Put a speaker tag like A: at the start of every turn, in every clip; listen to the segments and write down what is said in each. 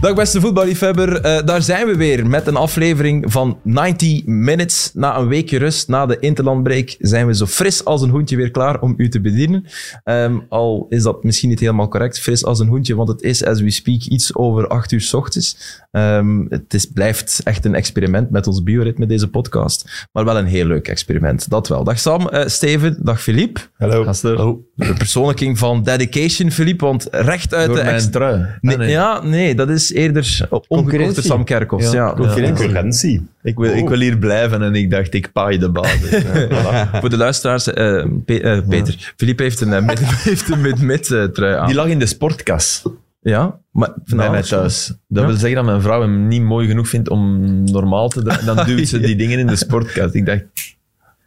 A: Dag beste voetballiefhebber, Eh, daar zijn we weer met een aflevering van 90 Minutes. Na een weekje rust, na de interlandbreak, zijn we zo fris als een hoentje weer klaar om u te bedienen. Ehm, al is dat misschien niet helemaal correct, fris als een hoentje, want het is, as we speak, iets over 8 uur 's ochtends. Ehm, het is, blijft echt een experiment met ons bioritme, deze podcast. Maar wel een heel leuk experiment, dat wel. Dag Sam, eh, Steven, dag Philippe.
B: Hallo.
A: De persoonlijking van dedication, Philippe, want recht uit
C: Door
A: de...
C: mijn
A: ex-
C: trui.
A: Nee,
C: Ah, nee.
A: Ja, nee, dat is eerder ongekochte
C: Concurrentie.
A: Sam Kerkhoffs.
C: Ja,
A: Ja.
C: concurrentie.
B: Concurrentie.
C: Ik, wil,
A: Oh.
C: ik wil hier blijven en ik dacht, ik paai de basis.
A: Voor de luisteraars, eh, Pe- eh, Peter, Philippe heeft een eh, mid- heeft een mid-mid eh, trui aan.
C: Die lag in de sportkas
A: Ja, maar
C: bij mij
A: vanavond.
C: thuis. Dat
A: Nou, Ja.
C: wil zeggen dat mijn vrouw hem niet mooi genoeg vindt om normaal te dragen. Dan duwt ze die dingen in de sportkast. Ik dacht,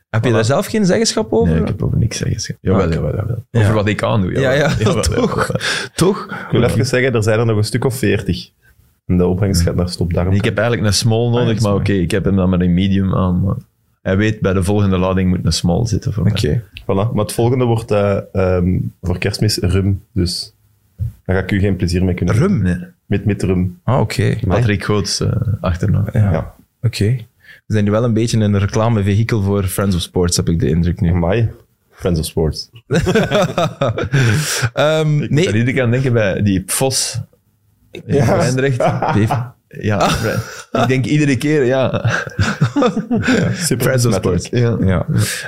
A: Heb je daar zelf geen zeggenschap over?
C: nee, ik heb over niks zeggen.
A: Ah,
C: Jawel,
A: oké.
C: jawel, jawel. Over
A: Ja.
C: wat ik aan doe.
A: ja, ja,
C: jawel,
A: toch.
C: jawel.
A: Toch?
B: Ik wil even zeggen, er zijn er nog een stuk of veertig. En de opbrengst gaat naar stopdarm.
C: Ik heb eigenlijk een small nodig,
A: Ah, ja,
C: maar
A: sorry.
C: oké, ik heb hem dan maar in medium aan. maar hij weet, bij de volgende lading moet een small zitten voor
A: Oké.
C: mij.
B: Voilà. Maar het volgende wordt eh, ehm, voor kerstmis rum. Dus daar ga ik u geen plezier mee kunnen doen.
A: Rum?
C: Nee.
B: Met, met rum.
A: Ah, oké.
C: Patrick Goots eh, achternaam.
A: Ja,
B: Ja.
A: oké. We zijn nu wel een beetje een reclamevehikel voor Friends of Sports, heb ik de indruk nu.
B: Amai. Friends of Sports.
A: Ehm,
C: Nee.
A: nee,
C: iedere keer aan denken bij die Vos in
B: Ja.
C: Zwijndrecht.
A: Dave,
C: Ja,
A: Ah.
C: ik denk iedere keer, ja.
B: Super
C: Friends of
B: besmettelijk.
C: Sports. Ja.
A: Ja.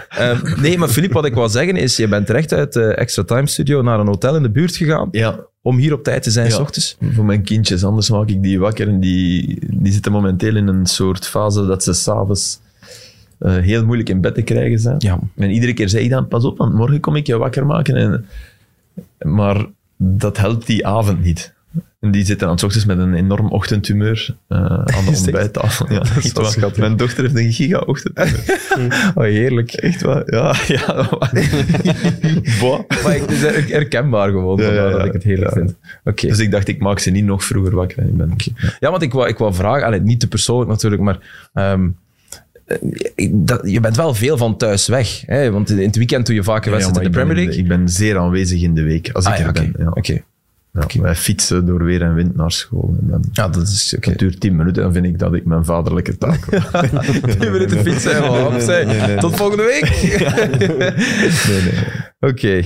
A: Ehm, nee, maar Filip, wat ik wil zeggen is, je bent terecht uit de Extra Time Studio naar een hotel in de buurt gegaan
C: ja,
A: om hier op tijd te zijn,
C: Ja.
A: s ochtends.
C: voor mijn kindjes. Anders maak ik die wakker. En die, die zitten momenteel in een soort fase dat ze s'avonds eh heel moeilijk in bed te krijgen zijn.
A: Ja.
C: En iedere keer zei ik dan, pas op, want morgen kom ik je wakker maken. En, maar dat helpt die avond niet. En die zitten aan 's ochtends met een enorm ochtendtumeur eh, aan de
A: Is het echt?
C: ontbijttafel. Ja, echt
A: wel
C: waar.
A: schattig.
C: Mijn dochter heeft een giga ochtendtumeur.
A: Oh, heerlijk.
C: echt waar? Ja, ja. Boah.
A: Maar ik- het is her- herkenbaar gewoon,
C: Ja,
A: vandaar
C: ja, ja.
A: dat ik het heerlijk
C: Ja.
A: vind. Oké.
C: Dus ik dacht, ik maak ze niet nog vroeger wakker. En ik ben,
A: Ja, want ik wou, ik wou vragen, allee, niet te persoonlijk natuurlijk, maar ehm, eh, ik- dat, je bent wel veel van thuis weg. Hè? Want in in het weekend doe je vaak een wedstrijd
C: maar
A: in de
C: ik ben
A: Premier League.
C: Ik ben zeer aanwezig in de week, als
A: Ah,
C: ik
A: ja,
C: er
A: oké.
C: ben. Ja.
A: Oké.
C: Ja, Wij fietsen door weer en wind naar school. En dan,
A: Ja, dat is oké.
C: Het duurt tien minuten, dan vind ik dat ik mijn vaderlijke taak
A: Tien minuten fietsen, helemaal op zijn. Tot volgende week. Oké.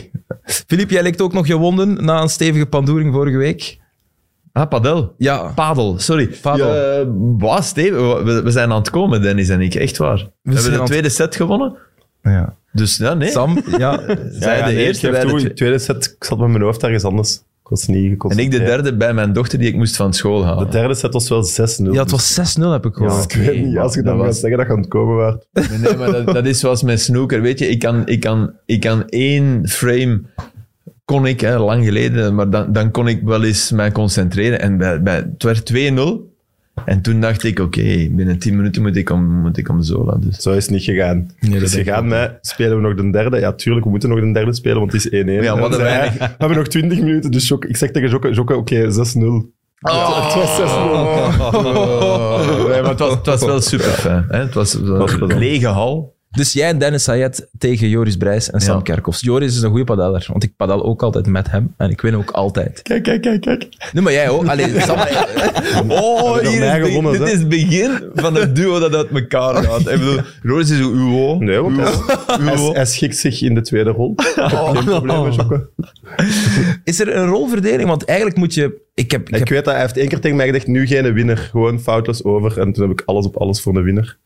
A: Filip, jij lekt ook nog je wonden na een stevige pandoering vorige week.
C: Ah, padel.
A: Ja.
C: Padel, sorry.
A: Padel.
C: Ja, bah, Steven, we, we zijn aan het komen, Dennis en ik. Echt waar. We,
A: zijn
C: hebben
A: aan
C: de
A: het-
C: tweede set gewonnen.
A: ja.
C: Dus ja, nee.
A: Sam, ja.
B: Ja,
C: Zij
B: ja,
C: de
B: nee,
C: eerste,
B: ik
C: wij
B: geef
C: de
B: toe,
C: twee-
B: de tweede set, ik zat met mijn hoofd ergens anders. Ik was niet
C: En
B: geconcentreerd.
C: ik de derde bij mijn dochter die ik moest van school halen.
B: De derde set was wel 6-0.
A: ja, het was 6-0 heb ik
B: Ja,
A: gehoord.
B: ik weet niet, als je
C: dat
B: dan gaat
C: was-
B: zeggen dat je aan het komen waart.
C: Nee, nee, maar dat, dat is zoals met snooker. Weet je, ik kan, ik kan, ik kan één frame. Kon ik, hè, lang geleden, maar dan, dan kon ik wel eens mij concentreren. En bij, bij, het werd 2-0. En toen dacht ik, oké, binnen 10 minuten moet ik om, moet ik om Zola. Dus.
B: Zo is het niet gegaan.
A: dat
B: dus
A: denk ik
B: gegaan met, spelen we nog de derde? Ja, tuurlijk, we moeten nog de derde spelen, want het is 1-1.
C: Ja,
B: En dan
C: wat een
B: zei hij,
C: weinig.
B: eh, we hebben nog 20 minuten, dus Jokke- ik zeg tegen Jokke, Jokke oké, 6-0. Het, het was 6-0.
C: Oh. Nee, maar het, was, het was wel super fijn. Hè? Het was
B: was
C: een
B: plezant.
C: lege hal.
A: Dus jij en Dennis Sayed tegen Joris Brijs en Sam
C: Ja.
A: Kerkhoffs. Joris is een goede padeller, want ik padel ook altijd met hem en ik win ook altijd.
B: Kijk, kijk, kijk, kijk.
A: Nee, maar jij ook. Allee, Sam,
C: Oh,
B: dan
C: hier is
B: mij
C: be-
B: gewonnen,
C: dit
B: hè?
C: is het begin van het duo dat uit elkaar gaat. Ik bedoel, Roos is een uwo.
B: Nee, want hij, hij, hij schikt zich in de tweede rol.
C: Oh.
B: Geen probleem, met Jokke.
A: is er een rolverdeling? Want eigenlijk moet je... Ik heb, ik heb
B: Ik weet dat, hij heeft één keer tegen mij gezegd, nu geen winner, gewoon foutloos over. En toen heb ik alles op alles voor een winnaar.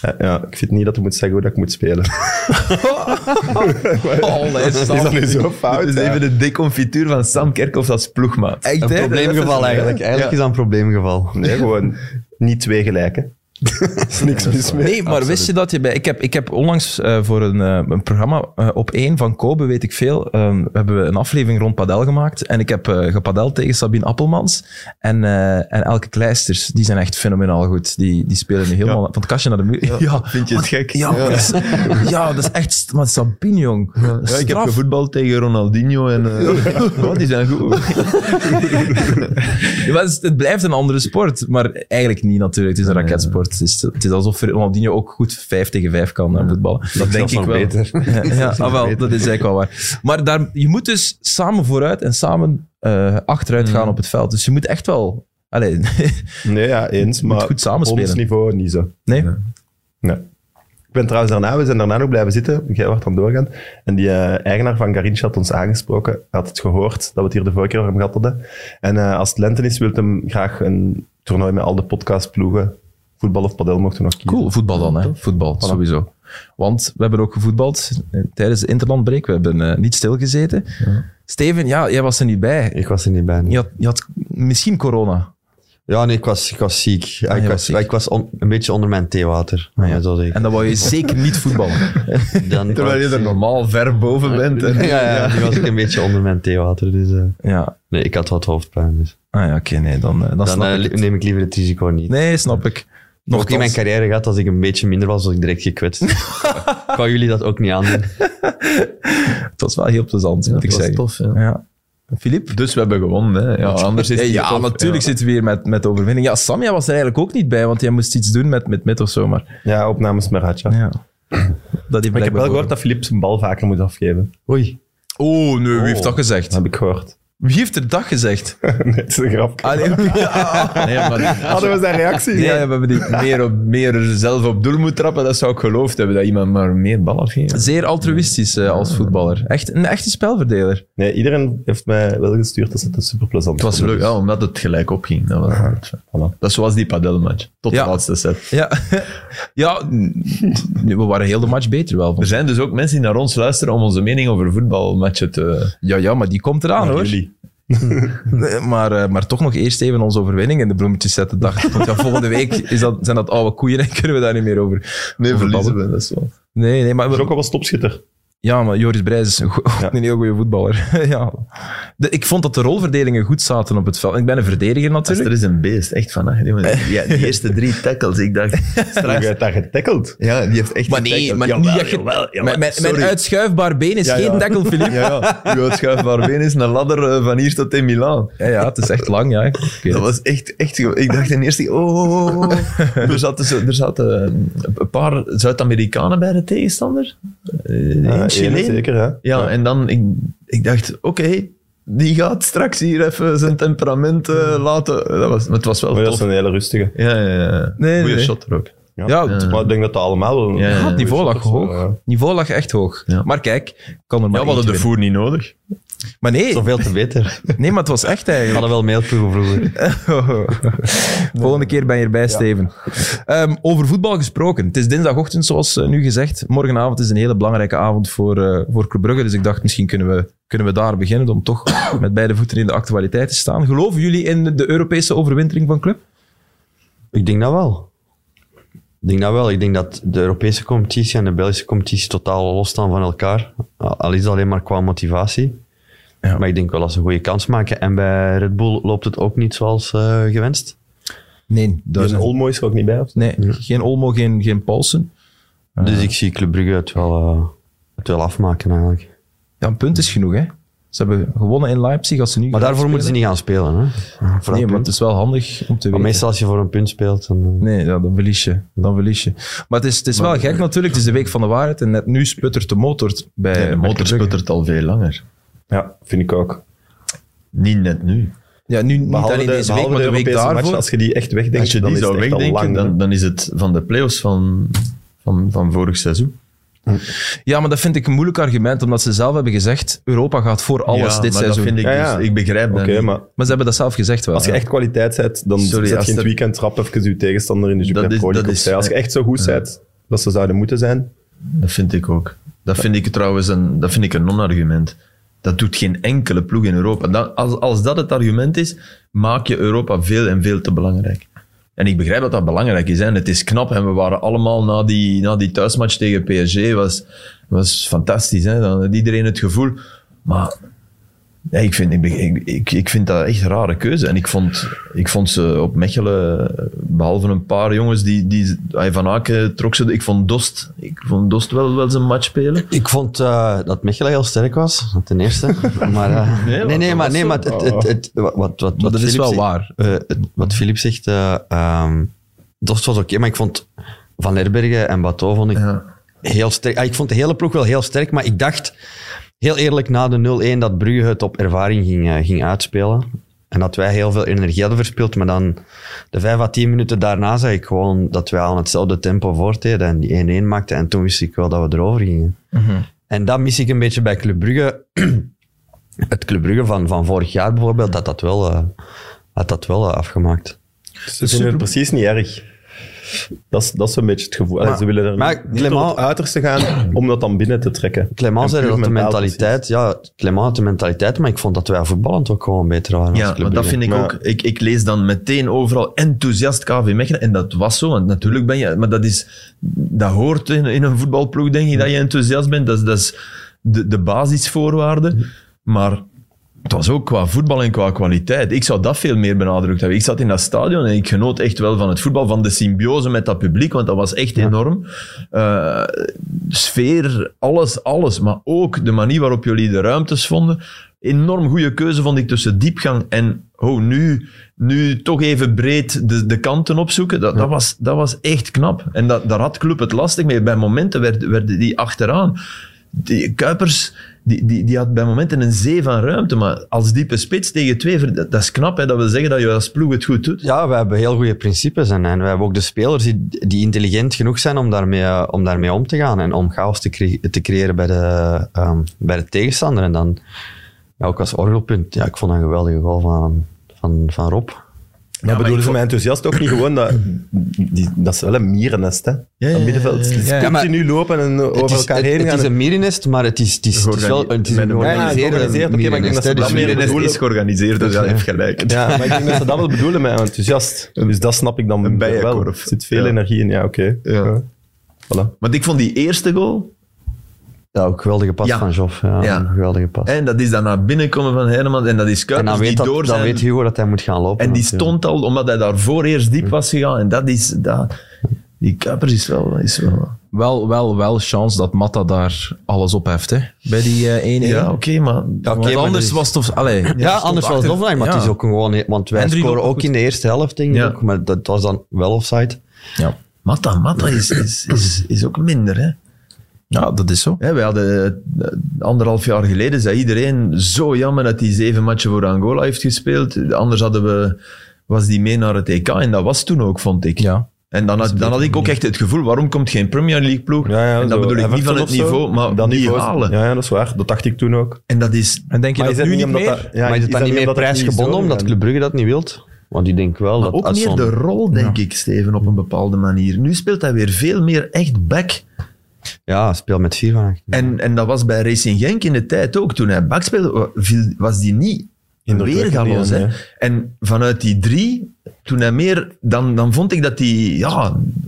B: Ja, ja, ik vind niet dat hij moet zeggen hoe dat ik moet spelen.
A: Allee,
B: Is
A: Sam.
B: dat nu zo fout?
C: Het is
B: Ja.
C: even de deconfituur van Sam Kerkhoff als ploegmaat.
A: Echt,
D: Een
A: hè?
D: probleemgeval eigenlijk. dus Eigenlijk is dat een probleemgeval.
B: Nee, gewoon niet twee gelijken. Er is niks mis mee.
A: Nee, maar wist je dat je bij... Ik heb, ik heb onlangs eh, voor een, eh, een programma eh, op één van Kobe, weet ik veel, ehm, hebben we een aflevering rond padel gemaakt. En ik heb eh gepadeld tegen Sabine Appelmans en, eh, en Elke Kleisters. Die zijn echt fenomenaal goed. Die, die spelen nu helemaal van het kastje naar de muur. Ja,
C: Vind je het gek?
A: ja, Dat, is, ja dat is echt... st- Maar Sabine, jong.
C: Ja, ik heb
A: Straf.
C: gevoetbald tegen Ronaldinho en... eh, oh, die zijn goed.
A: Ja, maar het, is- het blijft een andere sport, maar eigenlijk niet natuurlijk. Het is een raketsport. Het is, het is alsof Ronaldinho ook goed 5 tegen 5 kan eh, voetballen.
C: Dat denk ik wel.
A: Ja, ja ah, wel, dat is eigenlijk wel waar. Maar daar, je moet dus samen vooruit en samen eh, achteruit gaan op het veld. Dus je moet echt wel Allee,
B: Nee, ja, eens.
A: Moet
B: maar
A: goed samenspelen.
B: Ons niveau niet zo.
A: nee.
B: Nee. Ik ben trouwens daarna, we zijn daarna nog blijven zitten. Jij wordt dan doorgaan. En die eh, eigenaar van Garincha had ons aangesproken. Had het gehoord dat we het hier de vorige keer over hem gehad hadden. En eh, als het lente is, wil hem graag een toernooi met al de podcastploegen. Voetbal of padel mochten we nog kiezen.
A: Cool, voetbal dan, hè? Voetbal, sowieso. Want we hebben ook gevoetbald eh, tijdens de interlandbreak. We hebben eh, niet stilgezeten. Steven, ja, jij was er niet bij.
D: Ik was er niet bij. nee.
A: Je had, je had misschien corona.
D: Ja, nee, ik was, ik was ziek. Ja,
A: je
D: ik,
A: was
D: was,
A: ziek. Ah,
D: ik was on- een beetje onder mijn theewater. Ja, zo zeg ik.
A: En dan wou je zeker niet voetballen.
D: Dan-
C: Terwijl je er normaal ver boven bent.
D: Ja,
C: En,
D: ja, ja, nu was ik een beetje onder mijn theewater. Dus, eh,
A: Ja.
D: nee, ik had wat hoofdpijn. Dus.
A: Ah ja, oké, nee, dan, eh, dan,
D: Dan
A: snap
D: eh,
A: ik
D: li-
A: het.
D: neem ik liever het risico niet.
A: Nee, snap ik.
D: Nog ik in mijn
A: Nochtans,
D: carrière gehad, als ik een beetje minder was, was ik direct gekwetst. ik wou jullie dat ook niet aandoen.
A: het was wel heel plezant, moet ik
C: dat was
A: zeggen.
C: tof, ja.
A: Ja. Philippe?
C: Dus we hebben gewonnen. Hè. Ja, anders is
A: Ja,
C: het niet tof.
A: natuurlijk
C: Ja.
A: zitten we hier met, met overwinning. Ja, Samja was er eigenlijk ook niet bij, want jij moest iets doen met, met mid of zo, maar
B: Ja, opnames met Ratja.
A: ja. Dat heeft
B: Maar ik heb wel
A: blijkbaar-
B: gehoord dat Philips zijn bal vaker moet afgeven.
D: Oei.
A: Oh, nee, wie heeft
B: Oh.
A: dat gezegd?
B: Dat heb ik gehoord.
A: Wie heeft er dat gezegd?
B: nee, het is een grapje.
A: Ah, nee.
C: Nee, maar
B: Hadden we zijn reactie?
A: Nee, we hebben die
C: meer, op, meer zelf op doel moet trappen, dat zou ik geloofd hebben. Dat iemand maar meer bal afgeeft.
A: zeer altruïstisch eh, als voetballer. Echt een echte spelverdeler.
B: Nee, iedereen heeft mij wel gestuurd dat ze het super plezant
C: Het was leuk, ja, omdat het gelijk opging. Dat, was,
B: Voilà.
C: dat is zoals die padelmatch. Tot
A: Ja.
C: de laatste set.
A: Ja, ja n- we waren heel de match beter wel.
C: Er
A: Van.
C: zijn dus ook mensen die naar ons luisteren om onze mening over voetbalmatchen te...
A: Ja, ja, maar die komt eraan hoor.
B: Jullie.
A: Nee, maar, eh, maar toch nog eerst even onze overwinning in de bloemetjes zetten. Dacht, want ja, volgende week is dat, zijn dat oude koeien en kunnen we daar niet meer over.
C: Nee,
A: over
C: verliezen
A: babbelen.
C: we, dat is wel.
A: Nee, nee, maar we-
B: Jokko was topschitter.
A: Ja, maar Joris Brijs is een, go- een heel goede voetballer. ja. de, ik vond dat de rolverdelingen goed zaten op het veld. Ik ben een verdediger natuurlijk.
C: Er is een beest, echt van. hè. Die man- Ja, die eerste drie tackles, ik dacht...
B: Hoe heb je daar getackeld?
C: Ja, die heeft echt
A: Maar nee,
C: getackled.
A: maar
C: Jawel,
A: niet dat je-
C: jawel, jawel.
A: Mijn, mijn, mijn
C: Sorry.
A: uitschuifbaar been is
C: Ja,
A: geen
C: ja.
A: tackle, Philippe.
C: Ja, ja. Uw uitschuifbaar been is een ladder eh, van hier tot in Milaan.
A: Ja, ja, het is echt lang, ja. Ik weet het.
C: Dat was echt, echt... ge- Ik dacht in eerste... Oh, oh, oh, oh. Er zaten, zo- er zaten eh, een paar Zuid-Amerikanen bij de tegenstander. Eh,
B: Ja,
C: één
B: ene
C: Chileen.
B: Zeker, hè?
C: Ja, en dan... Ik, ik dacht, oké... die gaat straks hier even zijn temperament eh, laten. Dat was, maar het was wel
B: Maar dat
C: tof.
B: is een hele rustige.
C: Ja, ja, ja.
A: Nee,
C: Goeie
A: nee.
C: shot er ook.
A: Ja,
B: Maar
A: het-
B: ik denk dat dat allemaal wel...
C: Ja, ja.
A: ja, Ah, het niveau lag hoog.
B: Ja.
A: Het niveau lag echt hoog.
C: Ja.
A: Maar kijk, ik kan er maar
C: Ja, we hadden
A: eentje
C: de voer niet nodig.
A: winnen. Maar nee,
D: Zoveel te beter.
A: nee, maar het was echt
D: We
A: eigenlijk.
D: hadden wel mail vroeger.
A: Volgende keer ben je erbij, Steven. Ehm, over voetbal gesproken. Het is dinsdagochtend, zoals eh, nu gezegd. Morgenavond is een hele belangrijke avond voor, eh voor Club Brugge. Dus ik dacht, misschien kunnen we, kunnen we daar beginnen om toch met beide voeten in de actualiteit te staan. Geloven jullie in de Europese overwintering van Club?
D: Ik denk dat wel. Ik denk dat wel. Ik denk dat de Europese competitie en de Belgische competitie totaal losstaan van elkaar. Al is het alleen maar qua motivatie.
A: Ja.
D: Maar ik denk wel dat ze een goede kans maken. En bij Red Bull loopt het ook niet zoals eh, gewenst.
A: Nee,
B: Die is een Olmo is er ook niet bij, of zo?
A: nee geen Olmo, geen, geen Paulsen.
D: Dus ik zie Club Brugge het wel, eh, het wel afmaken eigenlijk.
A: Ja, een punt is genoeg, hè. Ze hebben gewonnen in Leipzig als ze nu
D: Maar
A: gaan
D: daarvoor moeten ze
A: spelen.
D: niet gaan spelen. Hè? Voor dat
A: Nee, maar
D: punt.
A: het is wel handig om te
D: Maar
A: weten.
D: meestal als je voor een punt speelt, dan... eh,
A: Nee, ja, dan verlies je. Dan verlies je. Maar het is, het is wel gek natuurlijk. Het is de week van de waarheid en net nu sputtert Eh, de motor bij...
C: de motor sputtert al veel langer.
B: Ja, vind ik ook.
C: Niet net nu.
A: Ja, nu niet
B: Behalve
A: alleen
B: de-
A: deze week,
B: behalve
A: maar de week
B: Europese matchen,
A: daarvoor.
B: als je die echt wegdenkt,
C: Als je
B: dan
C: die
B: is het
C: zou
B: echt al
C: wegdenken,
B: lang, hè.
C: dan, dan is het van de play-offs van, van, van vorig seizoen.
A: Ja, maar dat vind ik een moeilijk argument, omdat ze zelf hebben gezegd Europa gaat voor alles
C: Ja,
A: dit
C: maar
A: seizoen.
C: Dat vind ik,
B: Ja, ja.
C: Dus, ik begrijp
B: Oké,
C: dat niet.
B: maar
A: Maar ze hebben dat zelf gezegd wel.
B: als je
A: hè.
B: echt kwaliteit bent, dan
C: Sorry,
B: zet
C: als
B: je in het
C: dat-
B: weekend rap even je tegenstander in de Jupiler
C: is-
B: Pro League
C: dat
B: opzij.
C: is-
B: Als je echt zo goed bent, dat ze zouden moeten zijn.
C: Dat vind ik ook. Dat vind ik trouwens een, dat vind ik een non-argument. Dat doet geen enkele ploeg in Europa. Dat, als, als dat het argument is, maak je Europa veel en veel te belangrijk. En ik begrijp dat dat belangrijk is. Hè. En het is knap. En we waren allemaal na die, na die thuismatch tegen PSG. was, was fantastisch. Hè. Dan had iedereen het gevoel. Maar ja, ik, vind, ik, be- ik, ik, ik vind dat echt een rare keuze. En ik vond, ik vond ze op Mechelen, behalve een paar jongens die, die ah, Van Aken trok ze. Ik vond Dost, ik vond Dost wel, wel zijn match spelen.
D: Ik vond eh, dat Mechelen heel sterk was, ten eerste. Maar, eh, nee, nee,
C: want dat
D: maar,
C: was
D: nee, maar het, het, het- wat, wat, wat
A: Maar dat is
D: Philippe
A: wel
D: zegt-
A: waar.
D: eh, het- wat Filip zegt, eh ehm, Dost was oké, maar ik vond Van Herbergen en Bateau vond ik
C: Ja.
D: heel sterk. Ah, ik vond de hele ploeg wel heel sterk, maar ik dacht heel eerlijk na de 0-1 dat Brugge het op ervaring ging, eh, ging uitspelen. En dat wij heel veel energie hadden verspild. Maar dan de vijf à tien minuten daarna zag ik gewoon dat wij aan hetzelfde tempo voortdeden. En die 1-1 maakten. En toen wist ik wel dat we erover gingen. En dat mis ik een beetje bij Club Brugge. het Club Brugge van, van vorig jaar bijvoorbeeld, dat dat wel, eh, had dat wel eh, afgemaakt.
B: Ze vinden het precies niet erg. Dat is, dat is een beetje het gevoel. Allee, ze willen er
D: maar
B: niet
D: Clément-
B: tot het uiterste gaan om dat dan binnen te trekken.
D: Clement
B: En
D: zei
B: puur
D: dat de
B: mentaal
D: mentaliteit, ja, Clement had de mentaliteit, maar ik vond dat wij voetballend ook gewoon beter waren. als
C: Ja,
D: Club
C: maar dat
D: Brugge.
C: vind ik
B: Maar-
C: ook. Ik, ik lees dan meteen overal enthousiast KV Mechelen. En dat was zo, want natuurlijk ben je... Maar dat, is, dat hoort in, in een voetbalploeg, denk ik, dat je enthousiast bent. Dat is, dat is de, de basisvoorwaarde. Maar het was ook qua voetbal en qua kwaliteit. Ik zou dat veel meer benadrukt hebben. Ik zat in dat stadion en ik genoot echt wel van het voetbal, van de symbiose met dat publiek, want dat was echt enorm. Eh, sfeer, alles, alles. Maar ook de manier waarop jullie de ruimtes vonden. Enorm goede keuze vond ik tussen diepgang en oh, nu, nu toch even breed de, de kanten opzoeken. Dat, dat, was, dat was echt knap. En dat, daar had Club het lastig mee. Bij momenten werd- werden die achteraan. Die Kuipers die, die, die had bij momenten een zee van ruimte. Maar als diepe spits tegen twee, ver- dat, dat is knap. Hè, dat wil zeggen dat je als ploeg het goed doet.
D: Ja, we hebben heel goede principes en, en we hebben ook de spelers die, die intelligent genoeg zijn om daarmee, eh, om daarmee om te gaan en om chaos te, cre- te creëren bij de, ehm, bij de tegenstander. En dan ja, ook als orgelpunt, ja, ik vond dat een geweldige goal van, van, van Rob.
B: Maar bedoelen ze mij enthousiast ook niet gewoon dat... Die, dat is wel een mierennest, hè?
C: ja,
B: dat middenveld. Die
A: ja.
D: Ja, maar-
B: continu lopen en over
D: Het is,
B: elkaar
D: het,
B: heen
D: het
B: gaan.
D: is een mierennest, maar het is, het is, het is wel het is een
B: Ja,
D: georganiseerde
B: georganiseerd. Oké, maar ik denk dat
D: mierennest.
B: ze
D: hè. Dus
B: dat meer
D: iedereen is-
B: bedoelen.
C: is georganiseerd, dus hij heeft gelijk.
B: Ja, maar ik denk dat ze dat wel bedoelen met enthousiast. Dus dat snap ik dan wel. Er
C: bijenkorf.
B: zit veel
C: Ja.
B: energie in, ja, oké.
C: Ja.
B: Voilà.
C: Want ik vond die eerste goal,
D: Ja, ook geweldige pas
C: Ja.
D: van Joff. Ja,
C: Ja.
D: een geweldige pas.
C: en dat is dan naar binnenkomen van Herman, en dat is
D: En
C: Kuipers
D: dan
C: dus die
D: weet,
C: door
D: dat, dan
C: zijn...
D: weet Hugo dat hij moet gaan lopen.
C: en die
D: natuurlijk.
C: stond al, omdat hij daarvoor eerst diep was gegaan. En dat is... Dat, die Kuipers is wel... Is wel
A: Wel, wel, wel chance dat Matta daar alles opheft, hè? Bij die eh 1-1.
C: ja, oké, maar... dus-
A: Want
D: maar
A: anders
D: dat is-
A: was het... Of, allee,
D: Ja,
A: stond
D: anders was het
A: achter.
D: offline, maar het
A: Ja.
D: is ook gewoon... Want wij
A: En drie
D: scoren
A: doelpunten.
D: ook in de eerste helft, denk ik.
C: Ja.
D: ook, maar dat was dan wel offside.
A: Ja.
C: Matta, Matta is, is, is, is ook minder, hè.
A: ja, dat is zo.
C: Hè, wij hadden eh, anderhalf jaar geleden, zei iedereen, zo jammer dat hij zeven matchen voor Angola heeft gespeeld. Anders hadden we, was die mee naar het EK en dat was toen ook, vond ik.
A: Ja.
C: En dan had, dan had ik ook echt het gevoel, waarom komt geen Premier League ploeg? en dat
B: zo.
C: bedoel ik niet
B: Everton
C: van het
B: of zo,
C: niveau, maar
B: dat
C: die
B: niveau is-
C: halen.
B: Ja, ja, dat is waar. Dat dacht ik toen ook.
C: En dat is...
A: En denk je
B: is
A: dat nu niet meer?
B: ja,
D: maar is het dan niet meer
B: omdat dat
D: prijsgebonden,
B: zo
D: omdat
B: kan?
D: Club Brugge dat niet wilt? Want ik denk wel dat...
C: Ook
D: als
C: meer
D: zo'n-
C: de rol, denk ik, Steven, op een bepaalde manier. Nu speelt hij weer veel meer echt back.
D: Ja, speel met vier van acht.
C: En, en dat was bij Racing Genk in de tijd ook. Toen hij back speelde, wa- viel- was die niet
B: Indrukwekkend,
C: weergaloos.
B: ja.
C: hè. En vanuit die drie, toen hij meer... Dan, dan vond ik dat die... Ja,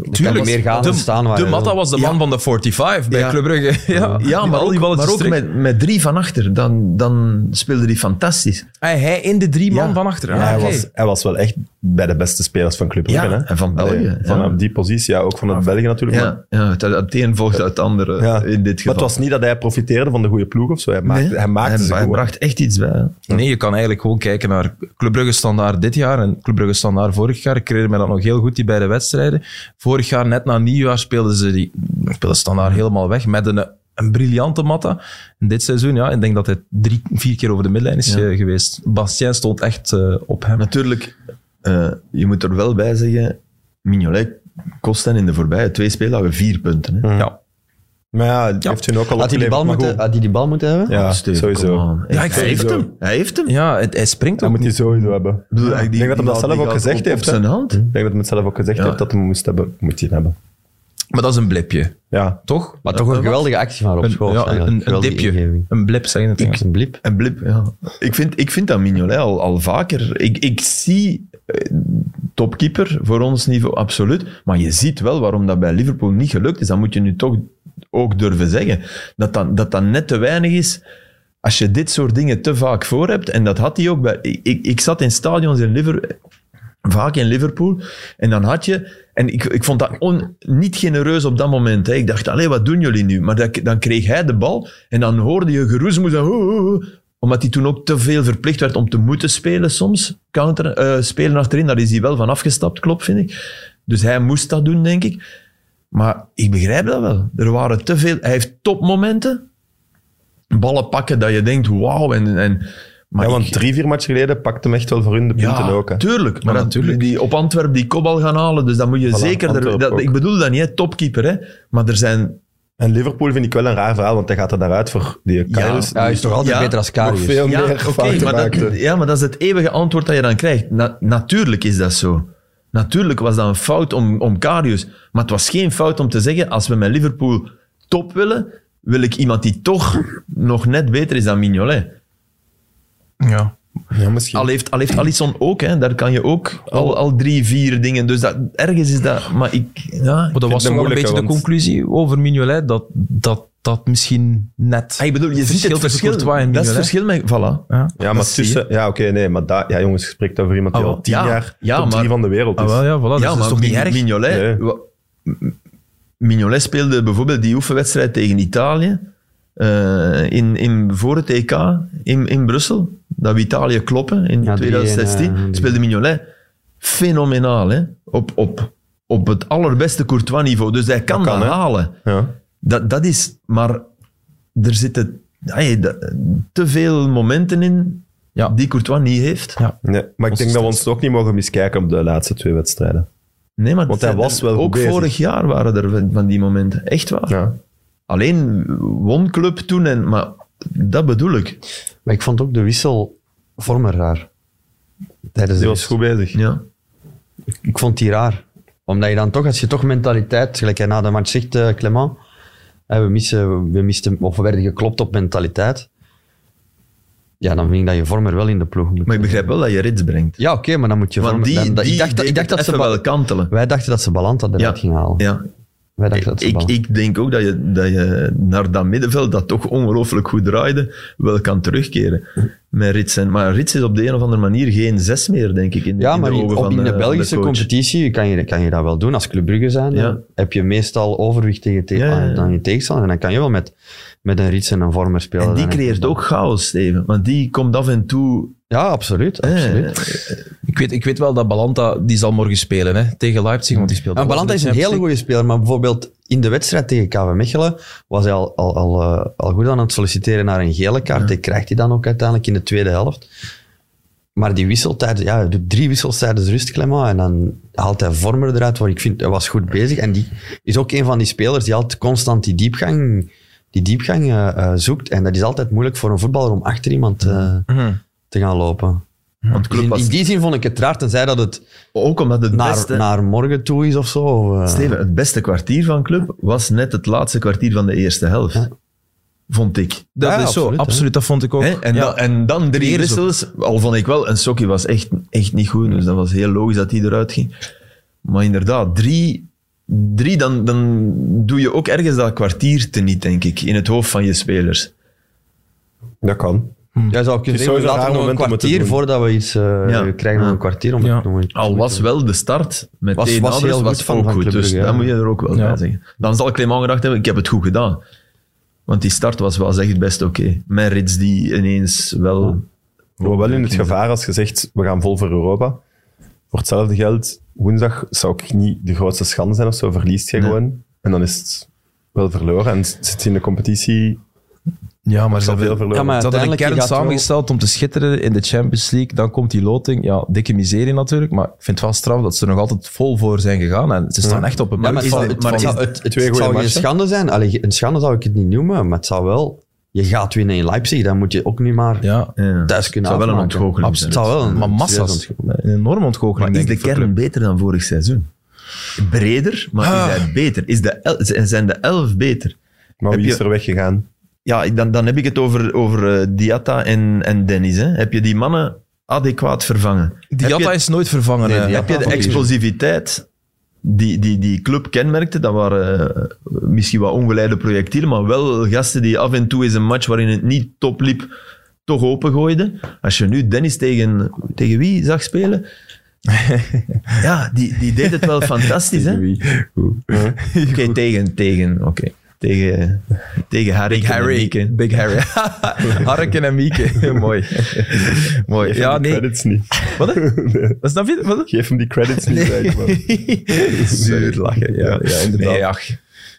D: kan
A: Tuurlijk.
D: meer gaan
A: de,
D: dan staan waar
A: de
D: je wil.
A: Matta was de man van de 45 bij
C: Ja.
A: Club Brugge. Ja,
C: ja maar
A: Al
C: ook,
A: balletjes
C: maar ook
A: terug.
C: met, met drie van achter. Dan, dan speelde hij fantastisch.
A: Ah, hij in de drie man
C: Ja.
A: van achter. Ah,
B: Ja, hij,
A: oké.
B: was, hij was wel echt bij de beste spelers van Club Brugge.
C: Ja,
B: hè?
C: en van
B: Allee,
C: België, ja.
B: Vanaf die positie, ja, ook van het België natuurlijk. maar-
C: Ja, ja, het, het een volgt uit het andere
B: Ja.
C: Eh, in dit
B: Maar
C: geval.
B: het was niet dat hij profiteerde van de goede ploeg of zo. Hij maakte,
C: Nee,
B: hij maakte ze
C: hij
B: gewoon.
C: bracht echt iets bij. hè.
A: Nee, je kan eigenlijk gewoon kijken naar Club Brugge standaard dit jaar en Club Brugge standaard vorig jaar. Ik herinner me dat nog heel goed, die beide wedstrijden. Vorig jaar, net na nieuwjaar, speelden ze die speelden standaard helemaal weg met een, een briljante matta. En dit seizoen, ja, ik denk dat hij drie, vier keer over de middenlijn is eh, geweest. Bastien stond echt eh, op hem.
C: Natuurlijk, eh, je moet er wel bij zeggen, Mignolet kost hen in de voorbije twee speeldagen vier punten. Hè.
A: Ja.
B: Maar ja, het heeft toen ook al
D: Had hij die
B: opgeleverd,
D: bal
B: maar
D: moeten,
B: goed.
D: had die, die bal moeten hebben?
B: Ja,
C: Steven, Dus come
B: sowieso.
C: on.
A: Ja, ik
C: hij
A: vind
C: heeft
B: het
C: hem. Hij heeft hem.
A: Ja, het, hij springt
B: Dat
A: ook
B: moet hij
A: niet.
B: sowieso hebben.
C: bedoel,
B: Ja,
C: die-
B: Ik denk dat
C: die
B: hem dat
C: gaat-
B: zelf
C: die
B: ook
C: gaat
B: gezegd
C: op-
B: heeft.
C: Op
B: hè. Hm.
C: zijn hand.
B: Ik denk dat hij het zelf ook gezegd
C: Ja.
B: heeft dat hij hem moest hebben. Moet hij hem hebben.
A: Maar dat is een blipje,
B: Ja.
A: toch? Eh,
D: Maar toch een geweldige actie van Rob
A: Een,
D: Schoofs.
A: ja, een-
D: eigenlijk.
A: een,
D: Geweldige
A: dipje.
D: ingeving.
A: Een blip, zeggen het. Engels.
D: Een blip.
C: En blip, ja. Ik vind, ik vind dat Mignolet al, al vaker. Ik, ik zie eh, topkeeper voor ons niveau, absoluut. Maar je ziet wel waarom dat bij Liverpool niet gelukt is. Dat moet je nu toch ook durven zeggen. Dat dat, dat, dat net te weinig is. Als je dit soort dingen te vaak voor hebt, en dat had hij ook bij... Ik, ik, ik zat in stadions in Liverpool, vaak in Liverpool. En dan had je... En ik, ik vond dat on- niet genereus op dat moment. Hè. Ik dacht, allee, wat doen jullie nu? Maar dat, dan kreeg hij de bal en dan hoorde je geroezemoes en... "Hoe, hoe, hoe." Omdat hij toen ook te veel verplicht werd om te moeten spelen soms. Counter, eh, spelen achterin, daar is hij wel van afgestapt, klopt, vind ik. Dus hij moest dat doen, denk ik. Maar ik begrijp dat wel. Er waren te veel... Hij heeft topmomenten. Ballen pakken dat je denkt, wauw. En, en, Maar
B: ja,
C: ik-
B: want drie, vier matchen geleden pakte hem echt wel voor hun de punten ook. Hè.
C: Tuurlijk, maar
A: Ja,
C: dat-
A: natuurlijk.
C: Die op Antwerpen die kopbal gaan halen, dus dan moet je zeker... Er,
B: Antwerpen
C: dat,
B: ook.
C: ik bedoel dat niet, hè, topkeeper, hè. Maar er zijn...
B: En Liverpool vind ik wel een raar verhaal, want hij gaat er naar uit voor die Karius.
D: Ja, hij is toch altijd
C: Ja,
D: beter als
B: nog
D: Karius.
B: veel
C: Ja,
B: meer
C: oké,
B: fouten
C: maar dat,
B: maakte.
C: ja, maar dat is het eeuwige antwoord dat je dan krijgt. Na- natuurlijk is dat zo. Natuurlijk was dat een fout om, om Karius. Maar het was geen fout om te zeggen, als we met Liverpool top willen, wil ik iemand die toch nog net beter is dan Mignolet.
A: Ja.
B: Ja, misschien.
C: Al heeft, al heeft Alisson ook, hè, daar kan je ook al, al drie, vier dingen. Dus dat, ergens is dat... Maar ik... Ja,
A: Maar dat was
B: het
A: toch wel een beetje
B: moeilijke,
A: de
B: want-
A: conclusie over Mignolet, dat dat, dat misschien net...
C: Ah, ik bedoel, je ziet
A: verschil
C: het
A: tussen
C: verschil. Dat
A: Courtois en
C: is het
A: Mignolet.
C: verschil met... Voilà.
A: Ja.
B: ja, maar
C: dat zie je.
B: tussen... Ja, oké, nee, maar daar- ja, jongens, je spreekt over iemand die
C: Ah,
B: al
C: wel,
B: tien
C: ja.
B: jaar
C: Ja,
B: top
C: maar-
B: drie van de wereld is.
A: Ah, wel, ja, voilà. dat is toch niet
C: Mig-
A: erg?
C: Mignolet,
B: Nee.
C: wa- M- Mignolet speelde bijvoorbeeld die oefenwedstrijd tegen Italië eh, in, in, voor het EK in, in Brussel. Dat we Italië kloppen in
D: Ja, die,
C: 2016.
D: eh, die-
C: Speelde Mignolet fenomenaal hè? Op, op, op het allerbeste Courtois-niveau. Dus hij kan
B: Dat
C: dat,
B: kan, hè?
C: halen.
B: Ja.
C: Dat, dat is, maar er zitten hey, da- te veel momenten in
A: Ja.
C: die Courtois niet heeft.
A: Ja.
B: Nee, maar ik denk dat we ons ook niet mogen miskijken op de laatste twee wedstrijden.
C: Nee, maar
B: Want
C: het-
B: hij was wel goed
C: ook
B: bezig.
C: vorig jaar waren er van die momenten. Echt waar.
B: Ja.
C: Alleen won club toen, en, maar dat bedoel ik.
D: Maar ik vond ook de wissel voor me raar. Tijdens de
B: Die was
D: rust.
B: goed bezig.
C: Ja.
D: Ik vond die raar. Omdat je dan toch, als je toch mentaliteit, gelijk hij na de match zegt, eh, Clement, eh, we, missen, we, misten, of we werden geklopt op mentaliteit. Ja, dan vind ik dat je Vormer wel in de ploeg moet.
C: Maar ik begrijp wel dat je rits brengt.
D: Ja, oké, maar dan moet je
C: Want
D: Vormer...
C: die,
D: dan- dat-
C: die
D: ik dacht, dat- ik
C: deed
D: dacht dat
C: het
D: ze...
C: even
D: Ba-
C: wel kantelen.
D: Wij dachten dat ze Balanta eruit
C: Ja.
D: ging halen.
C: Ja.
D: Wij dachten dat ze
C: Ik,
D: Balanta-
C: ik denk ook dat je, dat je naar dat middenveld, dat toch ongelooflijk goed draaide, wel kan terugkeren met Rits. En, maar Rits is op de een of andere manier geen zes meer, denk ik, in,
D: Ja,
C: in
D: maar
C: de
D: in,
C: ogen
D: op,
C: van
D: in de
C: eh,
D: Belgische
C: coach.
D: competitie kan je, kan je dat wel doen. Als Club Brugge zijn, dan
C: Ja.
D: heb je meestal overwicht tegen te-
C: Ja, ja, ja.
D: aan je tegenstander. En dan kan je wel met, met een Rits en een Vormer spelen.
C: En die
D: Dan-
C: creëert ook chaos, Steven. Want die komt af en toe...
D: Ja, absoluut.
C: eh,
D: absoluut.
A: Ik weet, ik weet wel dat Balanta, die zal morgen spelen hè, tegen Leipzig, want die speelt...
D: En Balanta is een hele goede speler, maar bijvoorbeeld in de wedstrijd tegen KV Mechelen was hij al, al, al, eh, al goed aan het solliciteren naar een gele kaart. Die krijgt hij dan ook uiteindelijk in de tweede helft. Maar die wissel tijdens, ja, hij doet drie wissels tijdens rust, Clement, en dan haalt hij Vormer eruit, want ik vind, hij was goed bezig. En die is ook een van die spelers die altijd constant die diepgang, die diepgang eh, eh, zoekt. En dat is altijd moeilijk voor een voetballer om achter iemand eh, te gaan lopen.
C: Want
D: Dus
C: Mhm. club
D: in,
C: was
D: in die zin vond ik het raar, tenzij dat het
C: ook omdat het
D: naar,
C: beste...
D: naar morgen toe is of zo. of, eh,
C: Steven, het beste kwartier van club was net het laatste kwartier van de eerste helft. Vond ik.
A: Dat
D: Ja,
A: is zo,
D: absoluut, hè.
A: absoluut. Dat vond ik ook.
C: Hè? En,
A: Ja.
C: dan, en dan drie
A: Weer zo.
C: wissels. Al vond ik wel, en Sokkie was echt, echt niet goed, dus dat was heel logisch dat hij eruit ging. Maar inderdaad, drie, drie dan, dan doe je ook ergens dat kwartier teniet, denk ik, in het hoofd van je spelers.
B: Dat kan.
C: Hm.
D: Ja, zou ik kunnen
B: Het is
D: zeggen, we
B: sowieso een raar
D: laten nog een
B: moment om het te
D: kwartier
B: doen.
D: voordat we iets eh,
C: Ja.
D: we krijgen. Nog
C: Ja.
D: een kwartier om het
A: Ja.
D: te doen.
C: Al was wel de start met
D: Was-
C: Eden
D: was
C: Aders
D: heel wat van
C: ook
D: van
C: goed,
D: Club
C: dus
D: Brugge,
C: dat
D: ja.
C: moet je er ook wel
A: Ja.
C: bij zeggen. Dan zal Clement gedacht hebben, ik heb het goed gedaan. Want die start was wel echt best oké. Met Rits die ineens wel...
B: We waren wel in
C: Hm.
B: het gevaar als gezegd, we gaan vol voor Europa. Voor hetzelfde geld, woensdag zou ik niet de grootste schande zijn of zo, verliest je
C: Nee.
B: gewoon. En dan is het wel verloren. En het zit in de competitie
A: ja, maar
B: al
A: ze
B: veel
A: veel
B: verloren.
D: Ja, maar-
A: Ze hadden een
D: Uiteindelijk, je
A: kern
D: gaat wel-
A: samengesteld om te schitteren in de Champions League. Dan komt die loting. Ja, dikke miserie natuurlijk. Maar ik vind het wel straf dat ze er nog altijd vol voor zijn gegaan. En ze staan echt op een
D: Ja, maar
A: punt
D: het,
A: van-
D: zou- het,
A: van-
D: het,
A: van-
D: zou- het, het,
B: twee
D: het
B: goede
D: zou geen
B: matchen?
D: schande zijn. Allee, een schande zou ik het niet noemen, maar het zou wel... Je gaat winnen in Leipzig, dan moet je ook niet maar
A: ja,
C: Ja.
D: thuis kunnen
C: zou wel een
D: afmaken.
C: ontgoocheling zijn.
D: Absoluut. Het zou wel een
A: maar massa's.
D: serieus
A: Een enorme ontgoocheling,
C: Maar
A: denk
C: is de
A: ik, voor
C: kern
A: club.
C: beter dan vorig seizoen? Breder, maar is hij beter? Is de el- z- zijn de elf beter?
B: Maar
C: Heb
B: wie is
C: je-
B: er weggegaan?
C: Ja, ik- dan, dan heb ik het over, over eh, Diatta en, en Dennis. Hè. Heb je die mannen adequaat vervangen? heb
A: Diatta
C: je,
A: is nooit vervangen.
D: Nee,
A: eh,
D: Diatta
C: heb je de
D: papier.
C: explosiviteit die, die die club kenmerkte? Dat waren eh, misschien wat ongeleide projectielen, maar wel gasten die af en toe eens een match waarin het niet top liep, toch opengooiden. Als je nu Dennis tegen, tegen wie zag spelen... ja, die, die deed het wel fantastisch, hè? Oké, tegen, tegen, oké. Tegen, tegen Harry.
A: Big Harry. Big Harry. Harken en Mieke. Mooi. Mooi.
B: Geef
A: Ja,
B: hem die
A: nee.
B: credits niet.
A: Wat? Wat snap je? Wat?
B: Geef hem die credits niet. zei ik, man.
A: Zuur lachen. Ja, ja inderdaad. Hmm.
C: Nee, ach.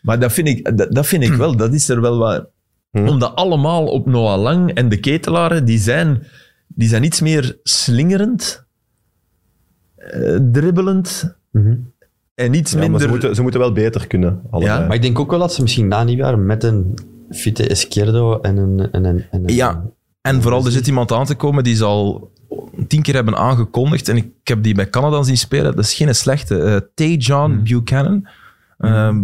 C: Maar dat vind, ik, dat, dat vind ik wel, dat is er wel wat... Omdat allemaal op Noah Lang en de ketelaren, die zijn... die zijn iets meer slingerend, eh, dribbelend
A: Mhm.
C: en iets
B: Ja, maar
C: minder...
B: ze, moeten, ze moeten wel beter kunnen. allebei.
C: Ja.
D: Maar ik denk ook wel dat ze misschien na nieuwjaar met een fitte Esquerdo en een... En een, en een
A: Ja, en vooral
C: dus
A: er zit iemand aan te komen die ze al tien keer hebben aangekondigd. En ik, ik heb die bij Canada zien spelen. Dat is geen slechte. Eh T. John
C: Hmm.
A: Buchanan. Ehm,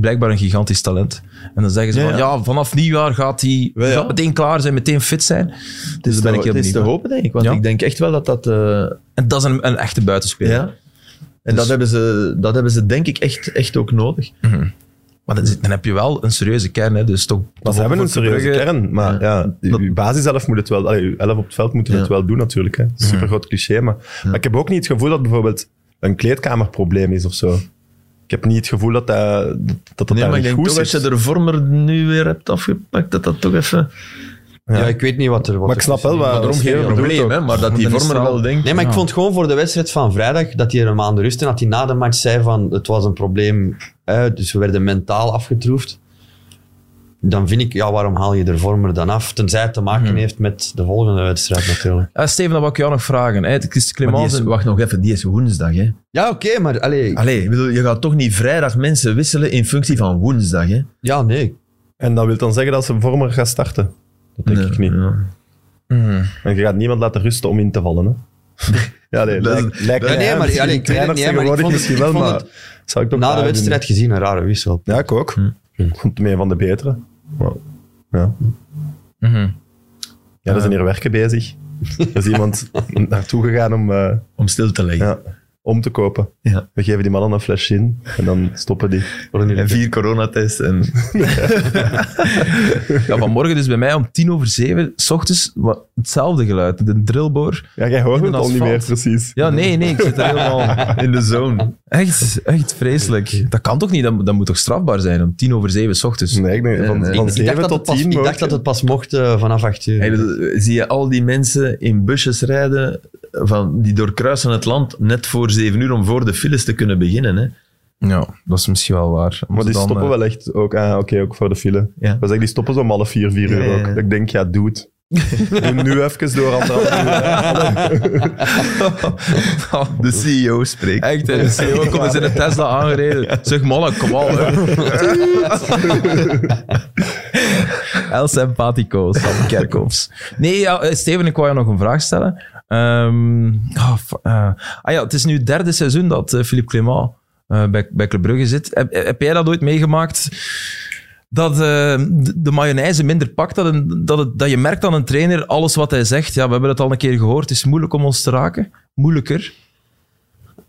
A: blijkbaar een gigantisch talent. En dan zeggen ze
C: Ja,
A: van,
C: ja.
A: ja, vanaf nieuwjaar gaat hij
C: Wel, ja.
A: gaat meteen klaar zijn, meteen fit zijn. Dus
C: het is,
A: daar ben
C: te,
A: ik heel
C: het
A: benieuwd
C: is te
A: naar.
C: hopen, denk ik. Want
A: Ja.
C: ik denk echt wel dat dat... eh,
A: En dat is een, een echte buitenspeler.
C: Ja. En
A: Dus-
C: dat, hebben ze, dat hebben ze denk ik echt, echt ook nodig.
A: Maar dan, zit- dan heb je wel een serieuze kern. Hè. Dus toch,
B: Maar
A: toch
B: ze hebben
A: voor
B: een serieuze
A: Brugge-
B: kern. Maar ja, je je basis elf moet het wel, allee, je elf op het veld moeten
C: Ja.
B: het wel doen natuurlijk. Hè. Super groot cliché. Maar, maar ik heb ook niet het gevoel dat bijvoorbeeld een kleedkamerprobleem is of zo. Ik heb niet het gevoel dat dat, dat, dat
C: Nee,
B: daar
C: maar
B: niet
C: ik denk
B: goed
C: toch
B: is.
C: als je de vormer nu weer hebt afgepakt, dat dat toch even...
D: ja. ik weet niet wat er... Wat
B: Maar ik
D: er
B: snap wel
D: tussen-
B: waar-
C: Dat
B: daarom
C: is
B: geen
C: geen
B: probleem,
C: probleem,
B: ook.
C: hè, maar dat
A: Want
C: die
A: dan is
C: vormer
A: het wel-
C: wel denkt...
D: Nee, maar ik vond gewoon voor de wedstrijd van vrijdag dat hij er een maand rust en dat hij na de match zei van het was een probleem, eh, dus we werden mentaal afgetroefd. Dan vind ik, ja, waarom haal je de vormer dan af? Tenzij het te maken heeft met de volgende wedstrijd natuurlijk.
A: Ah, Steven, dat wil ik jou nog vragen. Hè. Het is
C: Maar die
A: Clemens.
C: is, wacht nog even, die is woensdag, hè.
D: Ja, oké, maar allee,
C: Allee, ik bedoel, je gaat toch niet vrijdag mensen wisselen in functie van woensdag, hè?
D: ja, nee.
B: En dat wil dan zeggen dat ze vormer gaan starten. Dat denk
C: Nee,
B: ik niet.
C: ja.
B: En je gaat niemand laten rusten om in te vallen. Hè? ja, nee,
C: Dat-
B: lijkt, lijkt
D: Ja,
B: mij,
D: nee,
B: hè.
D: maar-
B: Misschien
D: ja, nee, ik weet het
B: trainers
D: niet, hè, maar ik
B: tegenwoordig
D: vond het-
B: misschien
D: ik
B: wel,
D: vond
B: maar zou ik toch
D: Na de
B: raar vinden.
D: wedstrijd gezien een rare wissel.
B: Ja, ik ook. Ik vond het een van de betere. Maar, ja.
A: Mhm,
B: Ja, er zijn hier werken bezig. Er is iemand naartoe gegaan om, eh,
C: Om stil te leggen.
B: ja, om te kopen.
C: Ja.
B: We geven die mannen een fles in en dan stoppen die.
C: En vier coronatests en...
A: Ja, vanmorgen dus bij mij om tien over zeven, s ochtends, wa- hetzelfde geluid. De drillboor.
B: Ja, jij hoort
A: In
B: het
A: een
B: al niet meer
A: asfalt.
B: precies.
A: Ja, nee, nee, ik zit er helemaal in de zone. Echt, echt vreselijk. Dat kan toch niet? Dat, dat moet toch strafbaar zijn om tien over zeven 's ochtends?
B: Nee, ik denk, van,
C: Nee, nee.
B: van
D: Ik dacht,
B: 7
D: dat het
B: tot
D: pas,
B: 10
D: ik dacht
B: mocht je-
D: dat het pas mocht eh, vanaf 8 uur.
C: Ik bedoel, Zie je al die mensen in busjes rijden van, die doorkruisen het land net voor zeven uur om voor de files te kunnen beginnen, hè?
A: Ja, dat is misschien wel waar. Om ze
B: Maar die
A: dan,
B: stoppen
A: eh,
B: wel echt ook, ah, oké, ook voor de file.
C: Ja.
B: Ja. Die stoppen zo om half vier, vier
C: Ja,
B: uur
C: ja,
B: ook.
C: ja.
B: Dat ik denk, ja, doe het. Doe nu even door anderhalf uur.
A: eh,
C: De CEO spreekt.
A: Echt, hè, de CEO komt eens in een Tesla aangereden. Zeg, mannen, kom al. hè. El Simpatico, Sam Kerkhoffs. Nee, ja, eh, Steven, ik wou je nog een vraag stellen. Ehm, ah, f- eh, ah ja, het is nu het derde seizoen dat eh, Philippe Clément eh, bij, bij Club Brugge zit. Heb, eh, heb jij dat ooit meegemaakt? Dat eh, de, de mayonaise minder pakt, dat, een- dat, het, dat je merkt aan een trainer, alles wat hij zegt, ja, we hebben het al een keer gehoord, het is moeilijk om ons te raken. Moeilijker.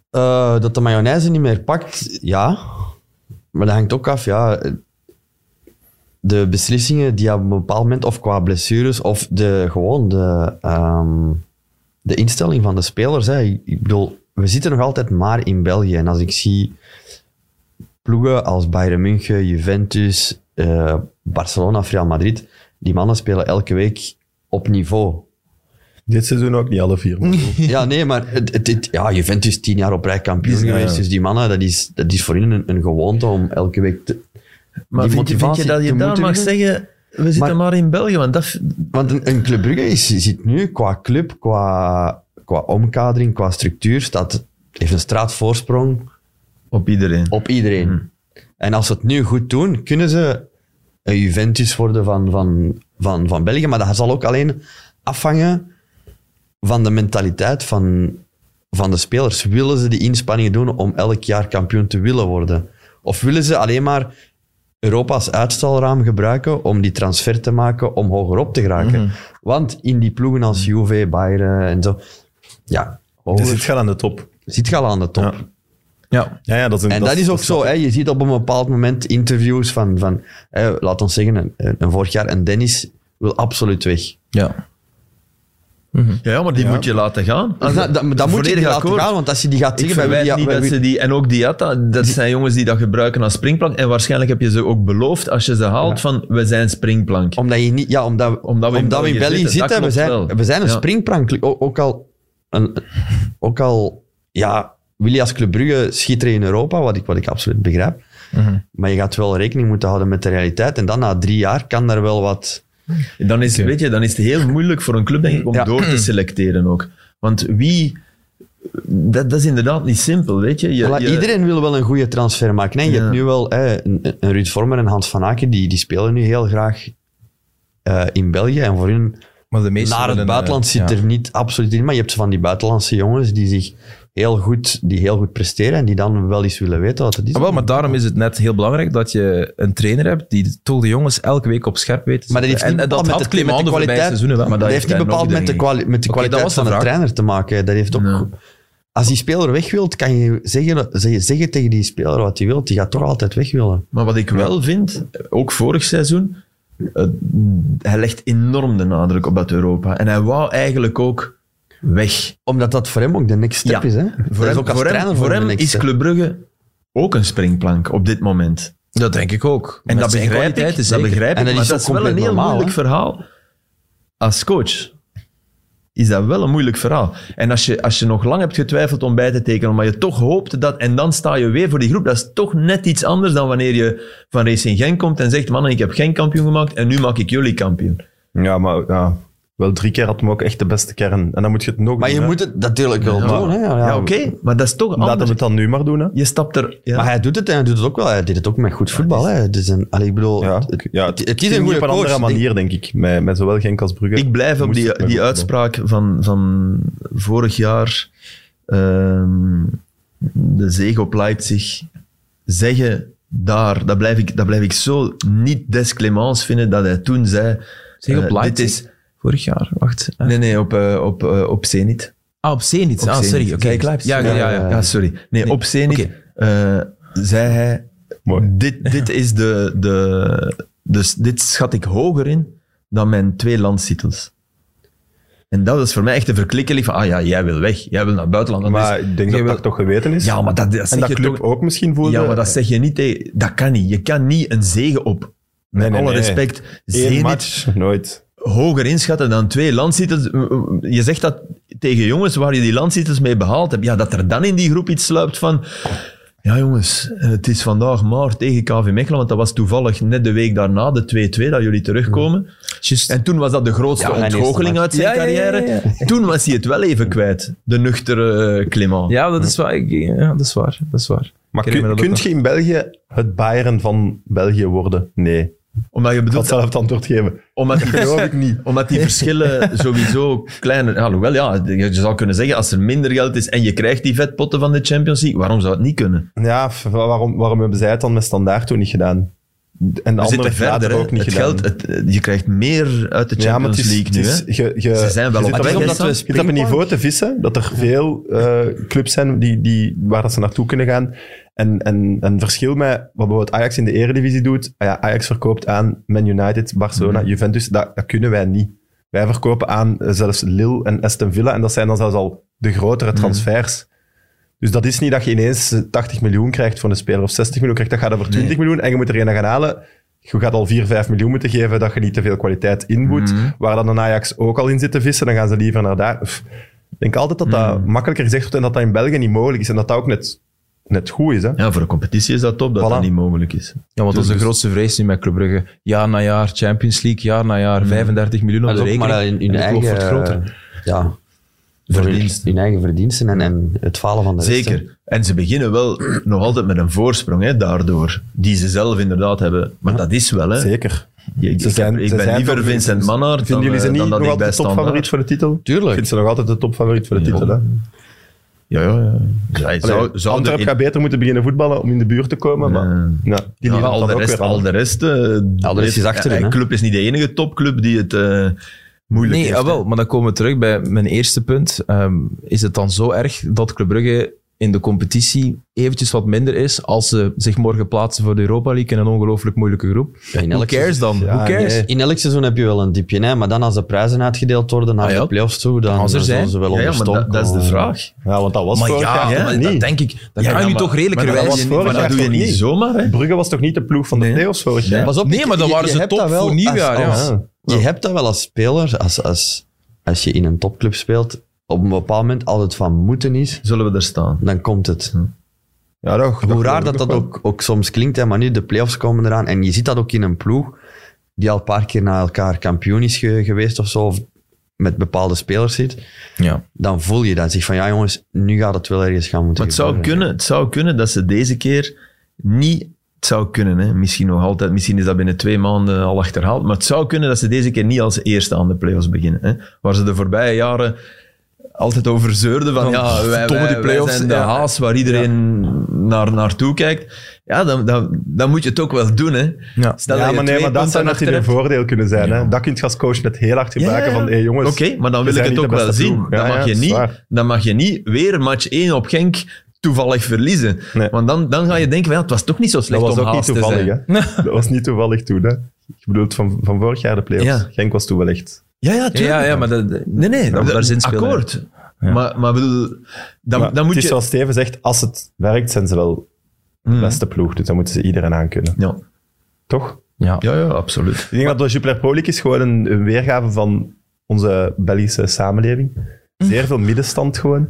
D: Eh, dat de mayonaise niet meer pakt, ja. Maar dat hangt ook af, ja. De beslissingen die op een bepaald moment, of qua blessures, of de, gewoon de, ehm, de instelling van de spelers. Hè. Ik ik bedoel, we zitten nog altijd maar in België. En als ik zie ploegen als Bayern München, Juventus, eh, Barcelona, of Real Madrid, die mannen spelen elke week op niveau.
B: Dit seizoen ook niet alle vier. maar goed.
D: Ja, nee, maar het, het, het- ja, Juventus tien jaar op rij kampioen
B: Ja, ja.
D: geweest. Dus die mannen, dat is, dat is voor hen een, een gewoonte om elke week te...
C: Maar
D: die
C: vind, je- vind je
D: motivatie
C: dat
D: te
C: je daar
D: moeten
C: mag
D: winnen?
C: zeggen, we zitten
D: Maar-
C: maar in België? Want dat,
D: Want een, een Club Brugge is, zit nu qua club, qua, qua omkadering, qua structuur, staat, heeft een straatvoorsprong
C: op iedereen.
D: op iedereen. En als ze het nu goed doen, kunnen ze een Juventus worden van, van, van, van België. Maar dat zal ook alleen afhangen van de mentaliteit van, van de spelers. Willen ze die inspanningen doen om elk jaar kampioen te willen worden? Of willen ze alleen maar Europa als uitstalraam gebruiken om die transfer te maken om hoger op te geraken? Want in die ploegen als Juve, Bayern en zo, ja,
B: Je
D: hoger,
B: zit gaan aan de top.
D: zit je al aan de top.
B: Ja.
A: Ja.
B: Ja, ja, dat is een,
D: En dat, is ook zo. Hè? Je ziet op een bepaald moment interviews van, van hè, laat ons zeggen, een, een- een vorig jaar, en Dennis wil absoluut weg.
A: Ja.
C: Mhm. Ja, maar die moet je laten gaan.
D: Ah, Dat, dat, dat moet je
C: Volledig
D: die laten
C: akkoord.
D: gaan, want als je die gaat
C: Ik
D: zeggen... bij
C: verwijt
D: wie-
C: niet
D: bij
C: dat
D: wie-
C: ze die... En ook Diatta, dat zijn jongens die dat gebruiken als springplank. En waarschijnlijk heb je ze ook beloofd als je ze haalt van, we zijn springplank.
D: Omdat, je niet, ja, omdat,
C: Omdat we in België
D: België
C: zitten, dat
D: zitten, we,
C: klopt
D: zijn,
C: wel.
D: we zijn een
C: Ja.
D: springplank. O- Ook al, een, ook al ja, wil je als Club Brugge schitteren in Europa, wat ik, wat ik absoluut Mhm. begrijp. Maar je gaat wel rekening moeten houden met de realiteit. En dan na drie jaar kan daar wel wat
C: Dan is,
A: Oké.
C: weet je, dan is het heel moeilijk voor een club denk ik, om
A: Ja.
C: door te selecteren ook. Want wie... Dat, dat is inderdaad niet simpel, weet je. je,
D: Voilà,
C: je-
D: Iedereen wil wel een goede transfer maken. Hè? Je
C: Ja.
D: hebt nu wel hè, een, een Ruud Vormer en Hans van Aken, die, die spelen nu heel graag eh, in België. En voor hun
A: Maar de meeste
D: naar het
A: willen,
D: buitenland
A: eh,
D: zit
A: ja.
D: er niet absoluut in. Maar je hebt van die buitenlandse jongens die zich heel goed, die heel goed presteren en die dan wel eens willen weten wat het is.
A: Ah, wel, maar daarom is het net heel belangrijk dat je een trainer hebt die toch de jongens elke week op scherp weet. te
D: Maar dat heeft
A: zetten.
D: niet
A: en, en dat
D: bepaald
A: had
D: met de, met de
A: Clément de voorbije
D: kwaliteit,
A: seizoenen wel.
C: Maar
D: dat
C: dat
D: heeft niet
C: heeft hij nog
D: bepaald
C: niet,
D: met de,
C: denk ik.
D: kwali- met de
A: Oké, dat
D: kwaliteit
A: was de
D: van de
A: vraag.
D: trainer te maken. Dat heeft ook...
C: Ja.
D: Als die speler weg wilt, kan je zeggen, zeggen, zeggen tegen die speler wat hij wil. Die gaat toch altijd weg willen.
C: Maar wat ik wel vind, ook vorig seizoen, eh, hij legt enorm de nadruk op dat Europa. En hij wou eigenlijk ook weg.
D: Omdat dat voor hem ook de next step
C: Ja.
D: is. Hè? Dat
C: Voor
D: is
C: hem,
D: ook als
C: voor
D: trainer
C: hem, voor
D: de
C: hem
D: next
C: is
D: step.
C: Club Brugge ook een springplank op dit moment.
A: Dat denk ik ook.
C: En
A: Met
C: dat
A: zijn
C: begrijp, ik,
A: kwaliteiten
C: dat
A: zeker.
C: begrijp ik.
D: En dat
C: maar
D: is
C: dat
D: ook
C: is wel een
D: compleet
C: heel
D: normaal,
C: moeilijk
D: hè?
C: verhaal. Als coach is dat wel een moeilijk verhaal. En als je, als je nog lang hebt getwijfeld om bij te tekenen, maar je toch hoopte dat... En dan sta je weer voor die groep. Dat is toch net iets anders dan wanneer je van Racing Genk komt en zegt... Mannen, ik heb Genk kampioen gemaakt en nu maak ik jullie kampioen.
B: Ja, maar ja, wel drie keer had hem ook echt de beste kern. En dan moet je het nog
D: Maar je
B: doen, hè.
D: moet het natuurlijk wel
C: Ja,
D: doen. Hè? Ja,
C: Ja, oké. Maar dat is toch
B: Laten we
C: anders. Oh,
B: het dan nu maar doen. Hè.
C: Je stapt er... Ja.
D: Maar hij doet het en hij doet het ook wel. Hij deed het ook met goed voetbal. Hè? Dus een, allee, ik bedoel,
B: Ja,
D: het,
B: ja,
D: het- het is een
B: ging
D: goede
B: op een
D: coach.
B: andere manier, denk ik. Met, met zowel Genk als Brugge.
C: Ik blijf op
B: Moest het
C: die,
B: maar
C: die
B: goed
C: uitspraak van, van vorig jaar, ehm, de zege op Leipzig, zeggen daar, dat blijf ik, dat blijf ik zo niet des Clemens vinden, dat hij toen zei...
A: Zeg op
C: eh, dit
A: Leipzig.
C: is-
A: Vorig jaar, wacht. eh.
C: nee, nee, op, eh, op, eh, op Zenit.
A: Ah, op Zenit.
C: Op
A: Ah,
C: Zenit.
A: sorry. Oké.
C: Kijk, Leipzig.
A: Ja, ja, ja. ja.
C: Ja, sorry. Nee,
A: Nee.
C: op Zenit
A: Oké.
C: eh, zei hij,
B: Mooi.
C: dit, dit is de, de, dus dit schat ik hoger in dan mijn twee landstitels. En dat is voor mij echt een verklikkeling van, ah ja, jij wil weg, jij wil naar het buitenland. Dat
B: Maar
C: is-
B: ik denk
C: jij
B: dat
C: wil-
B: dat toch geweten is.
C: ja, maar dat, dat
B: en
C: zeg
B: dat
C: je
B: club
C: toch...
B: ook misschien voelde.
C: Ja, maar dat zeg je niet tegen... Dat kan niet. Je kan niet een zegen op, met
B: Nee, nee,
C: alle
B: nee.
C: respect,
B: Eén
C: Zenit
B: match, nooit.
C: hoger inschatten dan twee landstitels. Je zegt dat tegen jongens waar je die landstitels mee behaald hebt. Ja, dat er dan in die groep iets sluipt van... Ja, jongens, eh, het is vandaag maar tegen KV Mechelen, want dat was toevallig net de week daarna, de 2-2, dat jullie terugkomen.
A: Juist.
C: En toen was dat de grootste
D: Ja, mijn eerste
C: ontgoocheling uit zijn
A: Ja, ja, ja,
C: carrière.
A: ja,
C: Toen was hij het wel even kwijt, de nuchtere eh, Clément.
A: Ja, dat is waar. Ik- Ja, dat is waar. Dat is waar.
B: Maar
A: Ik herinner me
B: kun,
A: dat ook nog.
B: kunt je in België het Bayern van België worden? Nee. Ik
C: Omdat je
B: ga
C: bedoelt,
B: zelf het antwoord geven.
C: Omdat die, Omdat die verschillen sowieso kleiner... Alhoewel, ja, je zou kunnen zeggen, als er minder geld is en je krijgt die vetpotten van de Champions League, waarom zou het niet kunnen?
B: Ja, f- waarom, waarom hebben zij het dan met standaard toen niet gedaan? En de
C: We
B: andere
C: zitten verder,
B: verder ook
C: hè.
B: niet
C: het
B: gedaan.
C: geld, het, eh, je krijgt meer uit de Champions
B: ja, maar het is,
C: League
B: het
C: nu,
B: is-
C: hè.
B: je- je-
C: Ze zijn wel
B: je
C: op
B: zit
C: weg,
B: op een-
C: omdat we
B: je zit op een niveau te vissen dat er veel eh, clubs zijn die, die, waar dat ze naartoe kunnen gaan. En, en, en verschil met wat bijvoorbeeld Ajax in de eredivisie doet. Ah ja, Ajax verkoopt aan Man United, Barcelona, Juventus. Dat, dat kunnen wij niet. Wij verkopen aan eh, zelfs Lille en Aston Villa. En dat zijn dan zelfs al de grotere
C: Mhm.
B: transfers. Dus dat is niet dat je ineens eh, 80 miljoen krijgt voor een speler of 60 miljoen krijgt. Dat gaat over 20 miljoen en je moet er een gaan halen. Je gaat al 4, 5 miljoen moeten geven dat je niet te veel kwaliteit inboet.
C: Mhm.
B: Waar dan een Ajax ook al in zit te vissen, dan gaan ze liever naar daar. Pff, Ik denk altijd dat dat
C: Mhm.
B: makkelijker gezegd wordt en dat dat in België niet mogelijk is. En dat dat ook net, net goed is. Hè?
C: Ja, voor de competitie is dat top dat
B: Voilà.
C: dat niet mogelijk is.
A: Ja, want dat is de grootste vrees nu met Club Brugge. Jaar na jaar Champions League, jaar na jaar 35 miljoen op
D: Maar
A: de
D: dat is ook
A: rekening.
D: maar in
A: En
D: hun
A: de kloof
D: eigen... eh,
A: wordt groter.
D: Ja,
C: Verdiensten.
D: hun eigen verdiensten en, en het falen van de rest, hè.
C: Zeker. En ze beginnen wel nog altijd met een voorsprong, hè, daardoor. Die ze zelf inderdaad hebben. Maar dat is wel, hè.
B: Zeker.
C: Je- Ik,
B: Ze zijn-
C: heb- ik
B: ze
C: ben
B: zijn
C: liever
B: toch-
C: Vincent Mannaert dan,
B: Vinden jullie ze
C: eh,
B: niet
C: dan dat
B: nog
C: ik bij
B: altijd de topfavoriet
C: Standaard.
B: voor de titel?
D: Tuurlijk.
B: Ik vind ze nog altijd de topfavoriet voor de titel. Hè?
C: Ja, ja, ja. Zij
B: Allee,
C: zou, zou
B: Antwerp
C: er in-
B: gaat beter moeten beginnen voetballen om in de buurt te komen. Maar,
C: Ja.
B: ja, die
C: Ja,
B: ja,
C: al, de rest, al de rest... eh,
D: rest
C: heeft-
D: is achterin,
C: eh,
D: hè.
C: club is niet de enige topclub die het eh, moeilijk
A: Nee,
C: heeft.
A: jawel, maar dan komen we terug bij mijn eerste punt. Ehm, is het dan zo erg dat Club Brugge in de competitie eventjes wat minder is als ze zich morgen plaatsen voor de Europa League in een ongelooflijk moeilijke groep?
D: Ja, in
A: Who
D: elk
A: cares dan?
B: Ja,
A: Who cares?
B: nee.
D: In elk seizoen heb je wel een diepje, hè? maar dan als de prijzen uitgedeeld worden naar
A: Ah, ja.
D: de play-offs toe, dan
A: Als er
D: zullen
A: zijn.
D: ze wel
C: hè. Ja, ja,
D: onder
C: maar
D: stoom
C: dat, dat is de
D: komen.
C: vraag.
B: Ja, want dat was
A: Maar
B: vorig
A: ja,
B: jaar
A: ja,
B: niet.
A: dat denk ik. Dat
C: Ja,
A: kan
C: ja,
A: je
C: maar-
A: toch
B: maar dat
A: redelijkerwijs
B: was
A: in.
B: vorig
C: Maar
B: jaar
C: dat doe je
B: toch
C: niet
B: niet?
C: zomaar, hè.
B: Brugge was toch niet de ploeg van de play-offs vorig jaar?
D: Pas op,
A: Nee,
D: je-
A: maar dan
D: je-
A: waren
D: je
A: ze
D: hebt
A: top
D: dat
A: voor nieuwjaar, Ah, ja.
D: als- Je hebt dat wel als speler, als, als, als je in een topclub speelt, op een bepaald moment als het van moeten is,
C: Zullen we er staan?
D: dan komt het.
B: Ja, toch,
D: Hoe
B: geloof
D: raar
B: ik
D: dat
B: nog wel.
D: dat ook, ook soms klinkt, hè, maar nu de play-offs komen eraan en je ziet dat ook in een ploeg die al een paar keer na elkaar kampioen is ge- geweest of zo, of met bepaalde spelers zit,
A: Ja.
D: dan voel je dat. Zeg van, ja jongens, nu gaat het wel ergens gaan moeten
C: Maar het zou,
D: gebeuren.
C: kunnen, het zou kunnen dat ze deze keer niet... Het zou kunnen, hè. misschien nog altijd. Misschien is dat binnen twee maanden al achterhaald. Maar het zou kunnen dat ze deze keer niet als eerste aan de play-offs beginnen. Hè. Waar ze de voorbije jaren altijd over zeurden van...
A: Van,
C: ja, wij,
A: verdomme,
C: wij-
A: die play-offs,
C: wij zijn de
A: ja.
C: haas waar iedereen naar, naartoe kijkt. Ja, dan, dan, dan moet je het ook wel doen. Hè.
A: Ja.
C: Stel
B: ja,
C: dat je
B: maar nee,
C: twee
B: maar dat
C: punten
B: zou
C: achter
B: natuurlijk een
C: hebt.
B: voordeel kunnen zijn. Hè? Dat kun je als coach net heel hard gebruiken van, hey, jongens...
C: Oké, maar dan
B: we
C: wil
B: zijn
C: ik het
B: niet
C: ook
B: de
C: wel
B: beste
C: zien.
B: ploeg.
C: Dan,
B: Ja, ja,
C: mag je
B: dat is
C: niet,
B: waar.
C: dan mag je niet weer match 1 op Genk toevallig verliezen.
B: Nee.
C: Want dan, dan ga je denken, van, ja, het was toch niet zo
B: Dat
C: slecht
B: was
C: om
B: ook niet
C: haast te
B: toevallig,
C: zijn.
B: hè. Dat was niet toevallig toen, hè. Ik bedoel, van, van vorig jaar de play-offs.
C: Ja.
B: Genk was toen wel echt...
C: Ja, ja, tuurlijk.
A: Ja, ja, maar dat,
C: Nee, nee,
A: dat,
C: dat-
A: daar zin spelen.
C: akkoord. Maar, maar bedoel, dan,
B: Maar
C: dan moet
B: het is
C: je...
B: zoals Steven zegt, als het werkt, zijn ze wel de
C: Hmm.
B: beste ploeg. Dus dan moeten ze iedereen aan kunnen.
C: Ja.
B: Toch?
A: Ja.
C: ja, ja, absoluut.
B: Ik denk dat de Jupiler Pro League is gewoon een, een weergave van onze Belgische samenleving. Zeer veel middenstand gewoon.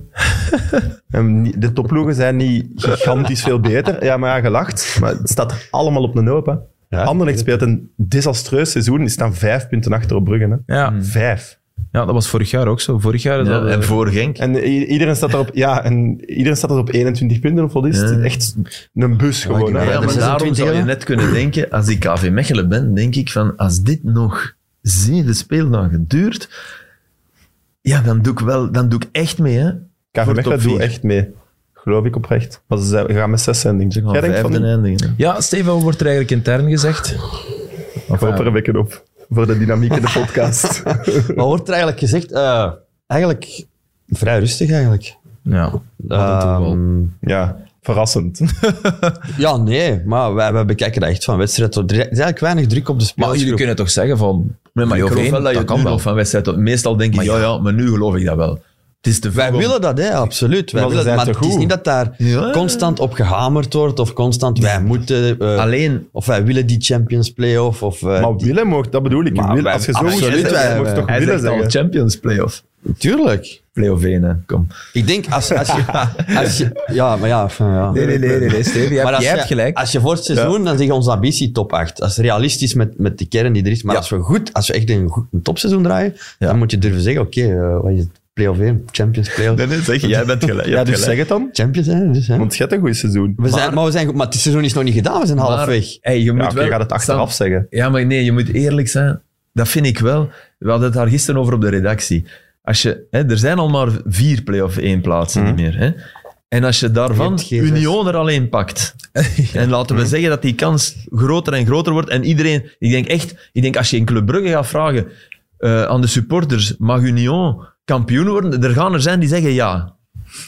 B: En ni- de topploegen zijn niet gigantisch veel beter. Ja, maar ja, gelacht. Maar het staat er allemaal op de hoop. Hè. Anderlecht speelt een desastreus seizoen. Die staan vijf punten achter op Brugge. Hè.
A: Ja.
B: Vijf.
A: ja, dat was vorig jaar ook zo. Vorig jaar...
C: Ja,
A: dat,
C: en voor Genk.
B: Hmm. En i- iedereen staat er op, ja, en iedereen staat er op 21 punten of wat is het?
C: Ja.
B: Het is Echt een bus gewoon.
D: Ja,
B: hè.
C: Ja,
D: er
C: maar
D: zijn
C: daarom
D: 26
C: zou je
D: jaar.
C: net kunnen denken, als ik KV Mechelen ben, denk ik van, als dit nog zeven speeldagen duurt, ja, dan doe ik, wel, dan doe ik echt mee, hè.
B: KV
C: Voor
B: Mechelen
C: top
B: doe
C: vier.
B: echt mee. Geloof ik oprecht. Maar ze zijn- we gaan met zes zijn, denk ik.
C: Van
B: Jij denkt van,
C: vijfde
B: ik
C: eindigen. hè.
A: ja, Steven, wat wordt er eigenlijk intern gezegd?
B: hoop er een beetje op. Voor de dynamiek in de podcast.
D: Maar wordt er eigenlijk gezegd, eh, eigenlijk vrij rustig eigenlijk.
A: Ja.
D: Ehm,
B: ja, verrassend.
D: ja, nee, maar wij, wij bekijken dat echt van wedstrijd tot... Er is eigenlijk weinig druk op de spelers.
A: Maar jullie kunnen toch zeggen van...
C: Nee, maar ik
A: play-off
C: geloof
A: één,
C: wel dat je het nu nog van wedstrijd tot... Meestal denk ik, ja, ja, maar nu geloof ik dat wel. Het is te
D: Wij
C: vroeg om-
D: willen dat, hè, absoluut. Wij
B: Maar ze
D: willen,
B: zijn
D: maar
B: te
D: het is
B: goed.
D: niet dat daar
C: Ja.
D: constant op gehamerd wordt of constant wij moeten... eh,
C: Alleen,
D: Of wij willen die Champions Playoff. Of, eh,
B: maar willen mocht, dat bedoel ik.
D: Maar
B: Wil-
D: wij-
B: als je zo
D: absoluut,
B: moet zeggen,
D: wij-
B: mocht je toch
C: hij
B: willen
C: zegt al
B: zeggen.
C: Champions Playoff.
D: tuurlijk.
C: Playoff 1, hè. Kom.
D: Ik denk als, als, je, als je. Ja, maar ja. van, ja.
A: Nee, nee, nee, nee, nee Steven, jij,
D: Maar
A: hebt-
D: als
A: jij
D: je,
A: hebt
C: Ah,
A: gelijk.
D: Als je voor het seizoen, dan zeg je onze ambitie top 8. Dat is realistisch met, met de kern die er is. Maar als we goed, als we echt een, goed, een topseizoen draaien, dan moet je durven zeggen: oké, eh, wat is het? Play-off 1, Champions, Play-off.
B: nee, zeg, jij bent gelijk. Ja, dus zeg het dan.
D: Champions, hè? Dus, hè.
B: Want je hebt een goed seizoen.
D: we zijn, maar, we zijn goed, maar het seizoen is nog niet gedaan, we zijn halfweg.
C: Hey, je moet
B: Ja, oké,
C: wel...
B: je gaat het achteraf
C: Sam,
B: zeggen.
C: Ja, maar nee, je moet eerlijk zijn. Dat vind ik wel. We hadden het daar gisteren over op de redactie. Als je, hè, er zijn al maar vier play-off 1 plaatsen niet meer. Hè? En als je daarvan
D: Je hebt geen zes.
C: Union er alleen pakt. En laten we zeggen dat die kans groter en groter wordt. En iedereen, ik denk echt, ik denk als je in Club Brugge gaat vragen eh, aan de supporters, mag Union kampioen worden? Er gaan er zijn die zeggen ja.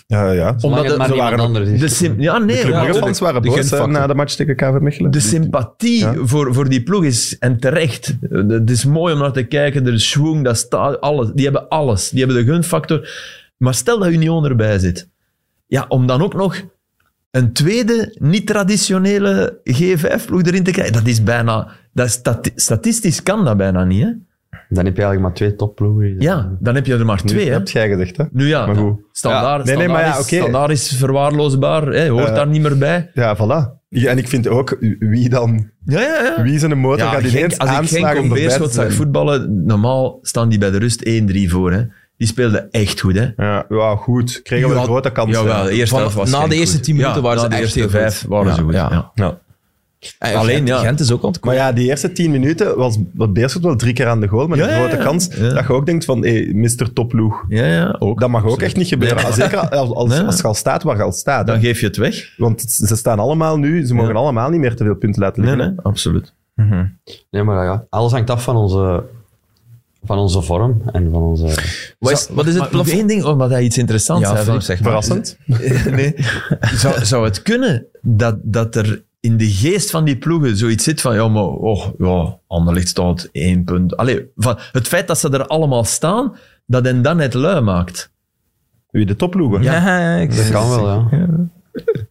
B: Ja, ja.
D: Omdat het dus-
C: Omdat
D: maar
C: het-
D: niemand
B: waren-
D: anders is.
C: De sim- ja, nee.
B: De
C: ja,
B: Brugge
C: tuurlijk.
B: fans waren
A: de
B: boos hè,
A: gunfactor.
B: na de match tegen KV Mechelen.
C: De sympathie voor, voor die ploeg is, en terecht, Eh, het is mooi om naar te kijken. Er is schwung, dat staat, alles. Die hebben alles. Die hebben de gunfactor. Maar stel dat Union erbij zit. Ja, om dan ook nog een tweede niet-traditionele G5-ploeg erin te krijgen, dat is bijna... Dat is stati- statistisch kan dat bijna niet, hè?
D: Dan heb je eigenlijk maar twee topploegen.
C: Ja, dan heb je er maar
B: Nu,
C: twee,
B: dat
C: hè?
B: heb jij gezegd, hè?
C: Nu ja,
B: Maar goed.
C: standaard,
B: Ja. Nee, nee, maar ja,
C: standaard is,
B: oké.
C: standaard is verwaarloosbaar, hè, hoort
B: Eh,
C: daar niet meer bij.
B: Ja, voilà. Ja, en ik vind ook, wie dan?
C: Ja, ja, ja.
B: Wie zijn de motor gaat
C: Genk-
B: ineens
C: als ik
B: aanslagen
C: Genk
B: om
C: op
B: erbij te
C: Beerschot zag
B: zijn?
C: voetballen, normaal staan die bij de rust 1-3 voor. Hè. Die speelden echt goed. Hè.
B: Ja, ja, goed. Kregen we
C: Ja,
B: een grote kans.
C: Jawel, de eerste
A: Van-
C: helft was
A: na
C: Genk
A: de eerste
C: goed.
A: 10 minuten
C: Ja,
A: waren
C: na
A: ze
C: de
A: echt
C: eerste
A: heel goed.
C: vijf waren ze
A: Ja,
C: goed.
A: ja.
C: ja.
B: Ja.
A: Eh,
C: alleen,
A: Gent,
C: ja.
A: Gent is ook ontkomen.
B: Maar ja, die eerste tien minuten was was Beerschot wel drie keer aan de goal met
C: Ja,
B: een
C: ja,
B: grote
C: ja.
B: kans.
C: Ja.
B: Dat je ook denkt van, hé, Mr. Toploeg.
C: Ja, ja, Oh, ook.
B: Dat mag ook echt niet gebeuren. Zeker als, als,
C: Nee.
B: als je al staat waar je al staat. hè.
C: Dan geef je het weg.
B: Want ze staan allemaal nu, ze mogen
C: Ja.
B: allemaal niet meer te veel punten laten
C: Nee,
B: liggen.
C: nee, absoluut.
D: Nee, maar ja, alles hangt af van onze, van onze vorm en van onze.
A: Wat is,
C: Zou-
A: wat is het
C: Oh, maar nog
A: plafond?
C: één ding, omdat hij iets interessants
A: Ja,
C: zei.
A: Filip, zeg
B: hè. Verrassend.
C: nee. zou, zou het kunnen dat, dat er in de geest van die ploegen zoiets zit van, ja, maar oh, ja, Anderlecht staat één punt. Allee, van, het feit dat ze er allemaal staan, dat hen dan het lui maakt.
B: Wie de topploegen. Ja.
A: Ja, ja, ik
D: Dat kan wel,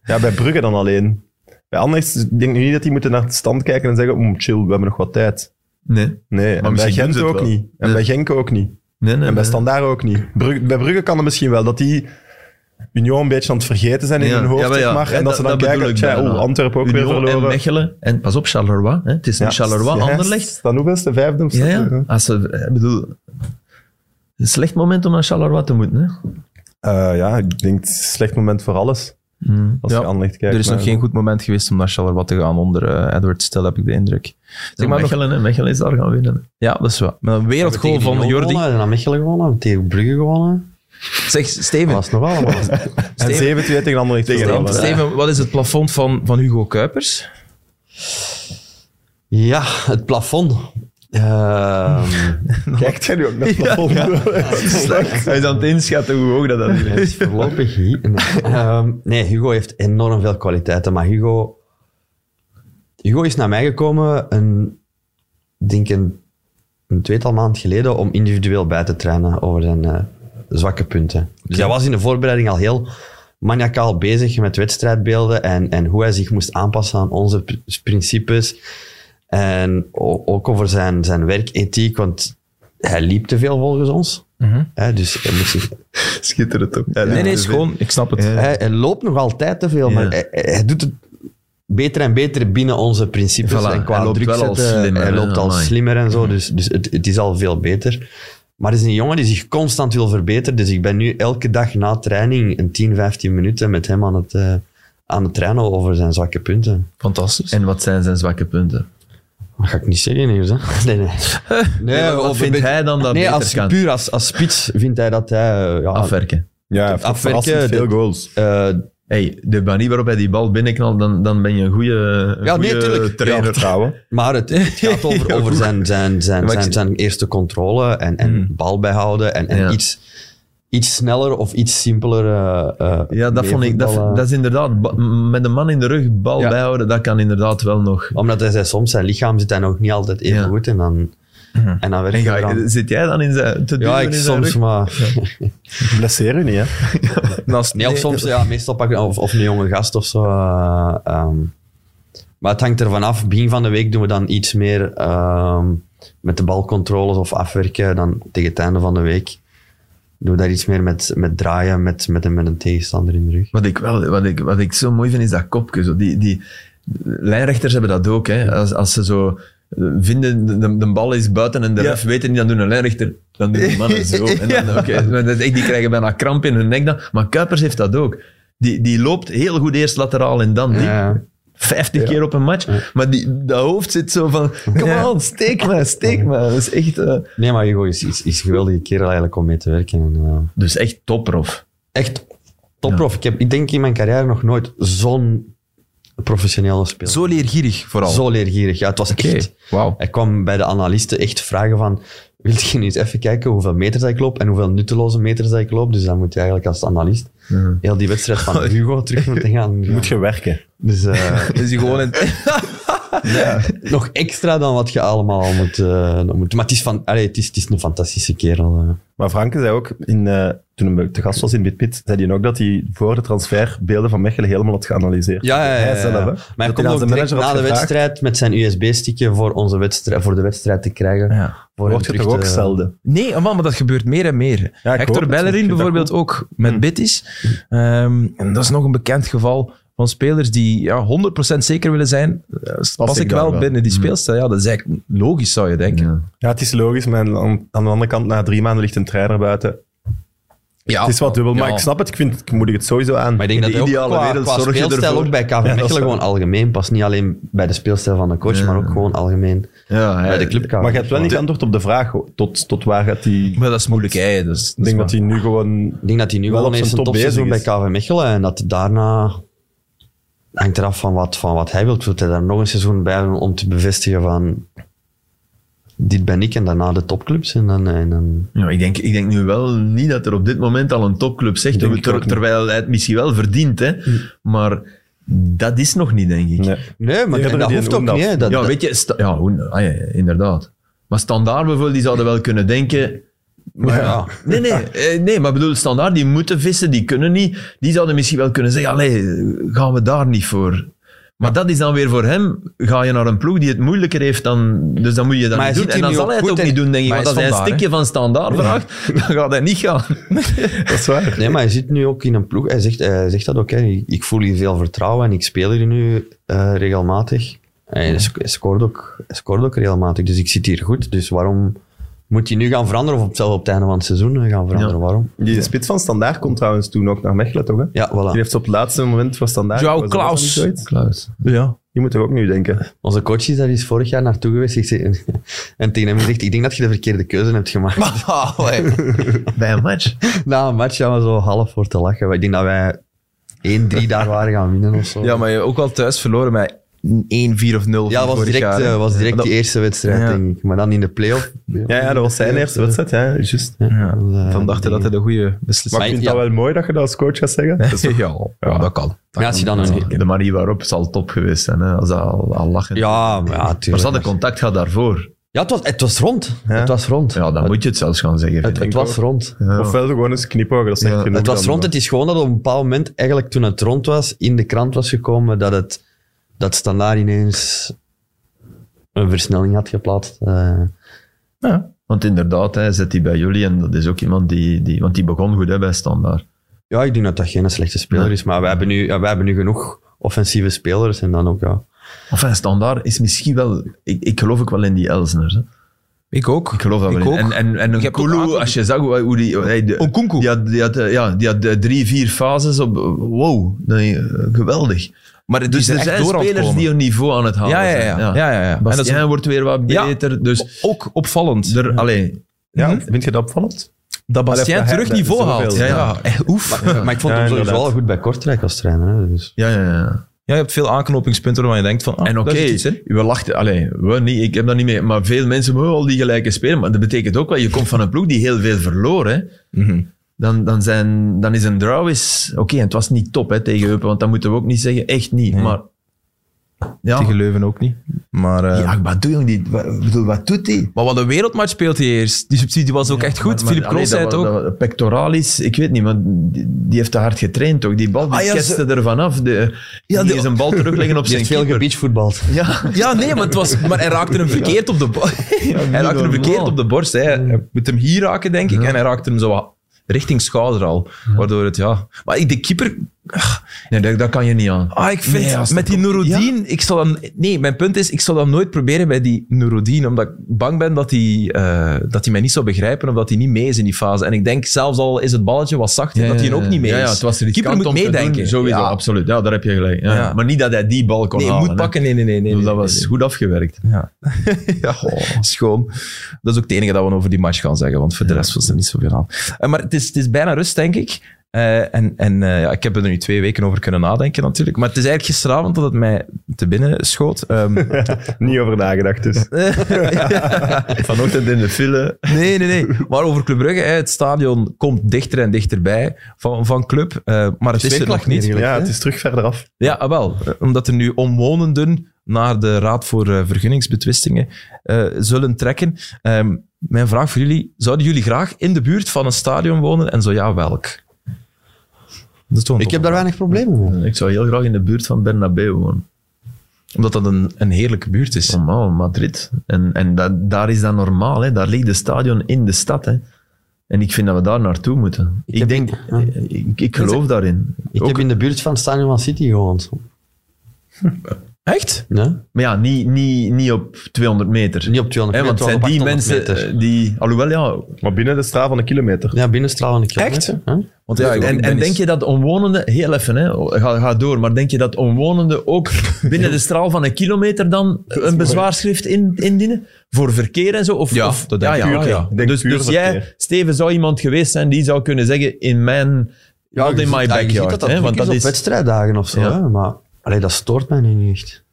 D: ja.
B: bij Brugge dan alleen. Bij Anderlecht denk ik niet dat die moeten naar de stand kijken en zeggen, "Mm, chill, we hebben nog wat tijd.
C: Nee.
B: Nee, en bij
C: misschien doen
B: Gent
C: ze het
B: ook
C: wel.
B: niet. En
C: Nee.
B: bij Genk ook niet.
C: Nee, nee,
B: En bij
C: nee.
B: Standaard ook niet. Brugge- bij Brugge kan het misschien wel, dat die Union een beetje aan het vergeten zijn in
C: Ja.
B: hun hoofd,
C: Ja, maar
B: zeg
C: ja.
B: maar.
C: Ja,
B: En dat ze
C: dat-
B: dan
C: dat bedoel
B: kijken,
C: ik
B: tja,
C: bijna.
B: oeh, Antwerpen ook weer
C: Union en
B: verloren.
C: Mechelen. En pas op, Charleroi. Hè? Het is nu
B: Ja,
C: Charleroi,
B: ja,
C: Anderlecht.
B: is Dat hoeveelste? Vijfde of
C: Ja,
B: zesde?
C: ja. Als ze, ik bedoel, een slecht moment om naar Charleroi te moeten. Hè?
B: Eh, ja, ik denk het is een slecht moment voor alles.
C: Mm.
B: Als
A: Ja.
B: je aan kijkt.
A: Er is
B: maar-
A: nog geen goed moment geweest om naar Charleroi te gaan onder eh, Edward Stil, heb ik de indruk. Zeg maar nog-
C: Mechelen, hè. Mechelen is daar gaan winnen.
A: ja, dat is wel. Met een wereldgoal van Jordi.
D: En aan Mechelen gewonnen, tegen Brugge gewonnen.
A: Zeg,
D: Dat
A: Steven,
D: was nog allemaal.
B: En 7-2 tegen Anderlecht.
A: Steven,
B: verloren.
A: Steven, wat is het plafond van, van Hugo Kuipers?
D: ja, het plafond. Ehm,
B: Kijkt jij nu ook naar het plafond?
C: Hij is aan het inschatten hoe hoog dat, dat hier
D: Het is
C: is.
D: voorlopig hier. Nee. Ehm, nee, Hugo heeft enorm veel kwaliteiten, maar Hugo... Hugo is naar mij gekomen een, ik denk een, een tweetal maand geleden om individueel bij te trainen over zijn eh, zwakke punten. Dus hij was in de voorbereiding al heel maniacaal bezig met wedstrijdbeelden en, en hoe hij zich moest aanpassen aan onze pr- principes. En o- ook over zijn, zijn werkethiek, want hij liep te veel volgens ons. Hè, dus hij moest zich
C: Schitterend ook. Ja, dus
A: Nee, nee,
C: dat
A: is gewoon, ik snap het.
D: hij, hij loopt nog altijd te veel, maar
C: Ja.
D: hij, hij- hij doet het beter en beter binnen onze principes.
C: Voilà,
D: en qua
C: hij loopt
D: druk
C: wel al
D: zetten,
C: slimmer,
D: Hij
C: hè,
D: loopt al
C: amai.
D: slimmer en zo, dus, dus het, het is al veel beter. Maar het is een jongen die zich constant wil verbeteren. Dus ik ben nu elke dag na training een 10, 15 minuten met hem aan het, eh, aan het trainen over zijn zwakke punten.
A: Fantastisch.
C: En wat zijn zijn zwakke punten?
D: Dat ga ik niet zeggen hier, zo. Nee, nee. nee
C: wat
D: of-
C: vindt hij dan dat
D: nee,
C: beter
D: als,
C: kan?
D: puur als, als spits vindt hij dat hij... eh, Ja,
C: Afwerken.
B: Ja, hij heeft
D: Afwerken,
B: verrassend
D: dat-
B: veel goals.
D: eh,
C: Hey, de manier waarop hij die bal binnenknalt, dan, dan ben je een goede, een
D: Ja, nee,
C: goede
D: tuurlijk.
B: Ja,
C: trainer.
B: vertrouwen.
D: Maar het, het gaat over, over zijn, zijn, zijn,
C: Maar ik
D: zijn,
C: zie- Hmm.
D: zijn eerste controle en, en bal bijhouden en, en
C: Ja.
D: iets, iets sneller of iets simpeler. eh, eh,
C: Ja, dat vond ik. Dat,
D: meevoetballen.
C: dat is inderdaad. ba- Met een man in de rug bal
A: Ja.
C: bijhouden, dat kan inderdaad wel nog.
D: Omdat hij zei, soms zijn lichaam zit hij nog niet altijd even
C: Ja. Hmm.
D: goed en dan, en dan werkt
C: En
D: hij
C: ga,
D: eraan.
C: zit jij dan in zijn. Te
D: Ja,
C: duwen
D: ik
C: in zijn
D: soms,
C: rug?
D: maar...
B: Blesseer u niet, hè?
A: En als-
D: Nee, of soms, ja, meestal pak ik of, of een jonge gast of zo. eh, ehm. maar het hangt ervan af. Begin van de week doen we dan iets meer ehm, met de balcontroles of afwerken. Dan tegen het einde van de week doen we daar iets meer met, met draaien, met, met, een, met een tegenstander in de rug.
C: Wat ik, wel, wat, ik, wat ik zo mooi vind, is dat kopje. Zo. Die, die, lijnrechters hebben dat ook. Hè. Als, als ze zo eh, vinden, de- de, de bal is buiten en de ref weet het niet, dan doen een lijnrechter... Dan doen die mannen zo. En dan, oké, maar dat is echt, die krijgen bijna kramp in hun nek dan. Maar Kuipers heeft dat ook. Die, die loopt heel goed eerst lateraal en dan diep.
D: Ja.
C: 50 keer op een match. Maar die, dat hoofd zit zo van... Come on, steek me, steek me. Dat is echt, eh,
D: Nee, maar Hugo is, is, is een geweldige kerel eigenlijk om mee te werken. En, eh,
C: dus echt topprof.
D: echt topprof. Ik, heb, ik denk in mijn carrière nog nooit zo'n professionele speler.
A: Zo leergierig vooral.
D: Zo leergierig. Ja, het was
A: Oké,
D: echt...
A: wauw.
D: Hij kwam bij de analisten echt vragen van... Wil je nu eens even kijken hoeveel meters dat ik loop en hoeveel nutteloze meters dat ik loop? Dus dan moet je eigenlijk als analist heel die wedstrijd van Hugo terug moeten gaan.
B: Moet je werken.
D: Dus eh,
A: Is hij gewoon in...
D: nog extra dan wat je allemaal al moet, eh, nog moet Maar het is, van, allee, het is, het is een fantastische kerel. eh.
B: Maar Franke zei ook, in, eh, toen hij te gast was in Bitpit, zei hij ook dat hij voor de transfer beelden van Mechelen helemaal had geanalyseerd.
D: Ja, ja, ja,
B: Hij
D: ja.
B: zelf, hè.
D: Maar hij
B: Dat
D: komt
B: aan
D: ook
B: zijn
D: direct
B: manager
D: na
B: had
D: de
B: gevraagd,
D: wedstrijd met zijn USB-stickje voor, onze wedstrijd, voor de wedstrijd te krijgen.
A: Ja.
D: Voor
B: Wordt
D: hem
B: je
D: terug
B: toch ook
D: te-
B: zelden?
A: Nee, man, maar dat gebeurt meer en meer.
B: hoop het, want
A: Hector
B: ik
A: Bellerin
B: vind dat
A: bijvoorbeeld ook met Bittis. Ehm, Hmm. en dat is nog een bekend geval van spelers die ja, 100% zeker willen zijn. eh, pas
B: ik
A: ik
B: daar
A: wel
B: wel.
A: binnen die speelstijl? Ja, dat is eigenlijk logisch, zou je denken.
B: Ja, het is logisch, maar aan, aan de andere kant, na drie maanden ligt een trainer buiten.
A: Ja.
B: Het is wat dubbel, maar
A: Ja.
B: ik snap het. Ik, vind, ik moedig het sowieso aan.
D: Ah, Maar ik denk
B: In de
D: dat hij ook
B: ideale
D: qua,
B: wereld
D: qua
B: zorg je
D: speelstijl
B: ervoor-
D: ook bij KV
B: dat is
D: Mechelen
B: waar.
D: gewoon algemeen past. Niet alleen bij de speelstijl van de coach, maar ook gewoon algemeen
C: Ja,
D: bij de club KV.
B: Maar je hebt wel niet antwoord op de vraag ho- tot, tot waar gaat hij...
A: Maar dat is moeilijk, hè. Dus,
B: Ik denk dat hij nu gewoon...
D: Ik denk dat hij nu
B: wel
D: gewoon
B: op
D: eerst
B: zijn
D: een
B: top
D: topseizoen bij
B: bezig
D: KV Mechelen en dat daarna hangt eraf van wat, van wat hij wil. Wil hij daar nog een seizoen bij hebben om te bevestigen van dit ben ik en daarna de topclubs en dan... En dan
C: Ja, ik, denk, ik denk nu wel niet dat er op dit moment al een topclub zegt,
B: Denk ik
C: ter-
B: ook niet. Hm.
C: terwijl hij het misschien wel verdient. Hè? Maar dat is nog niet, denk ik.
B: Nee.
D: nee, maar
B: Eerder
D: dat
B: die
D: hoeft
B: en
D: ook niet. hè. Dat,
C: ja,
D: dat-
C: weet je, sta- ja, hoe- ah, ja, ja, inderdaad. Maar standaard bijvoorbeeld, die zouden wel kunnen denken... Maar,
D: Ja.
C: Nee, nee, eh, nee, maar bedoel, standaard, die moeten vissen, die kunnen niet. Die zouden misschien wel kunnen zeggen, allee, gaan we daar niet voor. Maar dat is dan weer voor hem, ga je naar een ploeg die het moeilijker heeft dan... Dus dan moet je dat
D: Maar
C: niet
D: hij
C: doen.
D: zit
C: En
D: hier
C: dan zal
D: nu ook
C: hij het
D: goed
C: ook
D: en-
C: niet doen, denk ik.
A: Maar
C: Want
A: hij
C: als
A: is
C: hij een
A: van daar,
C: stukje van standaard vraagt, dan gaat hij niet gaan.
B: Dat is waar.
D: Nee, maar je zit nu ook in een ploeg. Hij zegt, hij zegt dat ook. Hè. Ik, ik voel hier veel vertrouwen en ik speel hier nu eh, regelmatig. En hij, sc- hij scoort ook, hij scoort ook regelmatig. Dus ik zit hier goed. Dus waarom moet hij nu gaan veranderen? Of op, zelfs op het einde van het seizoen eh, gaan veranderen? Waarom?
B: Die spits van Standaard komt trouwens toen ook naar Mechelen, toch? Hè?
D: Ja,
B: Die
D: voilà.
B: heeft op het laatste moment voor Standaard...
A: Joao
B: was dat
A: Klaus.
B: niet zoiets?
A: Ja.
B: Die moet er ook nu denken.
D: Onze coach is daar eens vorig jaar naartoe geweest. Ik zeg- en tegen hem gezegd, ik denk dat je de verkeerde keuze hebt gemaakt.
C: Bij een match.
D: Na een match gaan we zo half voor te lachen. Ik denk dat wij 1-3 daar waren gaan winnen of zo.
A: ja, maar je hebt ook wel thuis verloren met 1-4 of 0.
D: Ja, was direct, eh, was direct die eerste wedstrijd,
A: Ja.
D: denk ik. Maar dan in de play-off.
B: Ja, ja dat was zijn eerste wedstrijd. Ja, juist.
A: Dan dacht hij dat hij de goede
B: Maar
A: beslissing
B: ik
D: Maar
B: vind
D: ja.
B: dat wel mooi dat je dat als coach gaat zeggen. Dat is toch-
A: ja, ja, dat kan.
D: Maar als je dan een...
C: De manier waarop zal top geweest zijn, hè, als dat al, al lachen.
D: Ja, maar ja,
C: maar
D: tuurlijk.
C: ze hadden contact gehad daarvoor.
D: Ja, het was, het was rond. Het was rond.
C: Ja, dan moet je het zelfs gaan zeggen. vind
D: het, het
C: ik.
D: was rond.
C: Ja.
B: Ofwel gewoon eens knipogen, dat is echt
C: Ja.
B: genoeg
D: Het was
B: dan,
D: rond.
B: maar.
D: Het is gewoon dat op een bepaald moment, eigenlijk toen het rond was, in de krant was gekomen dat het dat standaard ineens een versnelling had geplaatst. Eh,
C: Want inderdaad, hij zet die bij jullie en dat is ook iemand die... die want die begon goed hè, bij Standaard.
D: ja, ik denk dat dat geen slechte speler
C: Nee.
D: is, maar wij hebben, nu, ja, wij hebben nu genoeg offensieve spelers en dan ook, ja.
C: Enfin, Standaard is misschien wel... Ik, ik geloof ook wel in die Elsners. Hè.
A: Ik ook.
C: Ik geloof dat
A: Ik
C: wel in.
A: ook.
C: En, en, en
A: Ik
C: een
A: heb ook
C: Kulu,
A: aangekomen.
C: als je zag hoe, hoe die... hij de-
A: Nkunku.
C: Die had, die had, eh, ja, die had eh, drie, vier fases op... Wow, dat is, eh, geweldig.
A: Maar het
C: Dus
A: is
C: er
A: echt
C: zijn
A: door aan het
C: spelers
A: komen.
C: die een niveau aan het halen
A: Ja, ja, ja.
C: zijn.
A: ja. ja, ja, En dat is
C: Bastien wordt weer wat
A: Ja.
C: beter. Dus
A: ook opvallend.
C: er, allee,
B: Ja, vind je dat opvallend?
A: dat Bastien
B: dat-
A: terug
B: dat-
A: niveau
B: zoveel.
A: haalt.
C: Ja, ja.
A: eh, Oef.
D: Maar, maar ik vond
B: Ja,
D: hem sowieso
B: inderdaad.
D: wel goed bij Kortrijk als trainer. Hè, dus.
C: ja, ja, ja.
A: Ja, je hebt veel aanknopingspunten waar je denkt van, ah,
C: En oké,
A: daar zit iets in.
C: we lachten, allee, we niet, ik heb dat niet mee, maar veel mensen hebben al die gelijke spelen. Maar dat betekent ook wel, je komt van een ploeg die heel veel verloor. Hè.
A: Mhm.
C: Dan, dan, zijn, dan is een draw is, oké, en het was niet top hè, tegen Eupen, want dat moeten we ook niet zeggen, echt niet. Maar ja,
A: Tegen Leuven ook niet. Maar, eh,
C: ja wat, doe je, die, wat, bedoel, wat doet die?
A: maar wat een wereldmatch speelt hij eerst. Die subsidie was ook echt goed.
C: Maar- maar,
A: Philip
C: allee,
A: Kloos zei het
C: dat
A: ook.
C: wa- dat wa- Pectoralis, ik weet niet, maar die, die heeft te hard getraind toch? Die bal die
A: Ah, ja,
C: ketste ervan af. De, ja, die
A: die-
C: is een bal terugleggen op
D: Die
C: zijn
D: heeft veel
C: keeper.
D: gebeachvoetbald.
C: Ja,
A: Ja, nee, maar, het was, maar hij raakte hem verkeerd op de borst. hij raakte hem
C: normaal.
A: verkeerd op de borst. Hè. Hij moet hem hier raken, denk ik. En hij raakte hem zo wat richting schouder al. Waardoor het, ja... Maar ik, de keeper...
C: nee, dat, dat kan je niet aan.
A: Ah, ik vind...
C: Nee, als dat
A: met die Nouroudin, ik zal dan... Nee, mijn punt is, ik zal dat nooit proberen bij die Nouroudin. Omdat ik bang ben dat hij eh, dat hij mij niet zou begrijpen of dat hij niet mee is in die fase. En ik denk, zelfs al is het balletje wat zachter, dat hij er ook niet mee
C: Ja,
A: is.
C: ja, het was er
A: keeper moet meedenken.
C: sowieso,
A: Ja.
C: absoluut. Ja, daar heb je gelijk. Ja.
A: Ja.
C: Maar niet dat hij die bal kon
A: Nee,
C: halen.
A: moet
C: hè.
A: pakken. Nee, nee, nee. nee,
C: Ik bedoel,
A: nee,
C: dat was
A: nee, nee.
C: goed afgewerkt.
A: Ja. ja schoon. Dat is ook het enige dat we over die match gaan zeggen, want voor de rest was er niet zoveel aan. Eh, maar het is, het is bijna rust, denk ik. Eh, en en eh, ja, ik heb er nu twee weken over kunnen nadenken, natuurlijk. Maar het is eigenlijk gisteravond dat het mij te binnen schoot. Ehm,
B: Niet over nagedacht dus.
C: Vanochtend in de file.
A: nee, nee, nee. Maar over Club Brugge, hè, het stadion komt dichter en dichterbij van, van Club. eh, maar het is er nog niet.
B: Ja, het is terug verder af.
A: Ja, ah, wel. Eh, Omdat er nu omwonenden naar de Raad voor eh, Vergunningsbetwistingen eh, zullen trekken. Ehm, mijn vraag voor jullie, zouden jullie graag in de buurt van een stadion wonen? En zo ja, welk? Dat is toch een
D: Ik heb
A: toffe
D: daar
A: vraag.
D: weinig problemen mee.
C: Ik zou heel graag in de buurt van Bernabeu wonen.
A: Omdat dat een, een heerlijke buurt is.
C: Normaal, Madrid. En, en dat, daar is dat normaal. Hè. Daar ligt de stadion in de stad. Hè. En ik vind dat we daar naartoe moeten. Ik,
D: heb-
C: denk, ik, ik geloof daarin.
D: Ik
C: Ook-
D: heb in de buurt van Stadion van City gewoond.
A: Echt?
D: Ja?
C: Maar ja, niet, niet, niet op 200 meter.
D: Niet op 200
C: Hè, want
D: meter,
C: het zijn
D: wel op
C: die
D: 800
C: mensen
D: meter.
C: eh, die... Alhoewel, ja,
B: Maar binnen de straal van een kilometer.
D: Ja, binnenstralende kilometer.
A: Echt?
D: hè?
A: Want ja, ik- ik
C: eh, en
A: ben
C: en
A: eens-
C: denk je dat omwonenden, heel even, hè, ga, ga door, maar denk je dat omwonenden ook binnen de straal van een kilometer dan een bezwaarschrift in, indienen? Voor verkeer en zo? Of,
A: Ja,
C: of,
A: dat denk ik. Puur, ja.
B: Ik denk
C: Dus,
B: puur
C: dus jij,
B: verkeer.
C: Steven, zou iemand geweest zijn die zou kunnen zeggen: in mijn.
D: Ja, dus
C: not
D: je
C: in
D: ziet-
C: my
D: ja, je ziet
C: backyard.
D: dat dat
C: hè,
D: druk
C: want
D: is
C: dat
D: op
C: is.
D: wedstrijddagen of zo.
C: Ja.
D: Hè? Maar allee, dat stoort mij nu niet echt.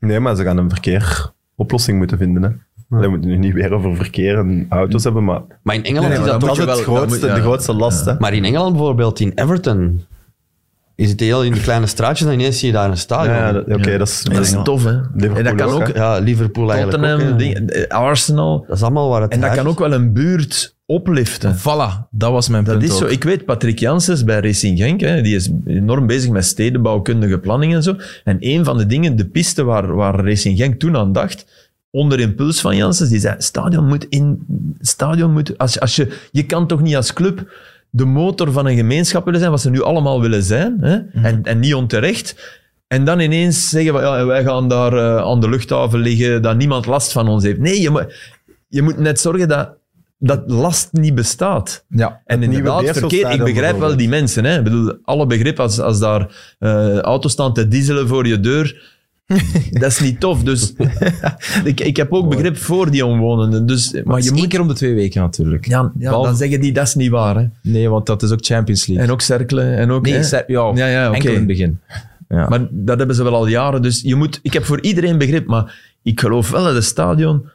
B: Nee, maar ze gaan een verkeeroplossing moeten vinden. Hè. We moeten nu niet weer over verkeer en auto's hebben, maar
D: Maar in Engeland
C: Nee,
D: is
C: maar
D: dat
C: dan
D: toch...
B: dat is
C: moet je
B: het
C: wel- dat
B: grootste,
C: moet- ja.
B: de grootste last. Hè.
D: Maar in Engeland bijvoorbeeld, in Everton... Je zit heel in de kleine straatjes en ineens zie je daar een stadion.
B: Ja,
D: Ja,
B: dat- Oké, dat is...
C: Dat is tof, hè.
B: Liverpool
C: En dat kan
B: ook,
C: ook...
B: hè.
D: Liverpool
C: Tottenham,
D: eigenlijk ook, hè.
C: ding- eh, Arsenal.
D: Dat is allemaal waar het
C: En dat
D: huis
C: kan
D: is.
C: ook wel een buurt opliften.
A: Voilà, dat was mijn
C: Dat
A: punt
C: is zo.
A: ook.
C: Ik weet, Patrick Janssens bij Racing Genk, hè, die is enorm bezig met stedenbouwkundige planning en zo. En een van de dingen, de piste waar, waar Racing Genk toen aan dacht, onder impuls van Janssens, die zei, stadion moet in... Stadion moet... Als, je- als je, je kan toch niet als club de motor van een gemeenschap willen zijn, wat ze nu allemaal willen zijn, hè?
A: Mhm.
C: En, en niet onterecht. En dan ineens zeggen we, ja, wij gaan daar eh, aan de luchthaven liggen, dat niemand last van ons heeft. Nee, je, moet- je moet net zorgen dat, dat last niet bestaat.
A: Ja.
C: En
B: nieuwe
C: inderdaad, verkeer, ik
B: Beerselstadion
C: begrijp wel
B: bijvoorbeeld.
C: die mensen. Hè. Ik bedoel, alle begrip als, als daar eh, auto's staan te dieselen voor je deur. dat is niet tof. Dus ik, ik heb ook begrip voor die omwonenden. Dus,
A: Maar je moet één
C: ik-
A: keer om de twee weken natuurlijk.
C: Ja, ja,
A: Behalve-
C: dan zeggen die, dat is niet waar. Hè.
A: Nee, want dat is ook Champions League.
C: En ook cerkelen. En ook,
A: nee,
C: hè.
A: Ser- ja,
C: Ja, ja,
A: enkel
C: oké.
A: in het begin. Ja.
C: Maar dat hebben ze wel al jaren. Dus je moet, ik heb voor iedereen begrip. Maar ik geloof wel dat het stadion...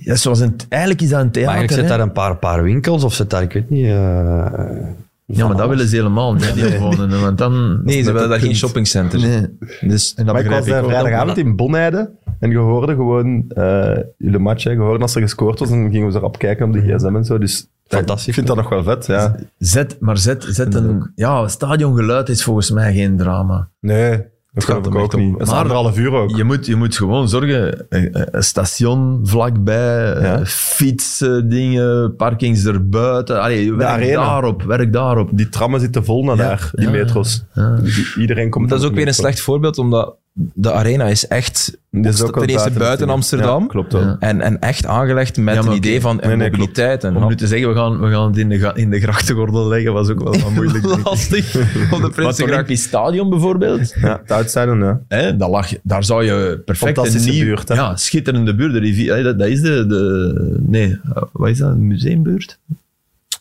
C: Ja, zoals een, eigenlijk is dat een
D: Maar
C: theater.
D: eigenlijk zit
C: hè.
D: daar een paar, paar winkels of zit daar, ik weet niet... eh,
C: ja, maar dat willen ze helemaal niet, die omwonenden. Want dan,
A: nee, ze
C: dat
A: willen daar geen
C: punt.
A: shoppingcenter.
C: Nee.
A: Dus, en dat
B: Maar ik was daar vrijdagavond in Bonheide en je hoorde gewoon eh jullie match. hè. Je hoorde als er gescoord was en gingen we erop kijken op de gsm en zo. Dus
D: Fantastisch.
B: Ik vind dat nog wel vet, ja.
C: Zet, maar zet, zet een... Ja, stadiongeluid is volgens mij geen drama.
B: Nee,
A: gaat
B: dat geloof ik
A: hem
B: ook
A: echt om-
B: niet. Dat is
C: Maar-
B: anderhalf uur ook.
C: Je moet, je moet gewoon zorgen, eh, eh, een station vlakbij, eh,
B: Ja.
C: fietsen, dingen, parkings erbuiten. Allee, werk
B: arena.
C: daarop, werk daarop.
B: Die trammen zitten vol naar daar, die
C: Ja.
B: metro's. Dus
C: Ja.
B: I- Iedereen komt
A: Dat is
B: op
A: ook
B: de
A: weer een
B: metro.
A: slecht voorbeeld, omdat de arena is echt
B: Dit is ook
A: ten
B: wel
A: eerste buiten
B: ja.
A: Amsterdam.
B: Ja, klopt wel.
C: Ja.
A: En, en echt aangelegd met
C: Ja,
A: een
C: maar
A: idee
C: oké.
A: van
B: Nee, nee,
A: mobiliteit. En
C: Om nu te zeggen, we gaan, we gaan het in de, ga- in de grachtengordel leggen, was ook wel wat moeilijk. denk ik.
A: lastig op de
C: Maar het
A: Prinsengracht.
C: Olympisch Stadion bijvoorbeeld,
B: Ja, het uitzijden, ja.
C: hè, dat lag, daar zou je perfect
B: Fantastische
C: een nieuw-
B: buurt, hè.
C: Ja, schitterende buurt. De rivier, hè, dat, dat is de, de... Nee, eh, wat is dat? Een museumbuurt?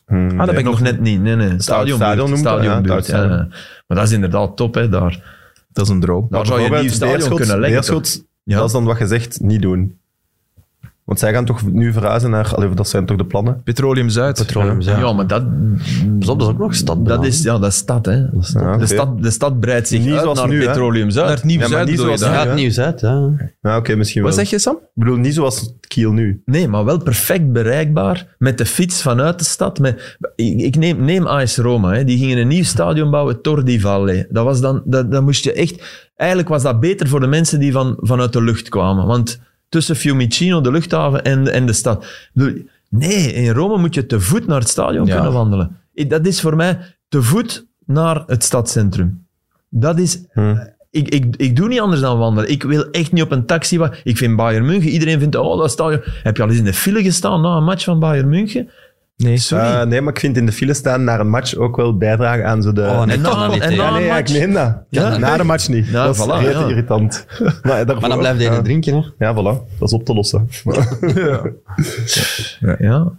B: Hmm.
A: Ah, dat ben ik
C: nog net niet. Nee, nee.
B: Stadionbuurt.
C: Stadionbuurt.
B: noemt dat, ja,
C: Stadionbuurt,
B: het oud
C: ja. Maar dat is inderdaad top, hè, daar.
A: Dat is een droom.
C: Daar zou je een nieuw
B: Bijvoorbeeld
C: stadion
B: Beerschot,
C: kunnen leggen. toch?
B: Beerschot,
C: Ja.
B: dat is dan wat je zegt, niet doen. Want zij gaan toch nu verhuizen naar... Allee, dat zijn toch de plannen?
A: Petroleum Zuid.
D: Petroleum, ja.
C: Ja. maar dat...
D: Pas op, dat is ook nog stad.
C: Dat
D: bijna.
C: is, ja, dat is stad, hè.
B: Ja, oké.
C: de, stad, de stad breidt zich
B: Niet
C: uit
B: zoals
C: naar
B: nu, hè.
C: Petroleum
A: Naar
C: Zuid.
A: het Nieuw
B: Ja, maar
A: Zuid
B: niet
A: bedoel je
B: zoals-
A: daar.
D: Ja, het nieuws uit, ja.
B: Ja, oké, misschien wel.
A: Wat zeg je, Sam?
B: Ik bedoel, niet zoals Kiel nu.
C: Nee, maar wel perfect bereikbaar met de fiets vanuit de stad. Met, ik ik neem, neem AS Roma, hè. die gingen een nieuw stadion bouwen, Tor di Valle. Dat was dan, dat, dat moest je echt... Eigenlijk was dat beter voor de mensen die van, vanuit de lucht kwamen. Want tussen Fiumicino, de luchthaven en, de- en de stad. Ik bedoel, Nee, in Rome moet je te voet naar het stadion
A: Ja.
C: kunnen wandelen. Ik- Dat is voor mij te voet naar het stadscentrum. Dat is ik, ik, ik doe niet anders dan wandelen. Ik wil echt niet op een taxi. wa- Ik vind Bayern München, iedereen vindt, oh, dat stadion. Heb je al eens in de file gestaan na een match van Bayern München?
A: Nee.
C: Sorry.
B: Eh, nee, maar ik vind in de file staan naar een match ook wel bijdragen aan zo de...
D: Oh, nee,
C: en
D: toch
C: na,
D: nog niet,
C: en
D: hè.
C: na
B: Ja, nee,
C: een
B: ja, ik
C: match.
B: meen dat.
C: Ja.
B: Na de match niet.
C: Ja,
B: dat is
C: voilà,
B: reet
C: ja.
B: irritant. Maar,
D: Maar dan blijft hij
B: ja.
D: drinken, hè.
B: Ja, voilà. Dat is op te lossen.
C: Ja.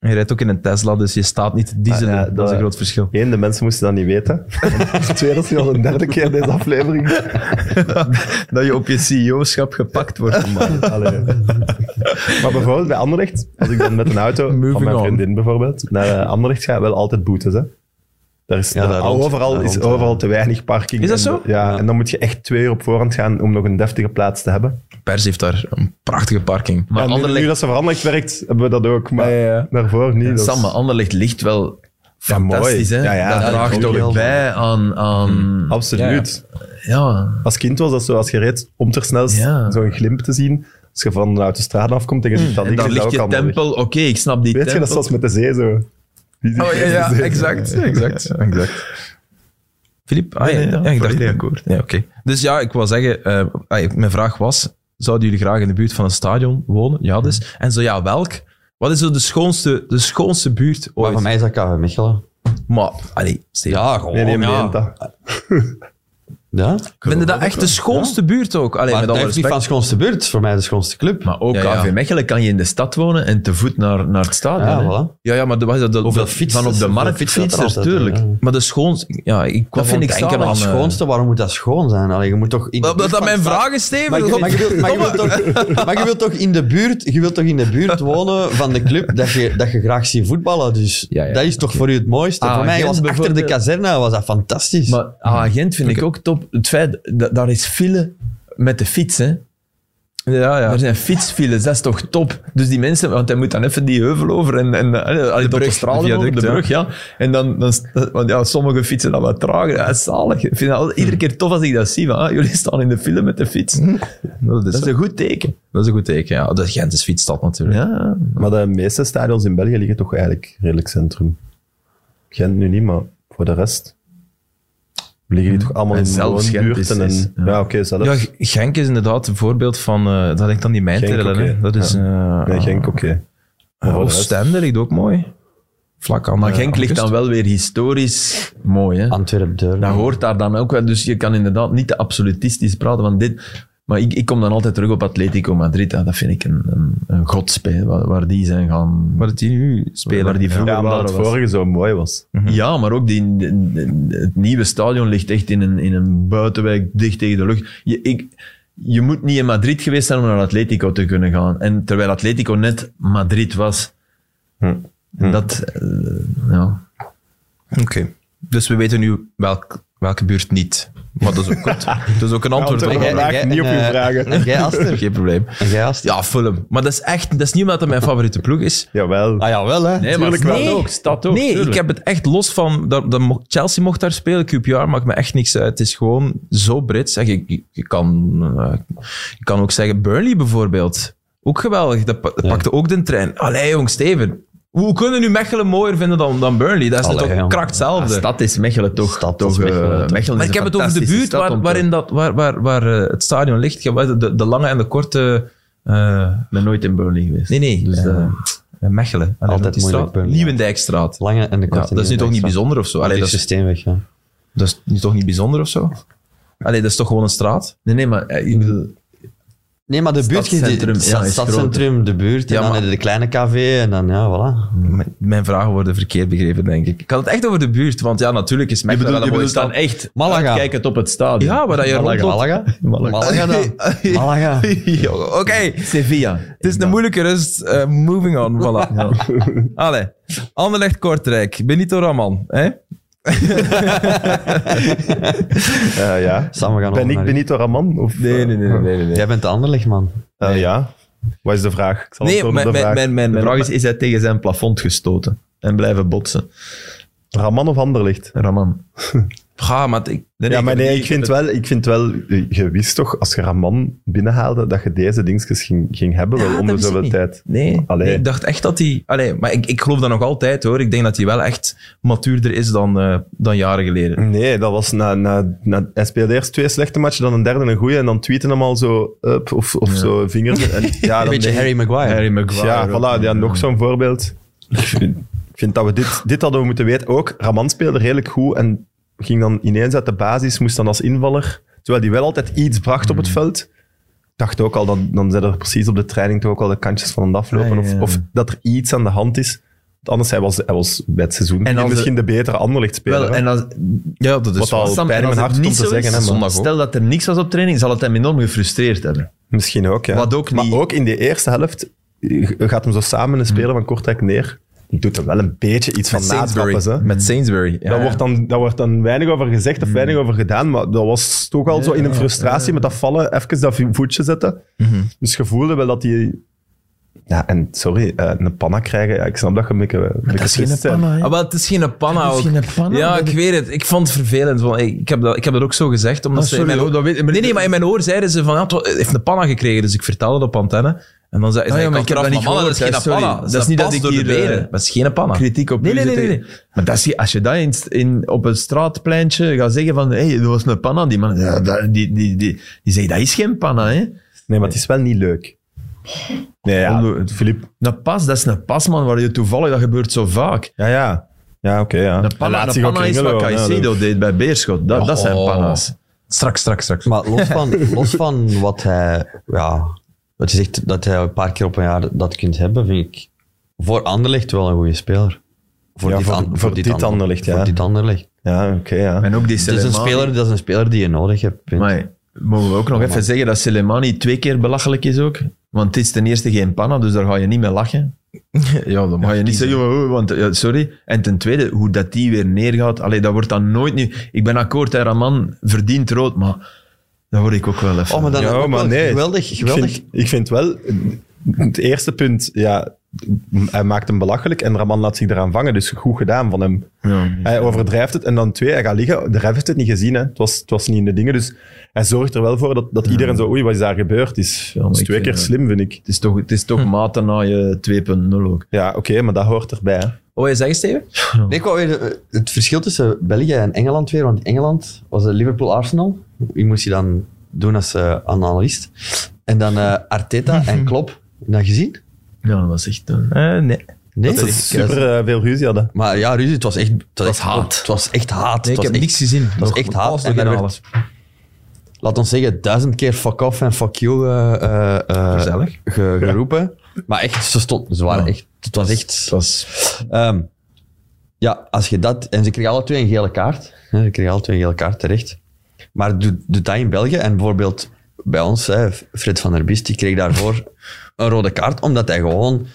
A: Je rijdt ook in een Tesla, dus je staat niet te dieselen.
B: Ah, ja,
A: dat is een
B: dat-
A: groot verschil.
B: Eén, de mensen moesten dat niet weten. Twee, dat is nu al een derde keer deze aflevering.
C: Dat je op je CEO-schap gepakt wordt.
B: Allee. Maar bijvoorbeeld bij Anderlecht, als ik dan met een auto van
A: Moving
B: mijn
A: on.
B: vriendin bijvoorbeeld naar eh, Anderlecht ga, wel altijd boetes, hè. Daar is,
D: Ja,
B: daar-
D: daar rond.
B: overal
D: Daar
B: is
D: rond,
B: overal te weinig parking.
A: Is dat
B: En
A: zo?
B: Ja, en dan moet je echt twee uur op voorhand gaan om nog een deftige plaats te hebben.
A: Pers heeft daar een prachtige parking.
C: Maar
B: en nu-
C: Anderlecht,
B: nu dat ze veranderd werkt, hebben we dat ook. Maar
A: Ja, ja, ja.
B: daarvoor niet. dat
C: Sam,
B: is-
C: maar Anderlecht ligt wel
B: mooi.
C: fantastisch. Hè?
B: Ja, ja,
C: dat
B: dat
C: draagt
B: is ook
C: toch
B: heel
C: bij aan... aan
B: Absoluut.
C: Hm. ja.
B: Als kind was dat zo, als je reed om ter snelst
C: Ja.
B: zo'n glimp te zien. Als je van uit de straat afkomt en je ziet dat
C: En
B: ding,
C: dan
B: is dat
C: ligt
B: ook
C: je
B: allemaal weg.
C: tempel. Oké, ik snap die
B: Weet je,
C: tempel.
B: dat is zoals met de zee zo. Die zie
A: Oh
B: je
A: ja,
B: in de
A: ja
B: zee.
A: exact. exact, exact. Filip? Ah, ja,
C: Nee, nee,
A: ja,
C: ja,
A: ik dacht...
C: volledig akkoord.
A: Ja, oké. Dus ja, ik wil zeggen, eh, ah, mijn vraag was, zouden jullie graag in de buurt van een stadion wonen? Ja, dus.
C: Mhm.
A: En zo ja, welk? Wat is zo de schoonste, de schoonste buurt ooit?
D: Maar voor mij is dat KV Mechelen.
A: Maar, allee, Steven.
D: Ja, gewoon.
B: Nee, nee,
D: ja.
B: meent dat.
D: Ja.
A: Ik vind dat echt de schoonste buurt ook. Alleen
D: Maar
A: met
D: dat
A: alle
D: is niet
A: respect.
D: van de schoonste buurt, het is voor mij de schoonste club.
C: Maar ook
A: Ja, ja.
C: KV Mechelen kan je in de stad wonen en te voet naar, naar het stadion.
D: ja,
C: hè.
D: voilà.
A: Ja, ja, maar dat was dat, dat,
D: Hoeveel
A: dat-
D: fietsers-
C: van op de
D: hoeveel
C: markt fietsers,
D: dat er altijd,
C: tuurlijk.
D: ja.
A: Maar de schoons... Ja, ik kwam
C: Dat vind
A: aan
C: ik
A: het denken
C: zalig,
A: aan...
D: Het
A: eh,
D: schoonste, waarom moet dat schoon zijn? Allee, je moet toch in de
A: Omdat
D: buurt
A: dat
D: van
A: mijn
D: de stad-
A: vraag is, Steven.
D: Maar je,
A: God.
D: maar, je wilt, maar, je wilt toch, maar je wilt toch in de buurt, je wilt toch in de buurt wonen van de club dat je, dat je graag ziet voetballen. Dus
A: Ja, ja,
D: dat is toch voor u het mooiste.
C: Ah,
D: voor mij
C: Gent
D: was achter de
C: bijvoorbeeld.
D: kazerne was dat fantastisch.
C: Maar agent vind ik ook top. Het feit, dat, daar is file met de fiets, hè.
A: Ja, ja.
C: Er zijn fietsfiles, dat is toch top. Dus die mensen, want hij moet dan even die heuvel over en, en eh, allee, tot de
A: brug,
C: straat
A: de
C: over,
A: viaduct,
C: de
A: ja.
C: brug, ja. En dan, dan, want ja, sommige fietsen dan wat trager. Ja, dat is zalig. Ik vind dat al- iedere keer tof als ik dat zie. Van, ah, jullie staan in de file met de fiets.
A: Dat, is,
C: Dat is een goed teken.
A: dat is een goed teken, ja. De Gent is fietsstad natuurlijk.
C: Ja.
B: Maar de meeste stadions in België liggen toch eigenlijk redelijk centrum. Gent nu niet, maar voor de rest liggen die toch allemaal
C: En
B: in
C: zelfs Gent is-
B: woonbuurten.
C: is-
B: En, ja, oké, zelfs.
A: Ja, G- Genk is inderdaad een voorbeeld van... eh, dat ligt dan die mijn
B: Genk,
A: trillen, hè.
B: oké.
A: Dat is...
B: Ja.
A: eh,
B: nee, Genk, oké. Maar
A: eh,
B: voor de rest-
A: Oostende ligt ook mooi. Vlak aan
C: Maar
A: eh,
C: Genk
A: aan
C: ligt
A: kust.
C: dan wel weer historisch mooi, hè.
D: Antwerp deur.
C: Dat hoort daar dan ook wel. Dus je kan inderdaad niet te absolutistisch praten van dit. Maar ik, ik kom dan altijd terug op Atletico Madrid. Ja, dat vind ik een, een, een godspel, waar, waar die zijn gaan...
A: Waar het die nu spelen.
C: waar die vroeger
B: Ja, omdat
C: waren
B: het
C: was.
B: vorige zo mooi was.
D: Mhm.
C: Ja, maar ook die, de- de- het nieuwe stadion ligt echt in een, in een buitenwijk dicht tegen de lucht. Je, ik, je moet niet in Madrid geweest zijn om naar Atletico te kunnen gaan. En terwijl Atletico net Madrid was.
D: Hm.
C: En dat, eh, ja.
A: Oké. Dus we weten nu welk, welke buurt niet. Maar dat is ook goed. Dat is ook een antwoord.
B: Ja,
A: op
B: want-
A: de-
B: Vandaag niet op uw vragen.
D: En jij, Aster?
A: Geen probleem.
D: En jij, Aster?
A: Ja, Fulham. Maar dat is echt... Dat is niet omdat dat mijn favoriete ploeg is.
B: Jawel.
D: Ah ja, wel hè.
C: Nee, maar
B: Tuurlijk wel.
C: stad ook. Stad ook
A: nee, ik
C: tuurlijk.
A: heb het echt los van... Dat, dat mo- Chelsea mocht daar spelen, QPR maakt me echt niks uit. Het is gewoon zo Brits. Zeg, je, je- je kan, eh, je kan ook zeggen Burnley bijvoorbeeld. Ook geweldig. Dat, pa- dat pakte ook de trein. Allee jong, Steven. Hoe kunnen nu Mechelen mooier vinden dan, dan Burnley? Dat is
D: Allee,
A: toch
D: jong.
A: krakt hetzelfde.
C: Stad is Mechelen toch.
D: Stad
C: toch
D: is
C: eh,
D: Mechelen, toch.
C: Mechelen
A: Maar
C: is
A: ik heb
C: een
A: het over de
C: fantastische
A: buurt
C: stad om
A: waar,
C: te-
A: waarin dat, waar, waar, waar eh, het stadion ligt. Je hebt De, de lange en de korte. eh,
C: Ik ben nooit in Burnley geweest.
A: nee, nee.
C: Dus,
A: eh,
C: eh,
A: eh, Mechelen. Allee,
D: Altijd
A: dat is
D: moeilijk,
A: straat.
D: Burnley.
A: Nieuwendijkstraat.
D: Lange en de
A: Ja,
D: korte.
A: dat is nu toch niet bijzonder of zo? Allee, dat, is,
D: systeemweg, ja.
A: dat is nu toch niet bijzonder of zo? Allee, dat is toch gewoon een straat?
C: nee, nee, maar eh, ik bedoel,
D: Nee, maar de buurt...
C: Stadscentrum,
D: die-
C: ja, is
D: stadscentrum, de buurt, en
A: Ja,
D: dan
A: maar-
D: heb je de kleine café en dan, ja, voilà.
C: Hmm.
A: M- Mijn vragen worden verkeerd begrepen, denk ik. Ik had het echt over de buurt, want ja, natuurlijk is
C: je
A: Mechelen
C: bedoelt,
A: wel
C: je
A: een mooie
C: bedoelt dan
A: stad.
C: echt
D: Malaga.
C: kijkend op het stadion.
A: Ja, waar dat je
D: Malaga.
A: rondloopt.
C: Malaga.
D: Malaga? Malaga dan. Malaga.
A: Ja, Oké,
C: Sevilla.
A: het is een moeilijke rust. Eh, moving on, voilà. Allee, Anderlecht-Kortrijk, Benito Raman. Hè?
B: Eh, ja.
D: Sam, we gaan over
B: Ben ik
D: naar u.
B: Benito Raman? Of,
A: Nee, nee, nee, nee, nee. nee.
D: Jij bent de anderleg man.
B: Eh, ja. Wat is de vraag? Ik zal
A: Nee,
B: antwoorden
A: mijn,
B: op de
A: mijn,
B: vraag.
A: mijn, mijn,
C: De
A: mijn-
C: vraag is, is hij tegen zijn plafond gestoten en blijven botsen?
B: Raman of Anderlicht?
C: Raman.
A: Ga, maar ik...
B: ja, maar nee, ik
C: heb
B: vind, wel, ik vind wel, eh, je wist toch, als je Raman binnenhaalde, dat je deze dingetjes ging, ging hebben, wel
A: Ja, dat
B: om de
A: wist ik
B: zoveel
A: niet.
B: tijd.
A: Nee,
B: Allee.
A: nee, ik dacht echt dat hij... Allee, maar ik, ik geloof dat nog altijd, hoor. Ik denk dat hij wel echt matuurder is dan, eh, dan jaren geleden.
B: Nee, dat was na, na, na, hij speelde eerst twee slechte matchen, dan een derde een goede, en dan tweeten hem al zo up, of, of zo vinger. En, ja,
D: Een
B: dan
D: beetje
B: denk ik-
D: Harry Maguire.
C: Harry Maguire.
B: Ja,
C: ook.
B: voilà, ja, nog zo'n voorbeeld. eh, Ik vind- ik vind dat we dit, dit hadden we moeten weten. Ook, Raman speelde redelijk goed en ging dan ineens uit de basis, moest dan als invaller, terwijl hij wel altijd iets bracht op het
C: Mm.
B: veld. Ik dacht ook al, dan, dan zijn er precies op de training toch ook al de kantjes van het aflopen.
C: Ah, Ja, ja, ja.
B: Of, of dat er iets aan de hand is. Want Anders, hij was, hij was bij het seizoen
C: als de-
B: misschien de betere anderlichtspeler.
C: Wel,
B: hè.
C: en als,
A: Ja, dat
B: Wat al
C: Sam,
B: pijn in
C: en
B: mijn
C: als het
B: hart
C: niet
B: komt te
C: zo is,
B: zeggen. hè, maar
A: zondag.
C: stel dat er niks was op training, zal het hem enorm gefrustreerd hebben.
B: misschien ook, ja.
C: Wat ook niet-
B: Maar ook in de eerste helft eh, gaat hem zo samen een
C: Hmm.
B: speler van Kortrijk neer. Doet er wel een beetje iets
A: Met
B: van natrappen.
A: Sainsbury.
B: hè.
A: Met Sainsbury. Ja,
B: Daar,
A: ja.
B: wordt dan, daar wordt dan weinig over gezegd
C: Hmm.
B: of weinig over gedaan, maar dat was toch al zo in een frustratie met dat vallen, even dat voetje zetten.
C: Hmm.
B: Dus je voelde wel dat die... Ja, en sorry, eh, een panna krijgen, ja, ik snap dat je een beetje... een beetje trist bent.
A: Ah, wel, het is geen panna
C: Het is
A: ook.
C: geen panna,
A: ja,
C: dat
A: ik weet het. Ik vond het vervelend. Want ik, ik, heb dat, ik heb dat ook zo gezegd. Omdat
C: Ah,
A: ze in
C: sorry,
A: mijn
C: hoor, dat weet ik, maar-
A: nee, nee, maar in mijn oor zeiden ze van... Ja, het wa- het heeft een panna gekregen, dus ik vertelde dat op antenne. En dan zei,
C: ja,
A: zei
C: maar
A: ik
C: ik heb
A: achteraf,
C: dat niet
A: Ah, "Maar mannen, dat is
C: gehoord,
A: geen
C: hè,
A: panna.
C: sorry. Dat is niet
A: past
C: dat ik
A: door de
C: hier, eh,
A: benen. Dat is geen panna.
C: Kritiek op
A: Nee,
C: u
A: nee, nee,
C: zitten.
A: nee, nee.
C: Maar dat is, als je dat in, in, op een straatpleintje gaat zeggen van, hé, hey, dat was een panna, die man, ja, dat- die, die, die, die zegt, dat is geen panna, hè.
B: Nee, maar het is wel niet leuk. Nee, ja,
C: Onder-
B: Filip.
C: Een pas, dat is een pas, man, waar je toevallig, dat gebeurt zo vaak.
B: Ja, ja. Ja, oké, ja.
C: Een
B: Hij
C: panna,
B: laat
C: een
B: zich ook
C: panna is wat
B: kringelen, ja,
C: Caicedo deed bij Beerschot. Dat, dat zijn
A: Oh.
C: panna's.
A: Straks, straks, straks.
D: Maar los van, los van wat hij, ja, wat je zegt dat hij een paar keer op een jaar dat kunt hebben, vind ik voor Anderlecht wel een goede speler. Voor,
B: Ja, voor-
D: An-
B: voor dit
D: An-
B: Anderlecht, ja.
D: Voor dit Anderlecht.
B: Ja, oké, ja.
C: En ook die
D: Dat is, een
C: Selemani.
D: speler, dat is een speler die je nodig hebt. punt.
C: Maar mogen we ook nog even zeggen dat Selemani twee keer belachelijk is ook? Want het is ten eerste geen panna, dus daar ga je niet mee lachen.
A: ja, dat
C: Dan ga je niet zeggen, "Oh, want, ja, sorry. En ten tweede, hoe dat die weer neergaat, allee, dat wordt dan nooit nu... Ik ben akkoord, hè, Raman verdient rood, maar dat hoor ik ook wel even.
D: Oh, maar dan
B: Ja,
D: ook
B: maar
D: wel
B: nee.
D: geweldig, geweldig.
B: Ik vind, ik vind wel, het eerste punt, ja, hij maakt hem belachelijk en Raman laat zich eraan vangen, dus goed gedaan van hem.
C: Ja.
B: Hij overdrijft het en dan twee, hij gaat liggen. De ref heeft het niet gezien, hè. Het, was, het was niet in de dingen, dus hij zorgt er wel voor dat, dat iedereen zo, oei, wat is daar gebeurd, is,
C: maar
B: is
C: ik
B: twee
C: vind
B: keer
C: dat-
B: slim, vind ik.
C: Het is toch, het is toch maten na je 2.0 ook.
B: Ja, oké, maar dat hoort erbij. hè.
A: Wat wil je zeggen, Steven?
D: Nee, ik wou weer eh, het verschil tussen België en Engeland weer. Want Engeland was de Liverpool-Arsenal. Die moest je dan doen als eh, analist. En dan eh, Arteta en Klopp. Heb je dat gezien?
C: Ja, dat was echt... eh, een-
A: Eh, nee.
D: Nee,
B: Dat is super eh, veel ruzie hadden.
D: Maar ja, ruzie, het was echt... Het was,
C: was
D: echt-
C: haat.
D: Het was echt haat.
A: ik
D: het was
A: heb
D: echt-
A: niks gezien.
D: Het was echt haat. En
A: En
D: daar werd, laat ons zeggen, duizend keer fuck off en fuck you eh, eh, eh,
A: Gezellig.
D: ge- geroepen. Maar echt, ze stonden. Ze waren
C: Ja.
D: echt... Het was echt...
C: Het was...
D: Ehm, ja, als je dat... En ze kregen alle twee een gele kaart. hè, Ze kregen alle twee een gele kaart terecht. Maar doet doet dat in België. En bijvoorbeeld bij ons, hè, Fred van der Biest, die kreeg daarvoor een rode kaart, omdat hij gewoon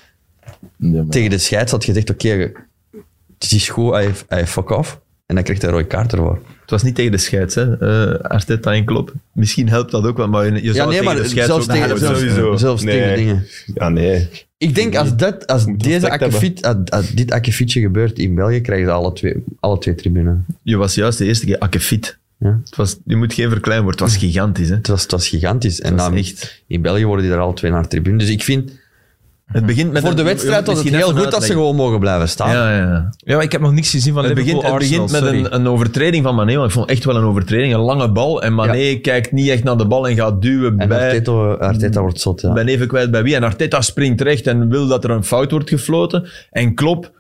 D: tegen de scheids had gezegd, oké, het is goed, hij, hij fuck off. En dan kreeg hij een rode kaart ervoor.
C: Het was niet tegen de scheids, hè? Eh, Arteta en Klopp. Misschien helpt dat ook wel, maar je, je zou tegen de scheids
D: zelfs
C: ook niet
D: tegen,
C: hebben.
D: zelfs,
B: sowieso.
D: zelfs
B: Nee.
D: tegen dingen.
B: Ja, nee.
D: Ik denk als, dat, als deze
B: respect
D: akkefiet, als- als dit akkefietje gebeurt in België, krijgen ze alle twee, alle twee tribune.
C: Je was juist de eerste keer akkefiet.
D: Ja.
C: Het was, je moet geen verkleinwoord, het was gigantisch. Hè?
D: Het was, het was gigantisch. En
C: was
D: dan,
C: echt-
D: in België worden die er alle twee naar de tribune. Dus ik vind,
C: Het begint met
D: voor
C: een-
D: de wedstrijd was het
C: misschien
D: heel
C: even
D: goed dat ze
C: uitleggen.
D: gewoon mogen blijven staan.
C: Ja, ja, ja.
A: Ja, maar ik heb nog niks gezien van
C: Het
A: Liverpool
C: begint, het begint met een, een overtreding van Mané, want ik vond echt wel een overtreding. Een lange bal en Mané kijkt niet echt naar de bal en gaat duwen
D: En
C: bij...
D: Arteta, Arteta wordt zot, ja.
C: Ik ben even kwijt bij wie. En Arteta springt recht en wil dat er een fout wordt gefloten. En Klopp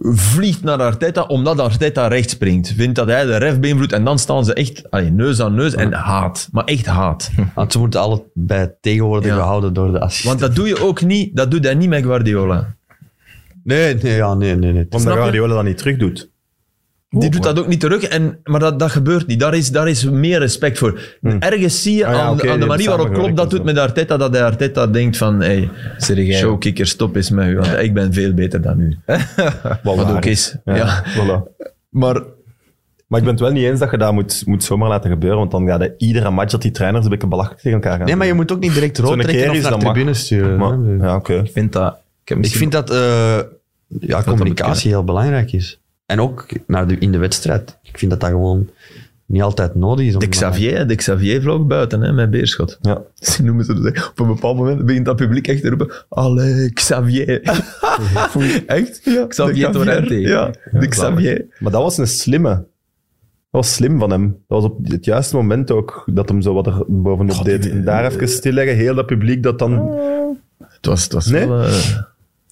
C: vliegt naar Arteta omdat Arteta recht springt. Vindt dat hij de ref beïnvloedt. En dan staan ze echt allee, neus aan neus en haat. Maar echt haat.
D: Want ze moeten allebei tegen worden
C: Ja.
D: gehouden door de assistent.
C: Want dat doe je ook niet. Dat doet hij niet met Guardiola.
D: Nee, nee, ja, nee, nee. nee.
B: Omdat
C: je?
B: Guardiola dat niet terug doet.
C: Die doet dat ook niet terug. En, maar dat, dat gebeurt niet. Daar is, daar is meer respect voor. Ergens zie je
B: Hm. Ah ja,
C: aan,
B: oké,
C: aan de
B: die
C: manier
B: hebben
C: waarop Klopp
B: samengewerkt
C: dat doet met Arteta, dat hij Arteta denkt van... Hey, Showkicker, stop eens met u, want ik ben veel beter dan u.
B: Wat,
C: Wat
B: waar
C: ook is.
B: Ja,
C: ja.
B: voilà.
C: Maar
B: Maar ik ben het wel niet eens dat je dat moet, moet zomaar laten gebeuren, want dan gaat hij iedere match dat die trainers een beetje belachelijk tegen elkaar gaan.
D: Nee, maar je moet ook niet direct rood
B: Zo'n
D: trekken
B: keer
D: of
B: is
D: naar de
B: dat
D: tribune
B: mag.
D: sturen.
B: Maar-
D: hè. dus.
B: ja, oké.
A: Ik vind dat... Ik, heb
D: Ik
A: misschien-
D: vind dat eh, ja, communicatie heel belangrijk is. En ook naar de, in de wedstrijd. Ik vind dat dat gewoon niet altijd nodig is. om-
C: de Xavier, de Xavier vloog buiten hè, met Beerschot.
B: Ja.
C: Ze noemen ze dat. Op een bepaald moment begint dat publiek echt te roepen: Allee, Xavier. echt? Ja,
A: Xavier Torrente.
C: Ja, de Xavier.
B: Maar dat was een slimme. Dat was slim van hem. Dat was op het juiste moment ook dat hem zo wat er bovenop deed. En daar
D: eh,
B: even stilleggen, heel dat publiek dat dan...
D: Ah.
C: Het was, het was,
B: Nee.
C: wel, eh,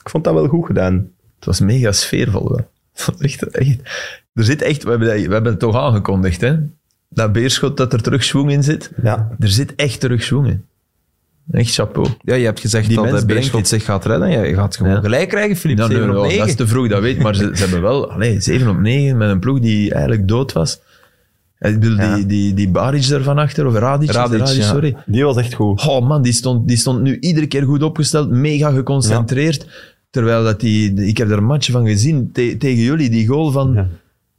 B: Ik vond dat wel goed gedaan.
C: het was mega sfeervol. Wel. Het was echt, echt. Er zit echt, we hebben, dat- we hebben het toch aangekondigd, hè? Dat Beerschot dat er terug schwung in zit.
B: Ja.
C: Er zit echt terug schwung in. Echt chapeau.
A: ja, je hebt gezegd
C: Die
A: dat
C: mens
A: de
C: brengt
A: Beerschot
C: het.
A: zich gaat redden. Je gaat gewoon
C: Ja.
A: gelijk krijgen, Filip.
C: Ja, Nou, nee,
A: 7 op
C: ja, dat is
A: 9.
C: te vroeg, dat weet ik. Maar ze, ze hebben wel allee, 7 op 9 met een ploeg die eigenlijk dood was. Ik bedoel, die, die, die Baric ervan achter, of Radic, is het?
A: Radic, ja.
C: sorry.
B: Die was echt goed.
C: Oh man, die stond, die stond nu iedere keer goed opgesteld, mega geconcentreerd. Terwijl dat die, ik heb er een match van gezien te- tegen jullie, die goal van.
D: Ja.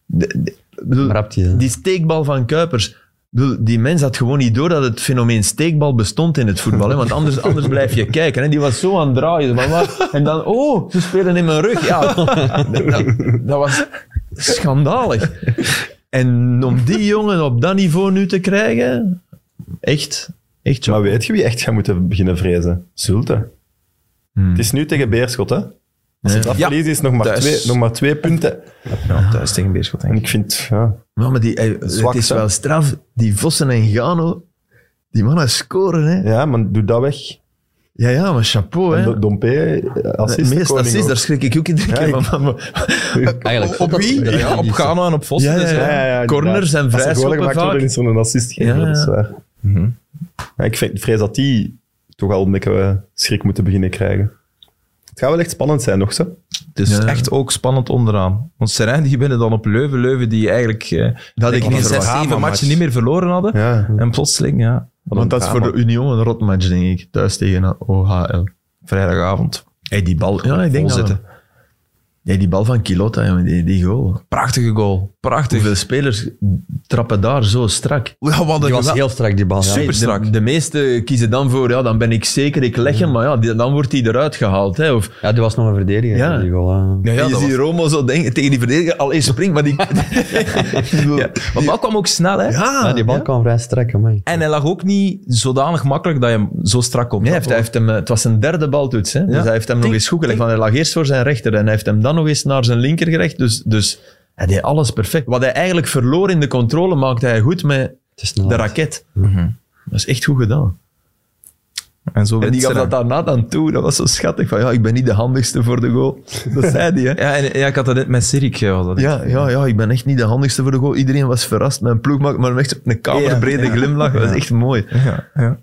C: de- de- bedoel,
D: Rapt die, hè?
C: die steekbal van Kuipers. Ik bedoel, Die mens had gewoon niet door dat het fenomeen steekbal bestond in het voetbal. Hè? Want anders, anders blijf je kijken. Hè? Die was zo aan het draaien. Van, wat? En dan, oh, ze spelen in mijn rug. Ja, dat, dat- dat was schandalig. En om die jongen op dat niveau nu te krijgen, echt, echt zo.
B: Maar weet je wie echt gaat moeten beginnen vrezen? Zulte. Het is nu tegen Beerschot, hè? Als het dat
A: Ja.
B: verliezen is nog maar,
A: Thuis.
B: twee, nog maar twee punten.
A: Ja, thuis tegen Beerschot, denk
B: En
A: ik.
B: ik vind, ja,
C: Ja, maar die, eh,
B: Zwak,
C: het is
B: hè?
C: wel straf. Die Vossen en Gano, die mannen scoren, hè.
B: ja maar doe dat weg.
C: Ja, Oh, ja, maar chapeau, hè.
B: En Dompe, assist.
C: Meest assist, daar schrik ik ook iedere keer
B: ik-
C: van.
A: Op, op wie? Ja, op Gano en op Vos.
C: Ja, ja,
A: Dus,
C: ja. Corners en
B: Als er goal
C: vrijschoppen
B: gemaakt wordt,
C: vaak.
B: dan is er een assist gegeven,
C: Ja,
B: dat is
C: ja.
B: waar.
C: Mhm.
B: Ja, ik vind, vrees dat die toch al een beetje eh, schrik moeten beginnen krijgen. Het gaat wel echt spannend zijn nog, zo.
A: Het is
C: Ja.
A: echt ook spannend onderaan. Want Serijn die winnen dan op Leuven. Leuven die eigenlijk eh,
C: Dat ik
A: in
C: niet
A: zes,
C: verwacht.
A: zeven matchen niet meer verloren hadden.
B: Ja.
A: En plotseling, ja.
C: Want dat is voor de Union een rotmatch, denk ik. Thuis tegen OHL.
A: Vrijdagavond.
C: Hey, die bal. Ja, ik denk
A: vol
C: dat.
A: zitten.
C: Hey, die bal van Kilota, jongen, die, die goal.
A: Prachtige goal. Prachtig.
C: Hoeveel spelers trappen daar zo strak?
A: Ja, wat een
D: Die was
A: gewel-
D: heel strak, die bal. ja.
A: Super.
C: De-
A: strak.
C: De, meeste kiezen dan voor, ja, dan ben ik zeker, ik leg hem, maar ja, die- dan wordt hij eruit gehaald. Hè, of,
D: Ja, die was nog een verdediger.
C: Ja.
D: Die goal, ja.
A: Ja, ja,
C: je
A: dat
C: ziet Romo zo denken, tegen die verdediger, al eens springt, maar die... ja.
A: was- Want dat kwam ook snel, hè.
D: Ja, die bal kwam vrij strak, man.
A: En hij lag ook niet zodanig makkelijk dat je hem zo strak komt.
C: Nee, hij heeft, hij heeft hem, eh, het was zijn derde baltoets. Hè? Dus hij heeft hem nog
A: Tink,
C: eens goed gelegd.
A: tink.
C: Want hij lag eerst voor zijn rechter en hij heeft hem dan nog eens naar zijn linker gerecht. Dus, dus hij deed alles perfect. Wat hij eigenlijk verloor in de controle, maakte hij goed met
D: Te snel.
C: de raket.
A: Mhm.
C: Dat is echt goed gedaan.
A: En zo
C: En
A: wint
C: die gaf
A: Serijn.
C: dat daarna dan toe. Dat was zo schattig. Van, ja, ik ben niet de handigste voor de goal. Dat zei hij, hè.
A: Ja, en, ja, ik had dat net met Sirik. Ja, dat
C: Ja, ja, ja, ik ben echt niet de handigste voor de goal. Iedereen was verrast. Mijn ploeg maakte maar echt een kamerbrede
A: Ja, ja.
C: glimlach. Dat is echt mooi.
A: ja, ja.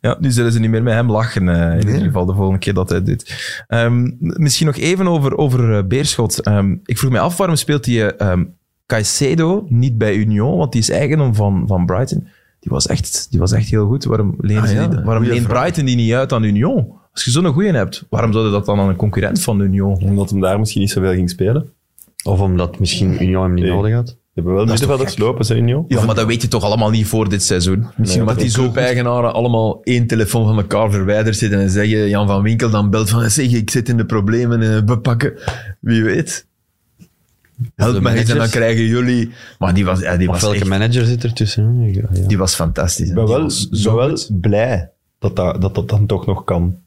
A: Ja, nu zullen ze niet meer met hem lachen, eh, in ieder geval de volgende keer dat hij dit doet. Ehm, misschien nog even over, over eh, Beerschot. Ehm, ik vroeg mij af, waarom speelt die eh, ehm, Caicedo niet bij Union? Want die is eigendom van, van Brighton. Die was, echt, die was echt heel goed. Waarom, lenen
C: Ah,
A: ze
C: ja,
A: die- waarom
C: goeie
A: leent
C: vraag.
A: Brighton die niet uit aan Union? Als je zo'n goeie hebt, waarom zou je dat dan aan een concurrent van Union?
B: Omdat hem daar misschien niet zoveel ging spelen. Die
D: Of omdat misschien Union hem niet
B: Nee.
D: nodig had.
B: hebben wel middenvelders lopen, ze Union.
A: Ja, maar dat weet je toch allemaal niet voor dit seizoen?
C: Misschien
B: Nee,
C: dat die clubeigenaren allemaal één telefoon van elkaar verwijderd zitten en zeggen, Jan van Winkel dan belt van, zeg, ik zit in de problemen, eh, we pakken. Wie weet. Help mij eens en dan
D: managers.
C: krijgen jullie... Maar die was, ja, die
D: Of
C: was,
D: welke
C: echt-
D: manager zit er tussen? ah, Ja, ja.
C: die was fantastisch. hè.
B: Ik ben wel,
A: was
B: ben
A: zo
B: wel
A: goed.
B: blij dat dat, dat dat dan toch nog kan.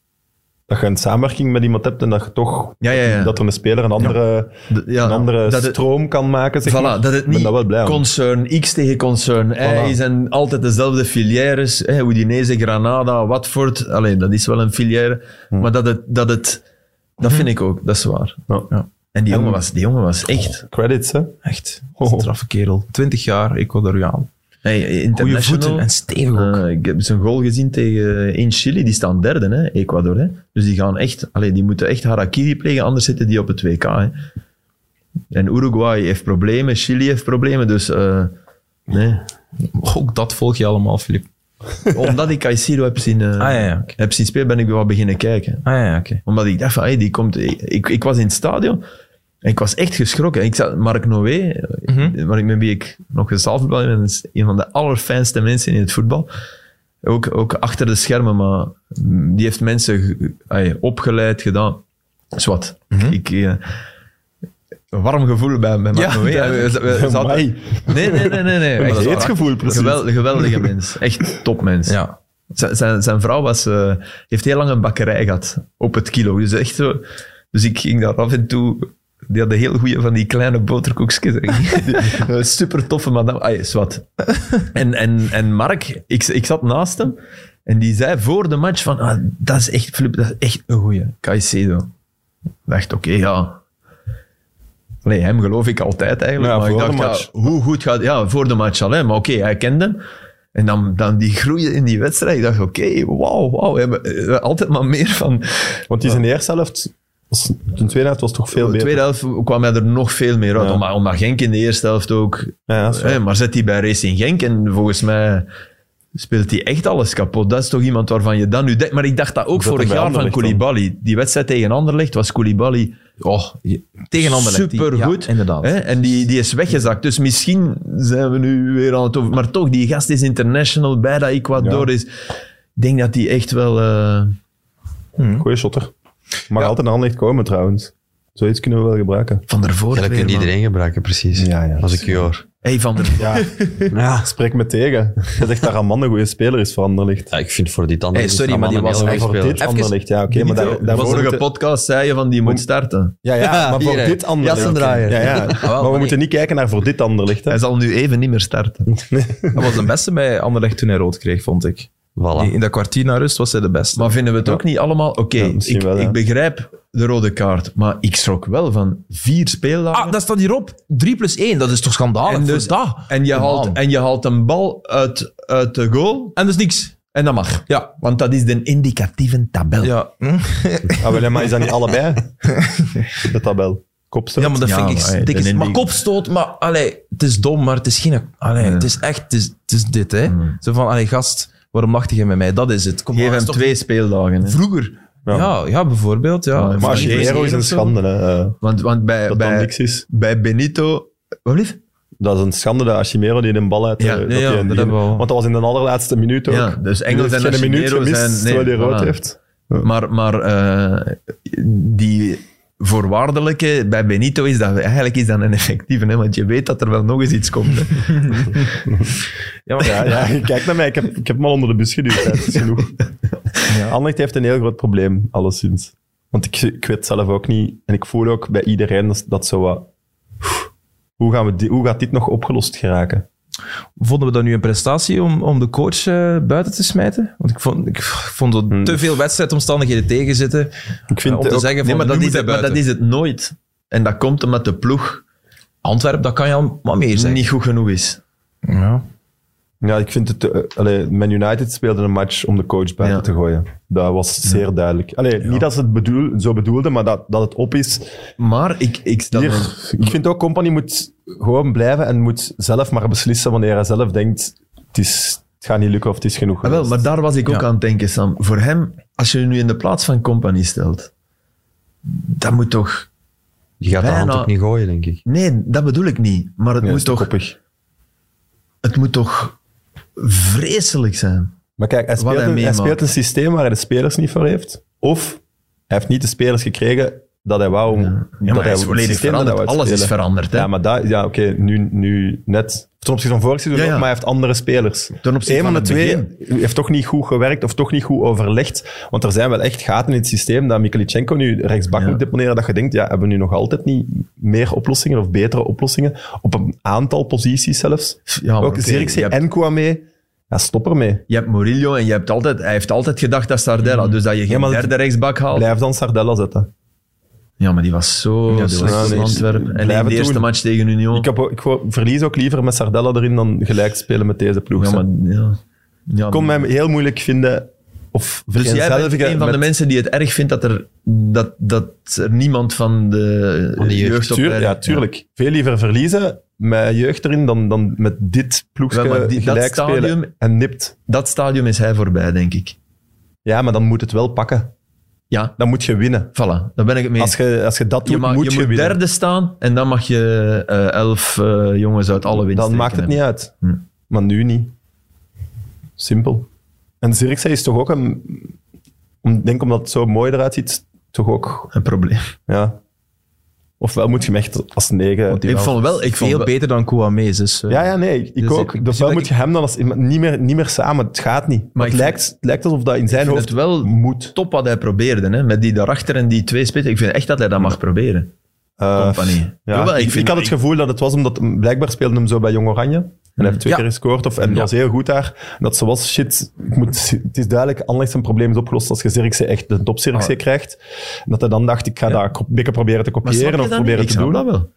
B: Dat je een samenwerking met iemand hebt en dat je toch...
C: Ja, ja, ja.
B: Dat er een speler een andere,
C: D- ja,
B: een andere
C: dat het-
B: stroom kan maken, zeg maar.
C: Voilà, dat
B: Ik
C: het
B: ben
C: niet
B: daar wel blij om.
C: concern X tegen concern Y zijn altijd dezelfde filières. Hè, Udinese, Granada, Watford. Alleen dat is wel een filière.
B: Hm.
C: Maar dat het, dat het, dat vind ik ook, dat is waar.
B: Ja.
C: Ja. En die jongen was, die jongen was echt
B: Credits, hè.
A: Echt,
C: Oh.
A: straffe kerel. 20 jaar, Ecuadoriaan.
C: hey,
A: Goeie
C: international.
A: voeten en stevig ook.
C: Eh, ik heb zijn goal gezien tegen, eh, in Chili. Die staan derde, hè, Ecuador. Hè. Dus die, gaan echt, allee, die moeten echt harakiri plegen, anders zitten die op het WK. Hè. En Uruguay heeft problemen, Chili heeft problemen. Dus eh, nee.
A: Ook dat volg je allemaal, Filip.
C: Omdat ik Caicedo heb zien, eh,
A: Ah ja, ja. oké.
C: heb zien spelen, ben ik wel beginnen kijken.
A: Ah ja, ja, oké.
C: Omdat ik dacht van, hey, die komt... Ik, ik was in het stadion en ik was echt geschrokken. Ik zat Mark Noé, eh,
A: Mhm.
C: waar ik met wie ik nog gezaalvoetbal heb, en dat is een van de allerfijnste mensen in het voetbal. Ook, ook achter de schermen, maar mm, die heeft mensen ge- ay, opgeleid, gedaan. Zwat.
A: Mhm.
C: Ik... eh, een warm gevoel bij, bij Mark
A: Ja,
C: Noé.
A: ja.
C: We- we- we zaten-
B: Amai.
C: Nee, nee, nee. nee, nee.
B: dat is
C: Echt
B: het gevoel, precies.
C: Gewel- geweldige mens. Echt topmens.
A: Ja.
C: Z- Zijn, zijn vrouw was, eh, heeft heel lang een bakkerij gehad op het kilo. Dus, echt zo, dus ik ging daar af en toe. Die hadden heel goede van die kleine boterkoekjes. Super toffe madame. Ah, is wat. En, en, en Mark, ik, ik zat naast hem. En die zei voor de match van, ah, dat is echt, Flip, dat is echt een goeie. Caicedo. Ik dacht, oké, ja. Nee, hem geloof ik altijd eigenlijk.
B: Ja,
C: maar ik
B: voor de
C: dacht, ja,
B: match.
C: hoe goed gaat... Ja, voor de match al, hè. Maar oké, hij kende hem. En dan, dan die groeien in die wedstrijd. Ik dacht, oké, wauw, wauw. We hebben eh, altijd maar meer van...
B: Want die is in de eerste helft... was- De tweede helft was toch veel
C: de
B: beter.
C: tweede helft kwam hij er nog veel meer uit.
B: Ja.
C: Omdat, omdat Genk in de eerste helft ook...
B: Ja, dat is waar.
C: hè, maar zet hij bij Racing Genk en volgens mij speelt hij echt alles kapot. Dat is toch iemand waarvan je dan nu denkt... Maar ik dacht dat ook
B: Zet hem
C: vorig
B: bij
C: jaar van
B: Anderlecht dan.
C: Koulibaly. Die wedstrijd tegen Anderlecht was Koulibaly... Oh,
A: Tegen Anderlecht. die-
C: Super goed.
A: Ja, inderdaad.
C: En die, die is weggezakt. Dus misschien zijn we nu weer aan het over. Maar toch, die gast is international bij dat Ecuador is. Ik denk dat die echt wel. eh,
B: Goeie shotter. Mag altijd een aanlicht komen, trouwens. Zoiets kunnen we wel gebruiken.
C: van der Voort.
D: Ja, dat
C: weer,
D: kunt
C: man.
D: iedereen gebruiken, precies.
B: Ja, ja.
D: Als ik je hoor.
C: Hey, van der
B: Ja,
D: Ja.
B: spreek me tegen. Je zegt dat Raman een goede speler is voor Anderlicht.
D: ik vind voor die tanden...
A: Hey, sorry, maar die was
B: En
A: echt
B: voor dit
A: Even-
B: Anderlicht, ja, oké. maar daar,
C: De
B: daarvoor
C: eh, vorige
B: moeten-
C: podcast zei je van die moet starten.
B: Ja, ja, maar voor
D: Hier, hè.
B: dit Anderlicht.
D: Jassendraaier.
B: Ja, ja. Maar we
A: nee.
B: moeten niet kijken naar voor dit Anderlicht. Hè.
C: Hij zal nu even niet meer starten.
A: Dat was de beste bij Anderlecht toen hij rood kreeg, vond ik.
D: Voilà.
A: In dat kwartier naar rust was hij de beste.
C: Maar vinden we het ook niet allemaal... Oké,
B: Ja, misschien
C: ik,
B: wel, ja.
C: ik begrijp de rode kaart, maar ik schrok wel van vier speeldagen.
A: ah, dat staat hierop. 3 plus 1, dat is toch schandalig?
C: En
A: En
C: dus-
A: dus, dat.
C: en, je haalt,
A: Man.
C: en je haalt een bal uit, uit de goal
A: En dus niks.
C: en dat mag.
A: Ja.
C: Want dat is de indicatieve tabel.
A: Ja, Hm?
B: Ah, wel, ja, maar is dat niet allebei? De tabel. Kopstoot.
A: ja maar dat
C: Ja,
A: vind ik
C: maar, hey,
A: dik.
C: de
A: is- Maar
C: Indy-
A: kopstoot, maar allee, het is dom, maar het is geen... Allee,
C: Ja.
A: het is echt... Het is, het is dit, hè. Zo van, allee, gast, waarom lachte je met mij? Dat is het. Kom,
C: Geef
A: maar,
C: hem
A: is toch-
C: twee speeldagen. hè.
A: Vroeger. Ja.
B: Ja.
A: Ja, bijvoorbeeld, ja.
C: Ja, maar
B: Maar als je
A: Drie plus
B: hero is
A: één
B: een
A: of zo.
B: schande. Hè. eh,
C: Want, want bij,
B: dat dan
C: bij,
B: niks is.
C: bij Benito... Wat lief?
B: Dat is een schande dat Achimero die de bal uit...
C: Ja,
B: eh,
C: ja,
A: ja,
B: dat die
A: dat
B: die-
A: hebben we al.
B: Want dat was in de allerlaatste minuut ook.
C: Ja, dus
B: Die
C: Engels
B: heeft
C: en
B: geen minuut
C: Achimero
B: gemist,
C: zijn...
B: terwijl hij rood
C: voilà.
B: heeft.
C: Maar, maar eh, die voorwaardelijke bij Benito is dat eigenlijk is dat een effectieve, hè, want je weet dat er wel nog eens iets komt. Hè.
A: Ja, maar,
B: Ja, ja, kijk naar mij. Ik heb, ik heb hem al onder de bus geduwd. hè. Dat is genoeg.
A: Ja.
B: Anderlecht heeft een heel groot probleem, alleszins. Want ik, ik weet zelf ook niet... En ik voel ook bij iedereen dat, dat zo wat... Hoe, gaan we di- hoe gaat dit nog opgelost geraken?
A: Vonden we dat nu een prestatie om, om de coach eh, buiten te smijten? Want ik vond, ik vond dat te veel wedstrijdomstandigheden tegenzitten.
B: Ik
A: eh, om
B: vind
A: te
B: ook-
A: zeggen
C: Nee,
A: van,
C: maar dat,
A: nu
C: is
A: moet
C: het,
A: hij
C: maar dat
A: buiten.
C: is het nooit. En dat komt omdat de ploeg
A: Antwerpen, dat kan je al wat meer zeggen.
C: niet goed genoeg is.
A: Ja.
B: Ja, ik vind het... eh, allee, Man United speelde een match om de coach buiten
C: Ja.
B: te gooien. Dat was zeer duidelijk. Allee, Niet dat ze het bedoel, zo bedoelden, maar dat, dat het op is.
C: Maar ik, ik stel me-
B: Hier, ik vind ook, Company moet gewoon blijven en moet zelf maar beslissen wanneer hij zelf denkt het, is, het gaat niet lukken of het is genoeg
C: Ah, wel,
B: geweest.
C: maar daar was ik ook
A: Ja.
C: aan het denken, Sam. Voor hem, als je je nu in de plaats van Company stelt, dat moet toch...
D: Je gaat de hand
C: Bijna-
D: ook niet gooien, denk ik.
C: Nee, dat bedoel ik niet.
B: Nee,
C: Maar het,
B: dat
C: moet,
B: is te
C: toch,
B: koppig.
C: het moet toch vreselijk zijn.
B: Maar kijk, hij speelt,
C: hij
B: een, hij
C: meemaakt.
B: speelt een systeem waar hij de spelers niet voor heeft. Of hij heeft niet de spelers gekregen dat hij wou. Ja,
C: Ja, maar hij is volledig veranderd. Alles is veranderd. Hè?
B: Ja, maar dat, ja, oké, nu, nu net. Ten opzichte van vorig seizoen
C: Ja,
B: ook,
C: ja.
B: maar hij heeft andere spelers.
C: Ten opzichte
B: Eén
C: van
B: de
C: het
B: twee heeft toch niet goed gewerkt of toch niet goed overlegd. Want er zijn wel echt gaten in het systeem dat Mikalichenko nu rechtsbak
C: Ja.
B: moet deponeren. Dat je denkt, ja, hebben we nu nog altijd niet meer oplossingen of betere oplossingen? Op een aantal posities zelfs.
C: Ja, maar
B: ook
C: oké,
B: Zirkzee
C: je hebt-
B: en Kouame. Ja, stop ermee.
C: Je hebt Murillo en je hebt altijd, hij heeft altijd gedacht dat
A: Mm.
C: Sardella. Dus dat je geen
B: maar dat-
C: derde rechtsbak haalt.
B: Blijf dan Sardella zetten.
C: Ja, maar die was zo
B: die
C: slecht
B: was-
C: in
B: Ja, nee,
C: Antwerpen. En in
B: blijven
C: de eerste
B: doen.
C: match tegen Union.
B: Ik, heb, ook- ik wou- verlies ook liever met Sardella erin dan gelijk spelen met deze ploeg.
C: ja,
B: Ik
C: maar, ja. Ja,
B: kon
C: maar-
B: mij heel moeilijk vinden. Of
C: dus jij bent
B: vereenzelvigen
C: een van de
B: eh, met-
C: mensen die het erg vindt dat er, dat, dat er niemand van de
D: Van de
B: Tuur,
D: jeugd.
C: jeugdopleiding...
B: ja, tuurlijk. Veel liever verliezen met jeugd erin dan, dan met dit ploegje
C: Wel, maar die- dat
B: gelijk
C: stadium-
B: spelen en nipt.
C: Dat stadium is hij voorbij, denk ik.
B: Ja, maar dan moet het wel pakken.
C: Ja,
B: Dan moet je winnen.
C: voilà. Daar ben ik het mee.
B: Als je, als je dat doet,
C: je mag-
B: moet
C: je
B: je,
C: moet
B: winnen.
C: derde staan en dan mag je eh, elf eh, jongens uit alle winsten
B: dan maakt het niet uit.
C: Hm.
B: Maar nu niet. Simpel. En Zirkzee is toch ook een... Ik denk omdat het zo mooi eruit ziet, toch ook
C: Een probleem.
B: Ja. Ofwel moet je hem echt als negen...
C: Ik vond wel... Ik vond
A: Veel
C: wel-
A: beter dan Kouame. Dus, eh,
B: Ja, ja, nee, ik
A: Dus ik- ik
B: ook. Dus
A: zie
B: wel
A: dat
B: moet je hem dan als iemand... Niet meer, niet meer samen, het gaat niet.
C: Maar
B: het,
C: ik
B: lijkt, het lijkt alsof dat in zijn
C: vind
B: hoofd
C: het wel-
B: moet.
C: top wat hij probeerde, hè? met die daarachter en die twee spitsen. Ik vind echt dat hij dat mag proberen.
B: Eh,
C: Company.
B: ja.
C: Jawel,
B: ik,
C: ik
B: ik
C: vind-
B: had het
C: ik-
B: gevoel dat het was omdat... Blijkbaar speelde hem zo bij Jong Oranje. En hij heeft twee
A: Ja.
B: keer gescoord. Of, en dat was heel goed daar. Dat ze was, shit, ik moet, het is duidelijk, Anderlecht zijn probleem is opgelost als je Zirkse echt de top Zirkse
C: Ah.
B: krijgt. En dat hij dan dacht, ik ga daar een beetje proberen te kopiëren of
C: probeer
B: proberen te doen.
C: dat wel.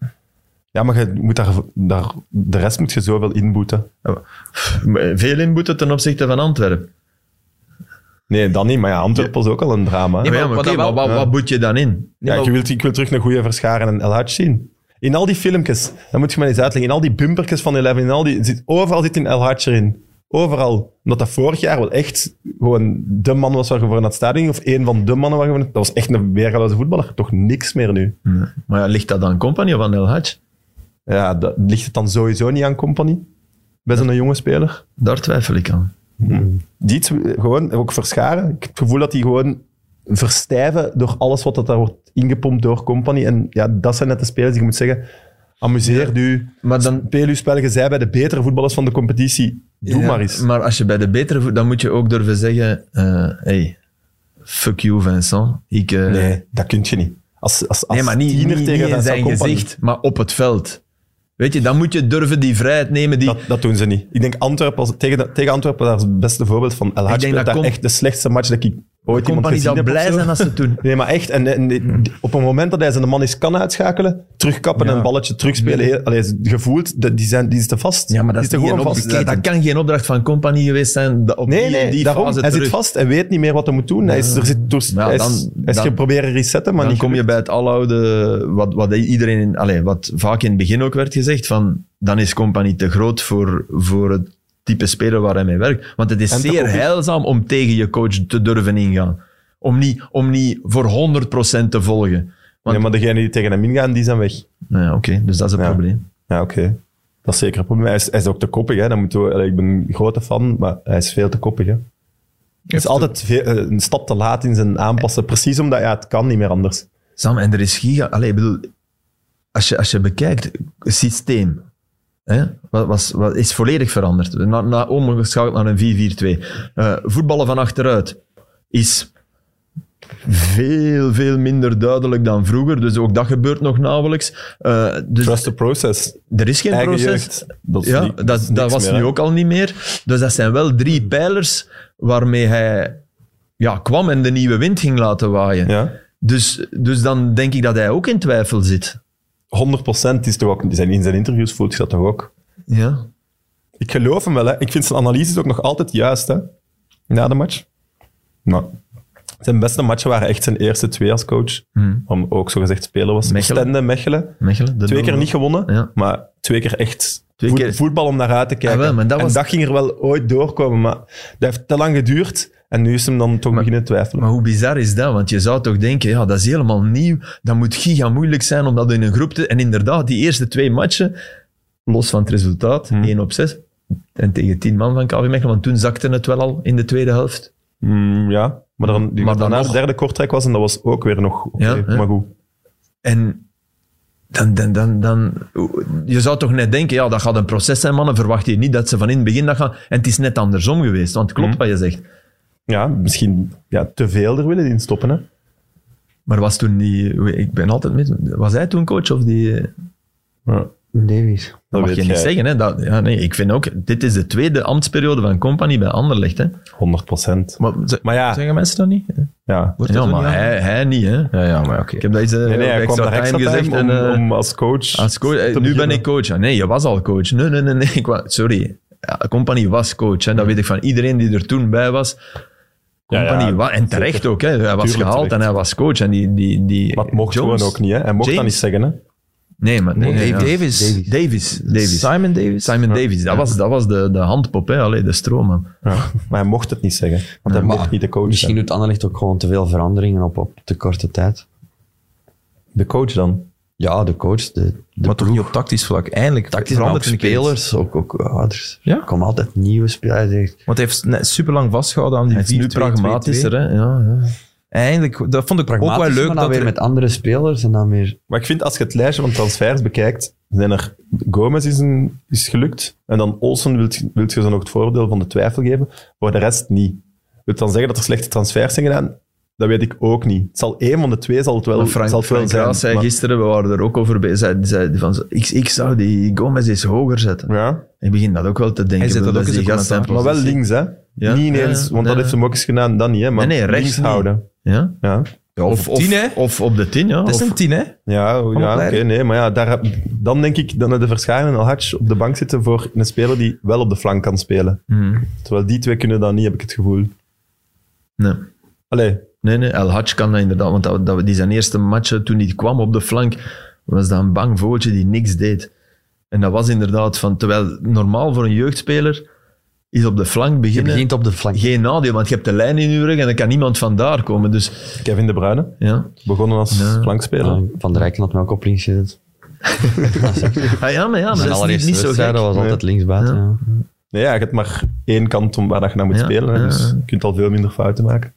B: Ja, maar je moet daar, daar, de rest moet je zoveel inboeten.
C: Maar Ah, Veel inboeten ten opzichte van Antwerpen.
B: Nee, dan niet. Maar ja, Antwerpen was ook al een drama.
A: Nee,
C: Ah, Ja,
A: maar
C: maar
A: wat
C: oké,
A: dat wel-
C: maar wat,
B: Ja.
C: wat boet je dan in?
B: ja, ik, wil, ik wil terug een goede Verscharen en El Hadj zien. In al die filmpjes, dat moet je mij eens uitleggen, in al die bumpertjes van Eleven, in al die, zit, overal zit een El Hadj erin. Overal. Omdat dat vorig jaar wel echt gewoon de man was waar je voor naar het stadion ging, of één van de mannen waar je voor Dat was echt een weergaloze voetballer. Toch niks meer nu.
C: Nee. Maar ja, ligt dat aan Company of aan El Hadj?
B: Ja, dat, ligt het dan sowieso niet aan Company? Bij zo'n jonge speler?
C: Daar twijfel ik aan.
B: die twee- gewoon ook verscharen. Ik heb het gevoel dat die gewoon verstijven door alles wat dat daar wordt ingepompt door Company. En ja, dat zijn net de spelers die je moet zeggen, amuseer u.
C: Maar dan-
B: Speel uw spel, je zij bij de betere voetballers van de competitie. Doe
C: Ja,
B: maar eens.
C: Maar als je bij de betere voet, dan moet je ook durven zeggen: eh, hey, fuck you, Vincent. Ik, eh,
B: nee, dat kun je niet. Als, als, als
C: nee, maar niet,
B: tiener
C: niet,
B: tegen
C: niet in
B: Vincent
C: zijn
B: Kompany.
C: gezicht, maar op het veld. Weet je, dan moet je durven die vrijheid nemen. Die,
B: Dat, dat doen ze niet. Ik denk Antwerpen, als- tegen, de- tegen Antwerpen, daar is het beste voorbeeld van. El Hadj
C: denk
B: speelt
C: dat
B: daar
C: kom-
B: echt de slechtste match dat ik ooit iemand
C: compagnie
B: gezien heb.
C: zou blij
B: of zo.
C: zijn Hmm. als ze het doen.
B: Nee, maar echt. En, en die- die- op het moment dat hij zijn man eens kan uitschakelen, terugkappen en een balletje terugspelen, heel, allee, gevoeld, dat- die, zijn, die is te vast.
C: Ja, maar dat,
B: Die er
C: is niet
B: gewoon
C: een
B: vast.
C: opdracht. dat kan geen opdracht van compagnie geweest zijn. dat Op
B: Nee,
C: die,
B: nee,
C: die
B: daarom.
C: fase
B: Hij zit
C: terug.
B: vast en weet niet meer wat hij moet doen. Hij is, er zit, dus,
C: Ja,
B: hij is,
C: dan-
B: hij is
C: dan-
B: geprobeerd resetten, maar
C: dan
B: niet
C: kom je bij het aloude, wat, wat iedereen, in- allee, wat vaak in het begin ook werd gezegd, van dan is Company te groot voor, voor het type speler waar hij mee werkt. Want het is
B: En te
C: zeer
B: ook-
C: heilzaam om tegen je coach te durven ingaan. Om niet, om niet voor 100% te volgen. Want,
B: Nee, maar degenen die tegen hem ingaan, die zijn weg.
C: Nou ja, oké, dus dat is een
B: Ja.
C: probleem.
B: Ja, oké. Dat is zeker een probleem. Hij is, hij is ook te koppig. Hè. Dan moeten we, allee, ik ben een grote fan, maar hij is veel te koppig. Hè. Hij is altijd veel- eh, een stap te laat in zijn aanpassen. Precies omdat ja, het kan niet meer anders.
C: Sam, en er is giga... Allee, ik bedoel, als je, als je bekijkt, het systeem hè, wat, was, wat is volledig veranderd. Na, na, omgeschakeld naar een 4-4-2. Eh, voetballen van achteruit is veel, veel minder duidelijk dan vroeger. Dus ook dat gebeurt nog nauwelijks. Eh, dus
B: Trust the process.
C: er is geen
B: Eigen
C: proces.
B: jeugd. Dat is
C: ja,
B: niet-
C: dat,
B: dat is
C: dat,
B: niks
C: was
B: meer,
C: nu
B: hè.
C: ook al niet meer. Dus dat zijn wel drie pijlers waarmee hij ja, kwam en de nieuwe wind ging laten waaien.
B: Ja.
C: Dus, dus dan denk ik dat hij ook in twijfel zit.
B: 100% is toch ook, die zijn- in zijn interviews voelt zich dat toch ook.
C: Ja.
B: Ik geloof hem wel. Hè. Ik vind zijn analyses ook nog altijd juist hè. na de match. Maar zijn beste matchen waren echt zijn eerste twee als coach. Om ook zo gezegd speler was.
C: Hmm. Mechelen.
B: Stende, Mechelen.
C: Mechelen, de
B: Twee
C: nul.
B: keer niet gewonnen,
C: Ja.
B: maar twee keer echt
C: Twee
B: voet-
C: keer-
B: voetbal om naar uit te kijken.
C: Ah, wel, maar dat was-
B: En dat ging er wel ooit doorkomen, maar dat heeft te lang geduurd. En nu is hem dan toch beginnen twijfelen.
C: Maar hoe bizar is dat? Want je zou toch denken, ja, dat is helemaal nieuw. Dat moet giga moeilijk zijn om dat in een groep te... En inderdaad, die eerste twee matchen, los van het resultaat,
B: Hmm.
C: 1 op 6, en tegen 10 man van KV Mechelen, want toen zakte het wel al in de tweede helft.
B: Mm, ja, maar dan, die
C: Maar dan
B: daarna
C: nog-
B: de derde kortrek was en dat was ook weer nog oké,
C: Ja, hè.
B: maar goed.
C: En dan, dan, dan, dan... Je zou toch net denken, ja, dat gaat een proces zijn, mannen. Verwacht je niet dat ze van in het begin dat gaan... En het is net andersom geweest, want het klopt
B: Hmm.
C: wat je zegt.
B: Ja, misschien ja, te veel er willen in stoppen. Hè.
C: Maar was toen die... Ik ben altijd mis... Was hij toen coach of die...
B: Ja.
D: Davies.
B: Dat
C: Dat mag
B: weet
C: je
B: jij.
C: niet zeggen. Hè? Dat, ja, nee, ik vind ook, dit is de tweede ambtsperiode van Company bij Anderlecht. Hè?
B: 100 procent.
C: Maar,
B: Maar ja,
A: Zeggen mensen dat niet?
B: ja.
A: Wordt
C: ja,
A: dat zo
C: maar
A: niet
C: hij, hij niet. Hè?
A: aan? Ja, ja, maar oké.
C: Ik heb dat eens eh,
B: Nee, nee,
C: op
B: hij kwam
C: extra
B: naar extra
C: time gezegd.
B: time
C: en,
B: om,
C: eh,
B: om als coach.
C: als coach, eh,
B: te
C: nu ben
B: beginnen.
C: ik coach. Ah, nee, je was al coach. Nee, nee, nee. nee ik wa- sorry. Ja, Company was coach. Hè? Dat weet ik van iedereen die er toen bij was.
B: Ja, ja,
C: Company wa- En terecht
B: zeker.
C: ook. Hè? Hij was
B: Tuurlijk
C: gehaald
B: terecht.
C: en hij was coach. En die, die, die,
B: Maar het mocht
C: Jones-
B: gewoon ook niet, hè? Hij mocht dat
C: James.
B: niet zeggen, hè?
C: Nee, maar nee,
A: Dave
C: ja.
A: Davis.
C: Davis. Davis. Davis.
A: Simon Davis?
C: Simon Davis. Dat was, dat was de, de handpop. Hè? Allee, de stroomman.
B: Maar hij mocht het niet zeggen, want hij
D: maar
B: mocht niet de coach
D: Misschien
B: zijn.
D: doet Anderlecht ook gewoon te veel veranderingen op, op te korte tijd.
B: De coach dan?
D: Ja, de coach, de, de
A: maar toch niet op tactisch vlak. Eindelijk
D: tactisch maar ook
A: verandert er een keer iets.
D: spelers, ook, ook ouders.
A: Ja?
D: Er komen altijd nieuwe spelers. Hij zegt,
A: Want hij heeft net super lang vastgehouden aan die
C: Hij is
A: 4-2-2-2.
C: nu pragmatischer. Hè? Ja, ja.
A: Eindelijk, dat vond ik ook wel
D: "Pragmatisch,
A: leuk.
D: maar dan
A: Dat
D: weer
A: er,
D: met andere spelers en dan weer...
B: Maar ik vind, als je het lijstje van transfers bekijkt, zijn er... Gomez is, een, is gelukt, en dan Olsen wilt, wilt je ze nog het voordeel van de twijfel geven, voor de rest niet. Wilt dan zeggen dat er slechte transfers zijn gedaan? Dat weet ik ook niet. Het zal één van de twee zal het wel,
C: Maar Frank,
B: zal het wel
C: Frank
B: zijn.
C: Raas zei
B: maar-
C: gisteren, we waren er ook over bezig, zei, zei van, ik, ik zou die Gomez eens hoger zetten.
B: ja,
C: Ik begin dat ook wel te denken.
A: Hij zet
C: Ik bedoel,
A: dat ook
C: is
A: in
C: die
A: zijn
C: gast
A: commentaar.
B: maar
C: zijn
B: wel
C: positie.
B: links, hè?
C: Ja,
B: niet
C: ja,
B: ineens,
C: ja,
B: want dat
C: ja.
B: heeft hem ook eens gedaan, dan niet, hè? Maar
C: Nee, nee, rechts
B: links
C: niet.
B: houden.
C: Ja?
B: Ja.
A: Ja,
C: Of,
A: op 10, hè?
C: of, of op de tien, ja.
A: Dat is
C: Of-
A: een 10, hè?
B: Ja, oh, ja oké,
A: Leiden.
B: nee. Maar ja, daar, heb- dan denk ik dat de verschijnen en Al-Hajj op de bank zitten voor een speler die wel op de flank kan spelen.
C: Hmm,
B: Terwijl die twee kunnen dat niet, heb ik het gevoel.
C: nee.
B: Allee,
C: nee, nee, El Hadj kan dat inderdaad, want dat, dat, die zijn eerste match, toen hij kwam op de flank, was dat een bang vogeltje die niks deed. En dat was inderdaad van, terwijl normaal voor een jeugdspeler is op de flank
D: Je
C: beginnen...
D: begint op de flank.
C: Geen nadeel, want je hebt de lijn in je rug en er kan niemand vandaar komen. Dus
B: Kevin De Bruyne,
C: ja,
B: begonnen als
C: Ja.
B: flankspeler.
D: Ja, Van der Rijken had me ook op links gezet.
C: Ah, ja, maar, ja, maar
D: Mijn
C: dat is
D: allereerste
C: niet, niet zo
D: wedstrijd,
C: gek.
D: dat was altijd linksbuiten.
C: Ja.
D: Ja.
B: Nee, ja, je hebt maar één kant om waar dat je naar moet
C: Ja,
B: spelen. hè,
C: ja,
B: Dus
C: ja.
B: je kunt al veel minder fouten maken.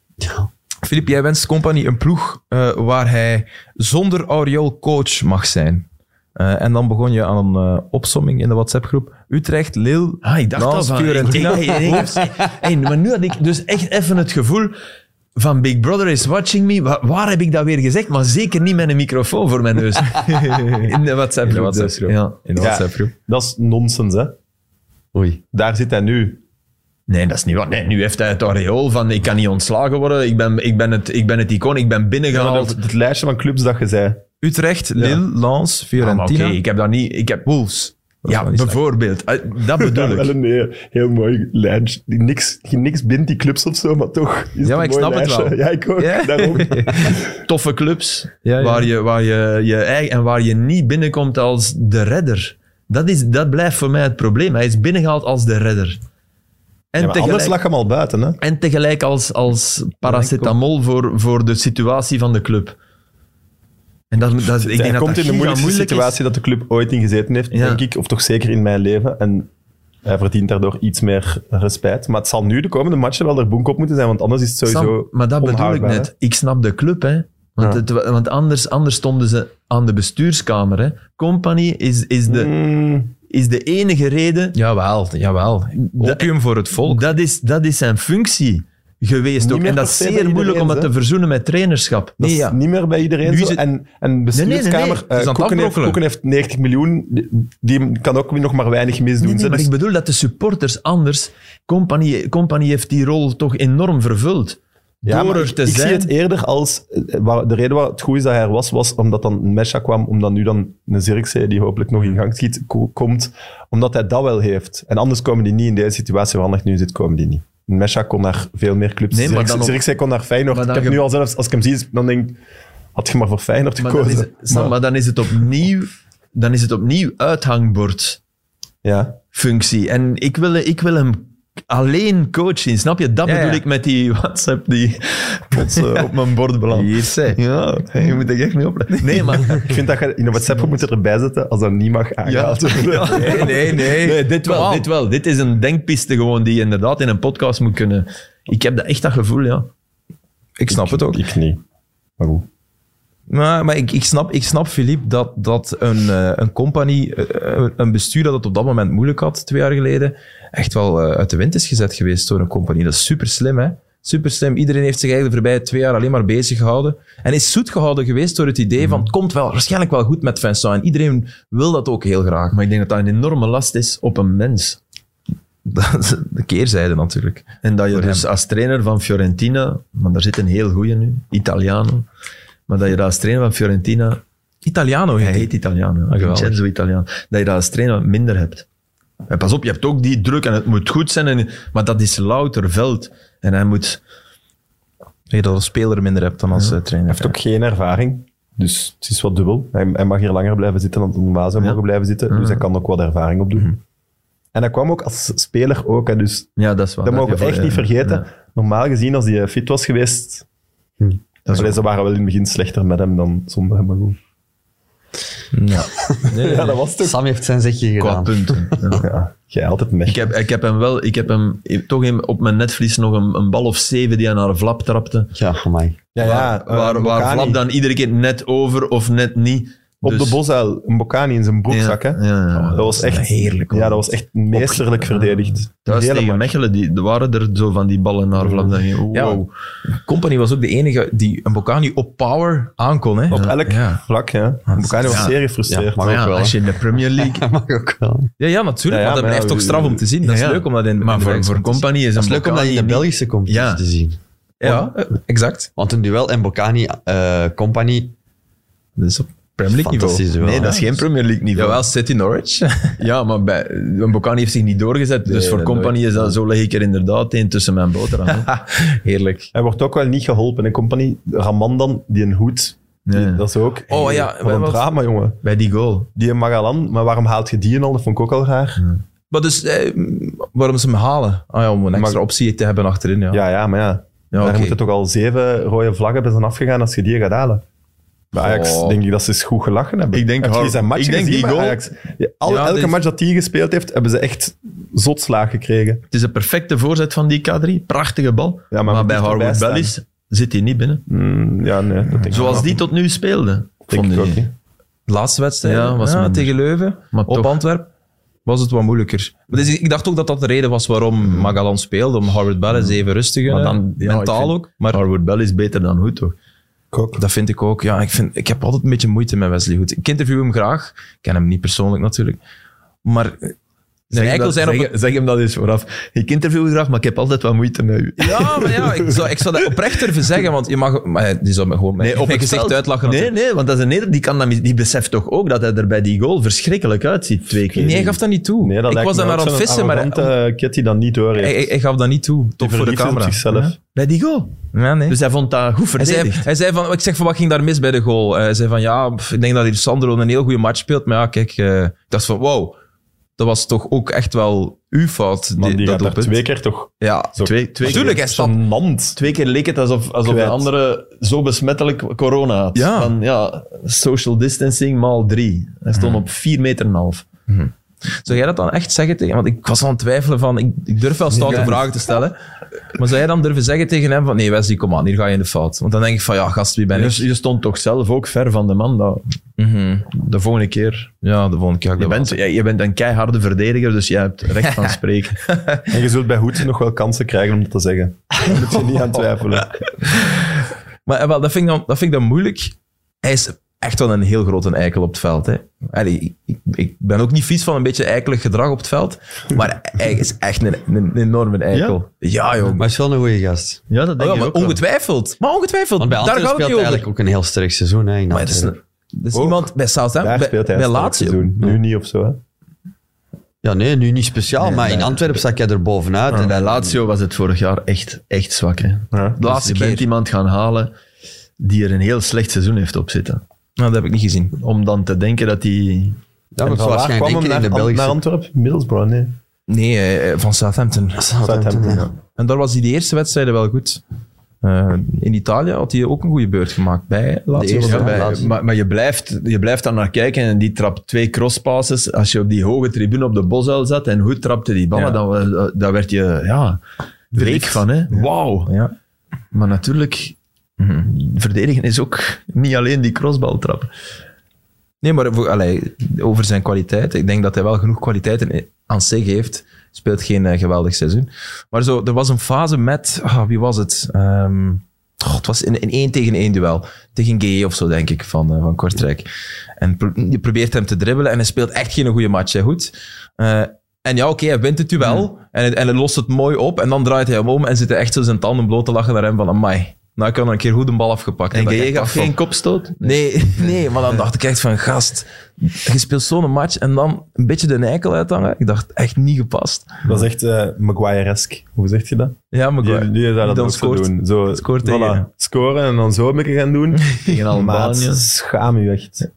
A: Filip, jij wenst Company een ploeg eh, waar hij zonder Auriol coach mag zijn. Eh, en dan begon je aan een eh, opsomming in de WhatsApp-groep. Utrecht, Lille,
C: Ah, ik dacht al
A: Lens,
C: van...
A: Fiorentina.
C: Hey, hey, hey, hey, maar nu had ik dus echt even het gevoel... van Big Brother is watching me. Wa- Waar, heb ik dat weer gezegd? Maar zeker niet met een microfoon voor mijn neus. In de WhatsApp.
A: In de WhatsApp-groep.
C: Ja.
A: In de
B: Ja.
A: WhatsApp-groep.
B: Dat is nonsens, hè.
D: Oei.
B: Daar zit hij nu.
C: Nee, dat is niet waar. Nee, nu heeft hij het areool van ik kan niet ontslagen worden. Ik ben, ik ben, het, ik ben het icoon. Ik ben
B: Ja,
C: binnengehaald.
B: dat- het lijstje van clubs dat je zei.
A: Utrecht, Lille, Lens,
C: Ah, maar Oké,
A: Fiorentina.
C: ik heb dat niet. Ik heb Wolves.
A: is
C: Ja,
A: wel niet slecht.
C: bijvoorbeeld. Eh, Dat bedoel ik.
B: een heel, heel mooi lijstje. Die niks, die niks bindt die clubs of zo, maar toch. Is
A: maar
B: een
A: ik
B: mooi
A: snap het wel.
B: Ja, ik ook.
A: Ja.
B: Daarom.
C: toffe clubs
A: Ja, ja.
C: waar je waar je, je eigen, en waar je niet binnenkomt als de redder. Dat, is, dat blijft voor mij het probleem. Hij is binnengehaald als de redder. En,
B: Ja, maar
C: tegelijk,
B: anders lag hem al buiten, hè.
C: en tegelijk als, als paracetamol voor, voor de situatie van de club. En dat, dat, ik
B: hij
C: denk dat
B: komt in
C: dat
B: de
C: giga
B: moeilijkste
C: moeilijk is.
B: situatie dat de club ooit in gezeten heeft,
C: Ja.
B: denk ik. Of toch zeker in mijn leven. En hij verdient daardoor iets meer respect. Maar het zal nu de komende matchen wel er boek op moeten zijn, want anders is het
C: Sam,
B: sowieso
C: maar dat bedoel ik
B: onhoudbaar,
C: net. Ik snap de club, hè. Want,
B: Ja.
C: het wa- want anders, anders stonden ze aan de bestuurskamer. Hè. Company is, is,
B: hè.
C: de,
B: Mm,
C: is de enige reden
A: Jawel, jawel. Opium voor het volk.
C: Dat is, dat is zijn functie geweest
B: Niet
C: ook.
B: meer
C: En dat
B: per
C: is
B: se
C: zeer
B: bij
C: moeilijk om dat
B: iedereen,
C: te verzoenen met trainerschap.
B: dat
A: Nee,
B: is
A: ja.
B: niet meer bij iedereen
A: Nu
B: zo.
A: is het-
B: En, en
C: Nee, nee, nee,
B: bestuurskamer, eh,
C: nee.
A: Het is aan het
B: Koeken, heeft,
A: afbrokkelen.
B: Koeken heeft 90 miljoen. Die, die kan ook nog maar weinig misdoen.
C: Nee, nee,
B: ze.
C: maar
B: Dus-
C: ik bedoel dat de supporters anders... Company, company heeft die rol toch enorm vervuld.
B: Ja,
C: Door
B: maar
C: er
B: ik-
C: te
B: ik
C: zijn...
B: zie het eerder als... eh, waar- De reden waarom het goed is dat hij er was, was omdat dan een Mesha kwam, omdat nu dan een Zirkzee, die hopelijk nog in gang schiet, ko- komt. Omdat hij dat wel heeft. En anders komen die niet in deze situatie waar Anderlecht nu in zit, komen die niet. Een Mesha kon naar veel meer clubs.
C: Nee, maar
B: Zirkzee-
C: dan op-
B: Zirkzee kon naar Feyenoord.
C: Maar
B: Ik
C: dan
B: heb
C: ge-
B: nu al zelfs, als ik hem zie, dan denk ik, had je maar voor Feyenoord
C: Maar dan,
B: gekozen.
C: is het, Sam, maar dan is het opnieuw... Dan is het opnieuw uithangbordfunctie.
B: ja.
C: En ik wil, ik wil hem alleen coachen, snap je? Dat
A: Ja,
C: bedoel
A: ja.
C: ik met die WhatsApp die plots eh, op mijn bord belandt.
A: Hier, zeg.
C: Ja, je moet er echt mee opletten. Nee, maar...
B: Ik vind dat je in een WhatsApp moet je erbij zetten als dat niet mag aangehaald worden.
A: Nee, nee, nee.
C: Nee, dit
A: Come
C: wel,
A: on.
C: dit wel. Dit is een denkpiste gewoon die je inderdaad in een podcast moet kunnen... Ik heb dat, echt dat gevoel, ja.
A: Ik snap het ook.
B: Ik niet. Maar goed.
A: Maar, maar ik, ik snap, ik snap Philippe, dat, dat een, eh een compagnie, eh, eh, een bestuur dat het op dat moment moeilijk had, twee jaar geleden, echt wel eh, uit de wind is gezet geweest door een compagnie. Dat is super slim, hè? Super slim. Iedereen heeft zich eigenlijk de voorbije twee jaar alleen maar bezig gehouden. En is zoet gehouden geweest door het idee van, het komt wel, waarschijnlijk wel goed met Vincent. En iedereen wil dat ook heel graag.
C: Maar ik denk dat dat een enorme last is op een mens.
A: Dat is de keerzijde natuurlijk.
C: En dat je
A: Voor
C: dus als trainer van Fiorentina... Maar daar zit een heel goeie nu, Italiano. Maar dat je dat als trainer van Fiorentina...
A: Italiano
C: Hij
A: heet hij.
C: heet Italiano,
A: Ah, geweldig.
C: Vincenzo Italiano. Dat je dat als trainer minder hebt. En pas op, je hebt ook die druk en het moet goed zijn. En, maar dat is louter veld. En hij moet...
A: Dat je dat als speler minder hebt dan als eh, trainer.
B: heeft ook geen ervaring. Dus het is wat dubbel. Hij, hij mag hier langer blijven zitten dan Don Maas zou mogen blijven zitten.
C: Mhm.
B: Dus hij kan ook wat ervaring opdoen. En hij kwam ook als speler ook. Hè, dus
C: Ja, dat is waar.
B: dat
C: Daar
B: mogen we
C: heb je
B: echt
C: voor-
B: niet
C: ja.
B: vergeten.
C: Ja. Mhm.
B: Normaal gezien, als hij fit was geweest... Dat ze waren wel in het begin slechter met hem dan zonder hem. Maar goed.
A: Ja. Nee,
B: Ja, dat was toch...
D: Sam heeft zijn zegje
C: Qua
D: gedaan.
C: punten. ja.
B: Ja, jij altijd
C: Ik
B: mech.
C: heb, ik heb hem wel, ik heb hem ik- toch in- op mijn netvlies nog een, een bal of zeven die hij naar Vlap trapte.
D: Ja, van mij.
B: Ja, ja, eh,
C: waar waar
B: Mbokani.
C: Vlap dan iedere keer net over of net niet.
B: Op
C: Dus-
B: de bosuil, een Bocani in zijn broekzak.
C: Ja,
B: hè.
C: ja, ja.
B: dat was echt
A: heerlijk, hoor.
B: Ja, dat was echt meesterlijk verdedigd.
C: Thuis
B: Hele
C: tegen
B: match.
C: Mechelen, die, er waren er zo van die ballen naar Vlap. Dan, wow.
A: Ja. Company was ook de enige die een Bocani op power aankon. Hè?
B: Op elk
A: Ja,
B: vlak, ja. Bocani was zeer gefrustreerd.
D: maar
C: Maar
D: ook
C: ja,
D: wel,
C: als
D: hè.
C: je in de Premier League...
D: Dat mag ook wel.
A: ja, ja natuurlijk.
B: Ja,
A: want dat
B: ja, maar ja,
A: blijft toch straf om te zien. Dat is
C: Ja, ja.
A: leuk om dat in in
C: Maar
A: de
C: voor,
A: reeks
C: voor
A: te zien.
C: Company is
D: Dat
C: een
D: is leuk om dat in de
C: Bocani
D: Belgische competitie
C: Ja.
D: te zien.
A: Ja, eh, exact.
D: Want een duel en Bocani eh Company,
A: Dat is op Premier League
D: fantastisch
A: niveau.
D: duel.
C: Nee, dat is geen
A: dus-
C: Premier League niveau.
A: Jawel, City Norwich.
C: Ja, maar bij, een Bocani heeft zich niet doorgezet. dus voor
A: dat
C: Company is dat, zo leg ik er inderdaad een tussen mijn boterham. hè.
A: Heerlijk.
B: Hij wordt ook wel niet geholpen. Een compagnie, Raman dan, die een hoed. die-
C: Nee.
B: Dat is ook.
A: Oh ja,
B: wat
A: wij
B: een
A: was-
B: drama, jongen.
C: Bij die goal.
B: Die Magalan, maar waarom haalt je die al? Dat vond ik ook al raar.
A: Maar dus, eh, waarom ze hem halen? Ah ja, om een extra optie te hebben achterin. Ja.
B: Ja, ja, maar ja. Daar
A: oké.
B: moeten toch al zeven rode vlaggen bij zijn afgegaan als je die gaat halen. Bij Ajax
A: Oh.
B: denk ik dat ze eens goed gelachen hebben.
C: Ik denk
B: Heb je
C: Har-
B: zijn match
C: ik denk
B: gezien
C: die
B: bij
C: goal-
B: Ajax? Ja, al-
A: Ja,
B: elke
A: dit-
B: match dat hij gespeeld heeft, hebben ze echt zotslaag gekregen.
C: Het is een perfecte voorzet van die K3. Prachtige bal.
B: maar
C: maar, dus
B: moet
C: bij
B: dichterbij
C: Harwood
B: staan.
C: Bellis zit hij niet binnen.
B: Mm, ja, nee, dat denk ik
C: Zoals
B: wel.
C: die tot nu speelde.
B: denk
C: vond
B: ik
C: ik
B: ook
C: niet.
B: niet.
A: Laatste wedstrijd
C: Ja, was
A: ja,
C: minder.
A: tegen Leuven
C: Maar
A: op
C: toch.
A: Antwerpen. was het wat moeilijker. Maar dus, ik dacht ook dat dat de reden was waarom Magalan speelde, om Harvard Bell eens even rustig te
C: Mm. Maar
A: gunnen.
C: dan- ja,
A: mentaal
C: ik vind-
A: ook. Maar
C: Harwood Bell is beter dan goed, toch?
A: dat vind ik ook. Ja, ik, vind, ik heb altijd een beetje moeite met Wesley Hood. Ik interview hem graag. Ik ken hem niet persoonlijk natuurlijk. Maar eh, zijn
C: Zeg,
A: eikel
C: dat,
A: zijn op...
C: zeg, zeg hem dat eens vooraf. Ik interview u graag, maar ik heb altijd wat moeite met u.
A: Ja, maar ja, ik zou, ik zou dat oprechter even zeggen, want je mag... Maar die zou me gewoon mijn, mijn gezicht
C: veld.
A: uitlachen.
C: Nee, nee, want dat is een Nederlander, die, kan dat, mis- die beseft toch ook dat hij er bij die goal verschrikkelijk uitziet twee keer.
A: Nee, hij gaf dat niet toe.
B: Nee, dat
A: ik
B: lijkt
A: was
B: me
A: daar naar
B: ook
A: aan het
B: zo'n
A: vissen, maar hij,
B: arrogante
C: Eh,
B: kid die dat niet door heeft.
A: hij- hij gaf dat niet toe. Top voor de
B: verliefd is op
A: camera.
B: zichzelf.
C: Bij die goal.
A: Ja, nee.
C: Dus hij vond dat goed
A: Hij zei,
C: verdedigd.
A: hij zei van, ik zeg van, wat ging daar mis bij de goal? Eh, Hij zei van, ja, pff, ik denk dat hier Sandro een heel goede match speelt. Maar ja, kijk, eh, ik dacht van, wow, dat was toch ook echt wel uw fout.
B: Man, die
A: dat
B: gaat daar
A: doelpunt.
B: twee keer toch
A: Ja,
B: zo
C: Twee, twee,
A: Tuurlijk,
C: keer,
A: hij stapt.
B: mand.
C: twee keer leek het alsof, alsof de
B: Kwijt.
C: andere zo besmettelijk corona had.
A: Ja.
C: Van, ja, social distancing maal drie. Hij stond op vier meter en een half.
A: zou jij dat dan echt zeggen tegen Want ik was aan het twijfelen van, ik, ik durf wel stoute
C: Ja.
A: vragen te stellen. Maar zou jij dan durven zeggen tegen hem van, nee Wesley, kom aan, hier ga je in de fout. Want dan denk ik van, ja, gast, wie ben ik?
C: Je, je stond toch zelf ook ver van de man. Dat,
A: Mhm.
C: de volgende keer.
A: Ja, de volgende keer ga ik
C: Je
A: dat wel
C: bent, je, je bent een keiharde verdediger, dus jij hebt recht van spreken.
B: En je zult bij Hoed nog wel kansen krijgen om dat te zeggen. Daar moet je niet aan twijfelen.
A: Maar eh, wel, dat, vind ik dan, dat vind ik dan moeilijk. Hij is echt wel een heel grote eikel op het veld. Hè. Allee, ik- ik, ik ben ook niet vies van een beetje eikelig gedrag op het veld. Maar hij is echt een, een, een enorme eikel. Ja, joh.
D: Maar
A: Maar,
D: hij is wel een goede gast.
C: Ja, dat
A: oh
C: denk
A: ja,
C: ik
A: maar
C: ook wel.
A: ongetwijfeld. Maar ongetwijfeld.
D: Want bij
A: daar
D: Antwerpen
A: gaat
D: speelt
A: het
D: hij
A: niet over.
D: eigenlijk ook een heel sterk seizoen. Hè, in
A: Maar het is,
D: Antwerpen.
A: een- het is
B: Ook.
A: iemand bij Southampton,
B: Daar
A: bij,
B: speelt hij
A: bij
B: sterk
A: Lazio.
B: seizoen. Nu niet of zo. Hè.
D: Ja, nee, nu niet speciaal, maar in Antwerpen zak jij er bovenuit.
C: En
D: En
C: bij Lazio was het vorig jaar echt, echt zwak. Hè.
B: Ja.
A: De
C: Dus
A: laatste
C: je bent
A: keer.
C: iemand gaan halen die er een heel slecht seizoen heeft op zitten.
A: Nou, dat heb ik niet gezien.
C: Om dan te denken dat die...
D: dat
B: En
D: moet
B: van waar
D: waarschijnlijk
B: kwam
D: denken in
B: hem
D: de
B: naar, naar
D: Belgische.
B: Antwerpen? Middlesbrough, nee.
A: Nee, eh, van Southampton.
B: Southampton.
D: ja.
B: ja.
A: En daar was hij de eerste wedstrijden wel goed. Eh, in Italië had hij ook een goede beurt gemaakt bij Lazio.
D: eerste,
A: Ja, bij-
D: ja. Lazio.
C: maar maar je, blijft, je blijft daar naar kijken en die trapt twee crosspasses. Als je op die hoge tribune op de bosuil zat en goed trapte die ballen,
A: Ja.
C: dan, we- dan werd je ja, week van. Hè. Wauw. Mhm.
A: Ja.
C: Maar natuurlijk, verdedigen is ook niet alleen die crossbal trappen.
A: Nee, maar voor, allee, over zijn kwaliteit. Ik denk dat hij wel genoeg kwaliteiten aan zich heeft. Speelt geen eh, geweldig seizoen. Maar zo, er was een fase met... ah, wie was het? Ehm, oh, het was in, in één tegen één duel. Tegen GE of zo, denk ik, van, eh, van Kortrijk. En pro- je probeert hem te dribbelen en hij speelt echt geen goede match. Hè, goed. Eh, en ja, oké, hij wint het duel. En, het- en hij lost het mooi op. En dan draait hij hem om en zit hij echt zo zijn tanden bloot te lachen naar hem van... Amai, nou ik heb nog een keer goed een bal afgepakt.
C: En
A: Dat ik
C: je
A: echt
C: gaf
A: dacht van,
C: geen kopstoot?
A: Nee, nee, maar dan dacht ik echt van, gast, je speelt zo'n match en dan een beetje de eikel uithangen. Ik dacht, echt niet gepast.
B: Dat is echt eh, Maguire-esque. Hoe zeg je dat?
A: Ja, maar
B: Die, die zou dat ook zo doen. Zo,
A: scoort
B: voilà,
A: tegen.
B: Scoren en dan zo een beetje gaan doen.
C: Tegen
B: Maat,
C: Albanië.
B: schaam u echt.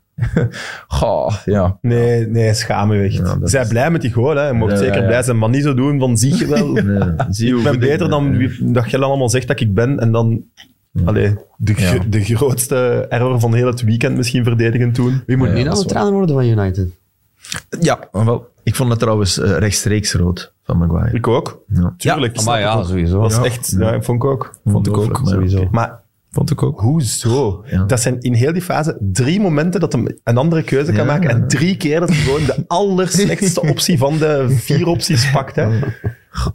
A: Goh, ja.
B: Nee, nee, schaam u echt.
C: Ja, dat
B: Zij
C: is-
B: blij met die goal. Hè. Je mocht
C: Ja,
B: zeker
C: ja.
B: blij zijn, maar niet zo doen van zie je wel.
C: Nee, zie je
B: ik
C: hoe
B: ben
C: goed ik
B: beter dan wie-
A: eh.
B: dat jij allemaal zegt dat ik ben. En dan allee, de, gro-
A: Ja.
B: de grootste error van heel het weekend misschien verdedigen toen.
D: Wie moet
A: Ja,
D: nu
A: dat
D: nou
A: is
D: de trainer worden van United?
A: Ja, wel.
C: Ik vond dat trouwens eh, rechtstreeks rood van Maguire.
B: Ik ook.
C: Ja.
B: Tuurlijk.
D: Maar ja, sowieso.
B: Dat was echt, ja, vond ik ook.
C: Vond ik ook, sowieso.
B: Maar
A: Vond ik ook.
B: hoezo?
C: Ja.
B: Dat zijn in heel die fase drie momenten dat hij een andere keuze kan maken. En drie keer dat hij gewoon de allerslechtste optie van de vier opties pakt. Hè.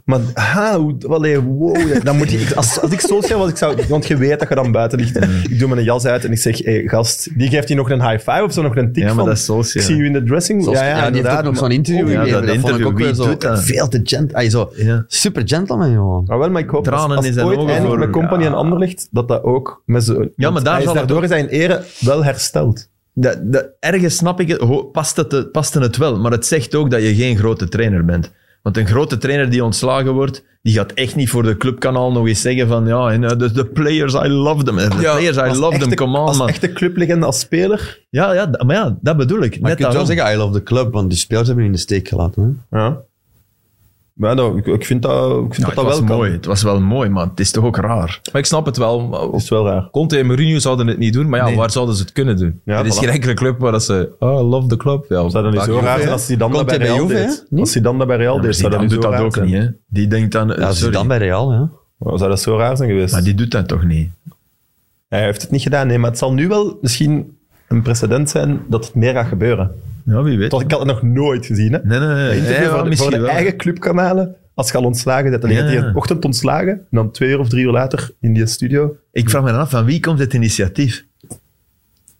B: Maar ha, hoe, allee, wow, dan moet je, ik- als, als ik zo scherp was, ik zou, want je weet dat je dan buiten ligt. Ik doe mijn jas uit en ik zeg, hey, gast, die geeft hij nog een high five of zo, nog een tik
C: Ja, maar
B: van.
C: dat is Solskjaer.
B: Ik zie u in de dressing room.
D: Zoals-
B: Ja, ja,
D: die heeft ook
B: inderdaad. Oh,
D: nog zo'n interview
C: Ja,
D: gegeven.
C: dat
D: Dat, vond ik
C: interview,
D: ook wel
C: wie
D: zo
C: doet dat?
D: veel te gentleman. Zo,
C: Ja.
D: super gentleman, gewoon.
B: Maar wel, maar ik hoop dat
C: Tranen
B: als
C: in
B: het
C: zijn
B: ooit
C: ogen
B: eindigt
C: voor-
B: met Company
C: ja.
B: en Anderlicht, dat dat ook met zo, want
C: maar daar
B: hij is
C: zal het
B: daardoor zijn ere wel hersteld.
C: Dat, dat, ergens snap ik het, ho- past het, eh, paste het wel, maar het zegt ook dat je geen grote trainer bent. Want een grote trainer die ontslagen wordt, die gaat echt niet voor de clubkanaal nog eens zeggen van ja, en, eh, de, de players, I love them. De
A: Ja,
C: players, I
B: Als
C: love them,
B: echte-
C: come on
B: Als
C: man.
B: echte clublegende, als speler.
C: Ja, ja, d- maar ja, dat bedoel ik.
D: Maar
C: Net
D: je kunt wel
C: daarom.
D: zeggen, I love the club, want die spelers hebben je in de steek gelaten. Hè?
B: Ja. Maar dat, ik, ik vind dat, ik vind dat,
C: Ja,
B: dat
C: het
B: wel
C: was
B: kan.
C: mooi, het was wel mooi, maar het is toch ook raar.
A: Maar ik snap het wel.
B: Dat is wel raar.
A: Conte en Mourinho zouden het niet doen, maar ja,
C: Nee.
A: waar zouden ze het kunnen doen?
B: Ja,
A: er is
B: voilà.
A: geen enkele club waar dat ze... Oh, I love the club. Ja,
B: Zou dat niet zo
A: vaak-
B: raar zijn als hij dan dat
D: Komt
B: bij
D: hij bij
B: Real
D: Juve,
B: deed?
D: hè? Niet?
B: Als hij dan dat bij Real deed, zou dat
C: die
B: niet
C: doet
B: zo
C: dat
B: raar
C: ook
B: zijn?
C: niet. Hè? Die denkt dan... eh,
D: Ja, ze
C: sorry,
D: dan bij Real, ja.
B: Waarom Zou dat zo raar zijn geweest?
C: Maar die doet dat toch niet?
B: Hij heeft het niet gedaan, nee. Maar het zal nu wel misschien een precedent zijn dat het meer gaat gebeuren.
C: Ja, wie weet.
B: Het was- Ik had het nog nooit gezien. Hè?
C: Nee, nee, nee.
B: Een interview
C: Ja,
B: voor, de,
C: misschien
B: voor de
C: wel.
B: eigen clubkanalen. Als je al ontslagen bent, dan gaat hij
C: Ja.
B: in de ochtend ontslagen. En dan twee uur of drie uur later in die studio.
C: Ik vraag me dan af, van wie komt het initiatief?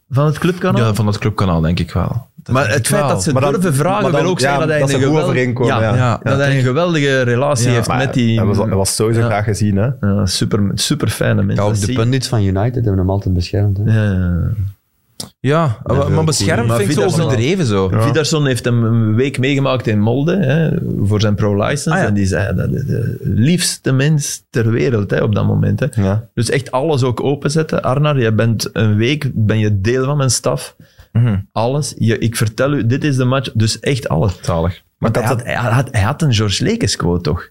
C: Van het clubkanaal?
A: Ja, van dat clubkanaal denk ik wel. Dat
C: maar
A: denk
C: het
A: ik
C: feit
A: wel.
C: dat ze
B: Maar dan-
C: durven vragen
B: maar dan-
C: wil ook
B: ja,
C: zeggen dat hij
B: dat ze
C: een
B: goed
C: geweld-
B: overeenkomen, ja.
A: Ja,
C: dat hij een geweldige relatie
A: Ja,
C: heeft
B: Maar
C: met die...
B: Hij was, hij was sowieso
C: Ja.
B: graag gezien. Hè?
C: Ja, super, super fijne mensen.
D: Ja, ook
C: Dat
D: de
C: zie
D: pundits van United hebben hem altijd beschermd. Hè.
C: je. Ja, ja.
A: Ja,
D: dat
A: maar,
D: wil
A: maar
D: ik
A: beschermd
C: niet.
A: vind ik
C: Maar
A: zo
C: Vidal-
A: overdreven zo.
C: Ja. Vidarsson heeft hem een week meegemaakt in Molde hè, voor zijn pro-license.
A: Ah, ja.
C: En die zei, dat is eh, de liefste mens ter wereld hè, op dat moment. Hè.
B: Ja.
C: Dus echt alles ook openzetten. Arnar, je bent een week, ben je deel van mijn staf. Alles. Je, ik vertel u, dit is de match. Dus echt alles.
A: Zalig.
C: Maar
B: dat
C: hij, had, hij, had, hij had een George Lekes quote, toch?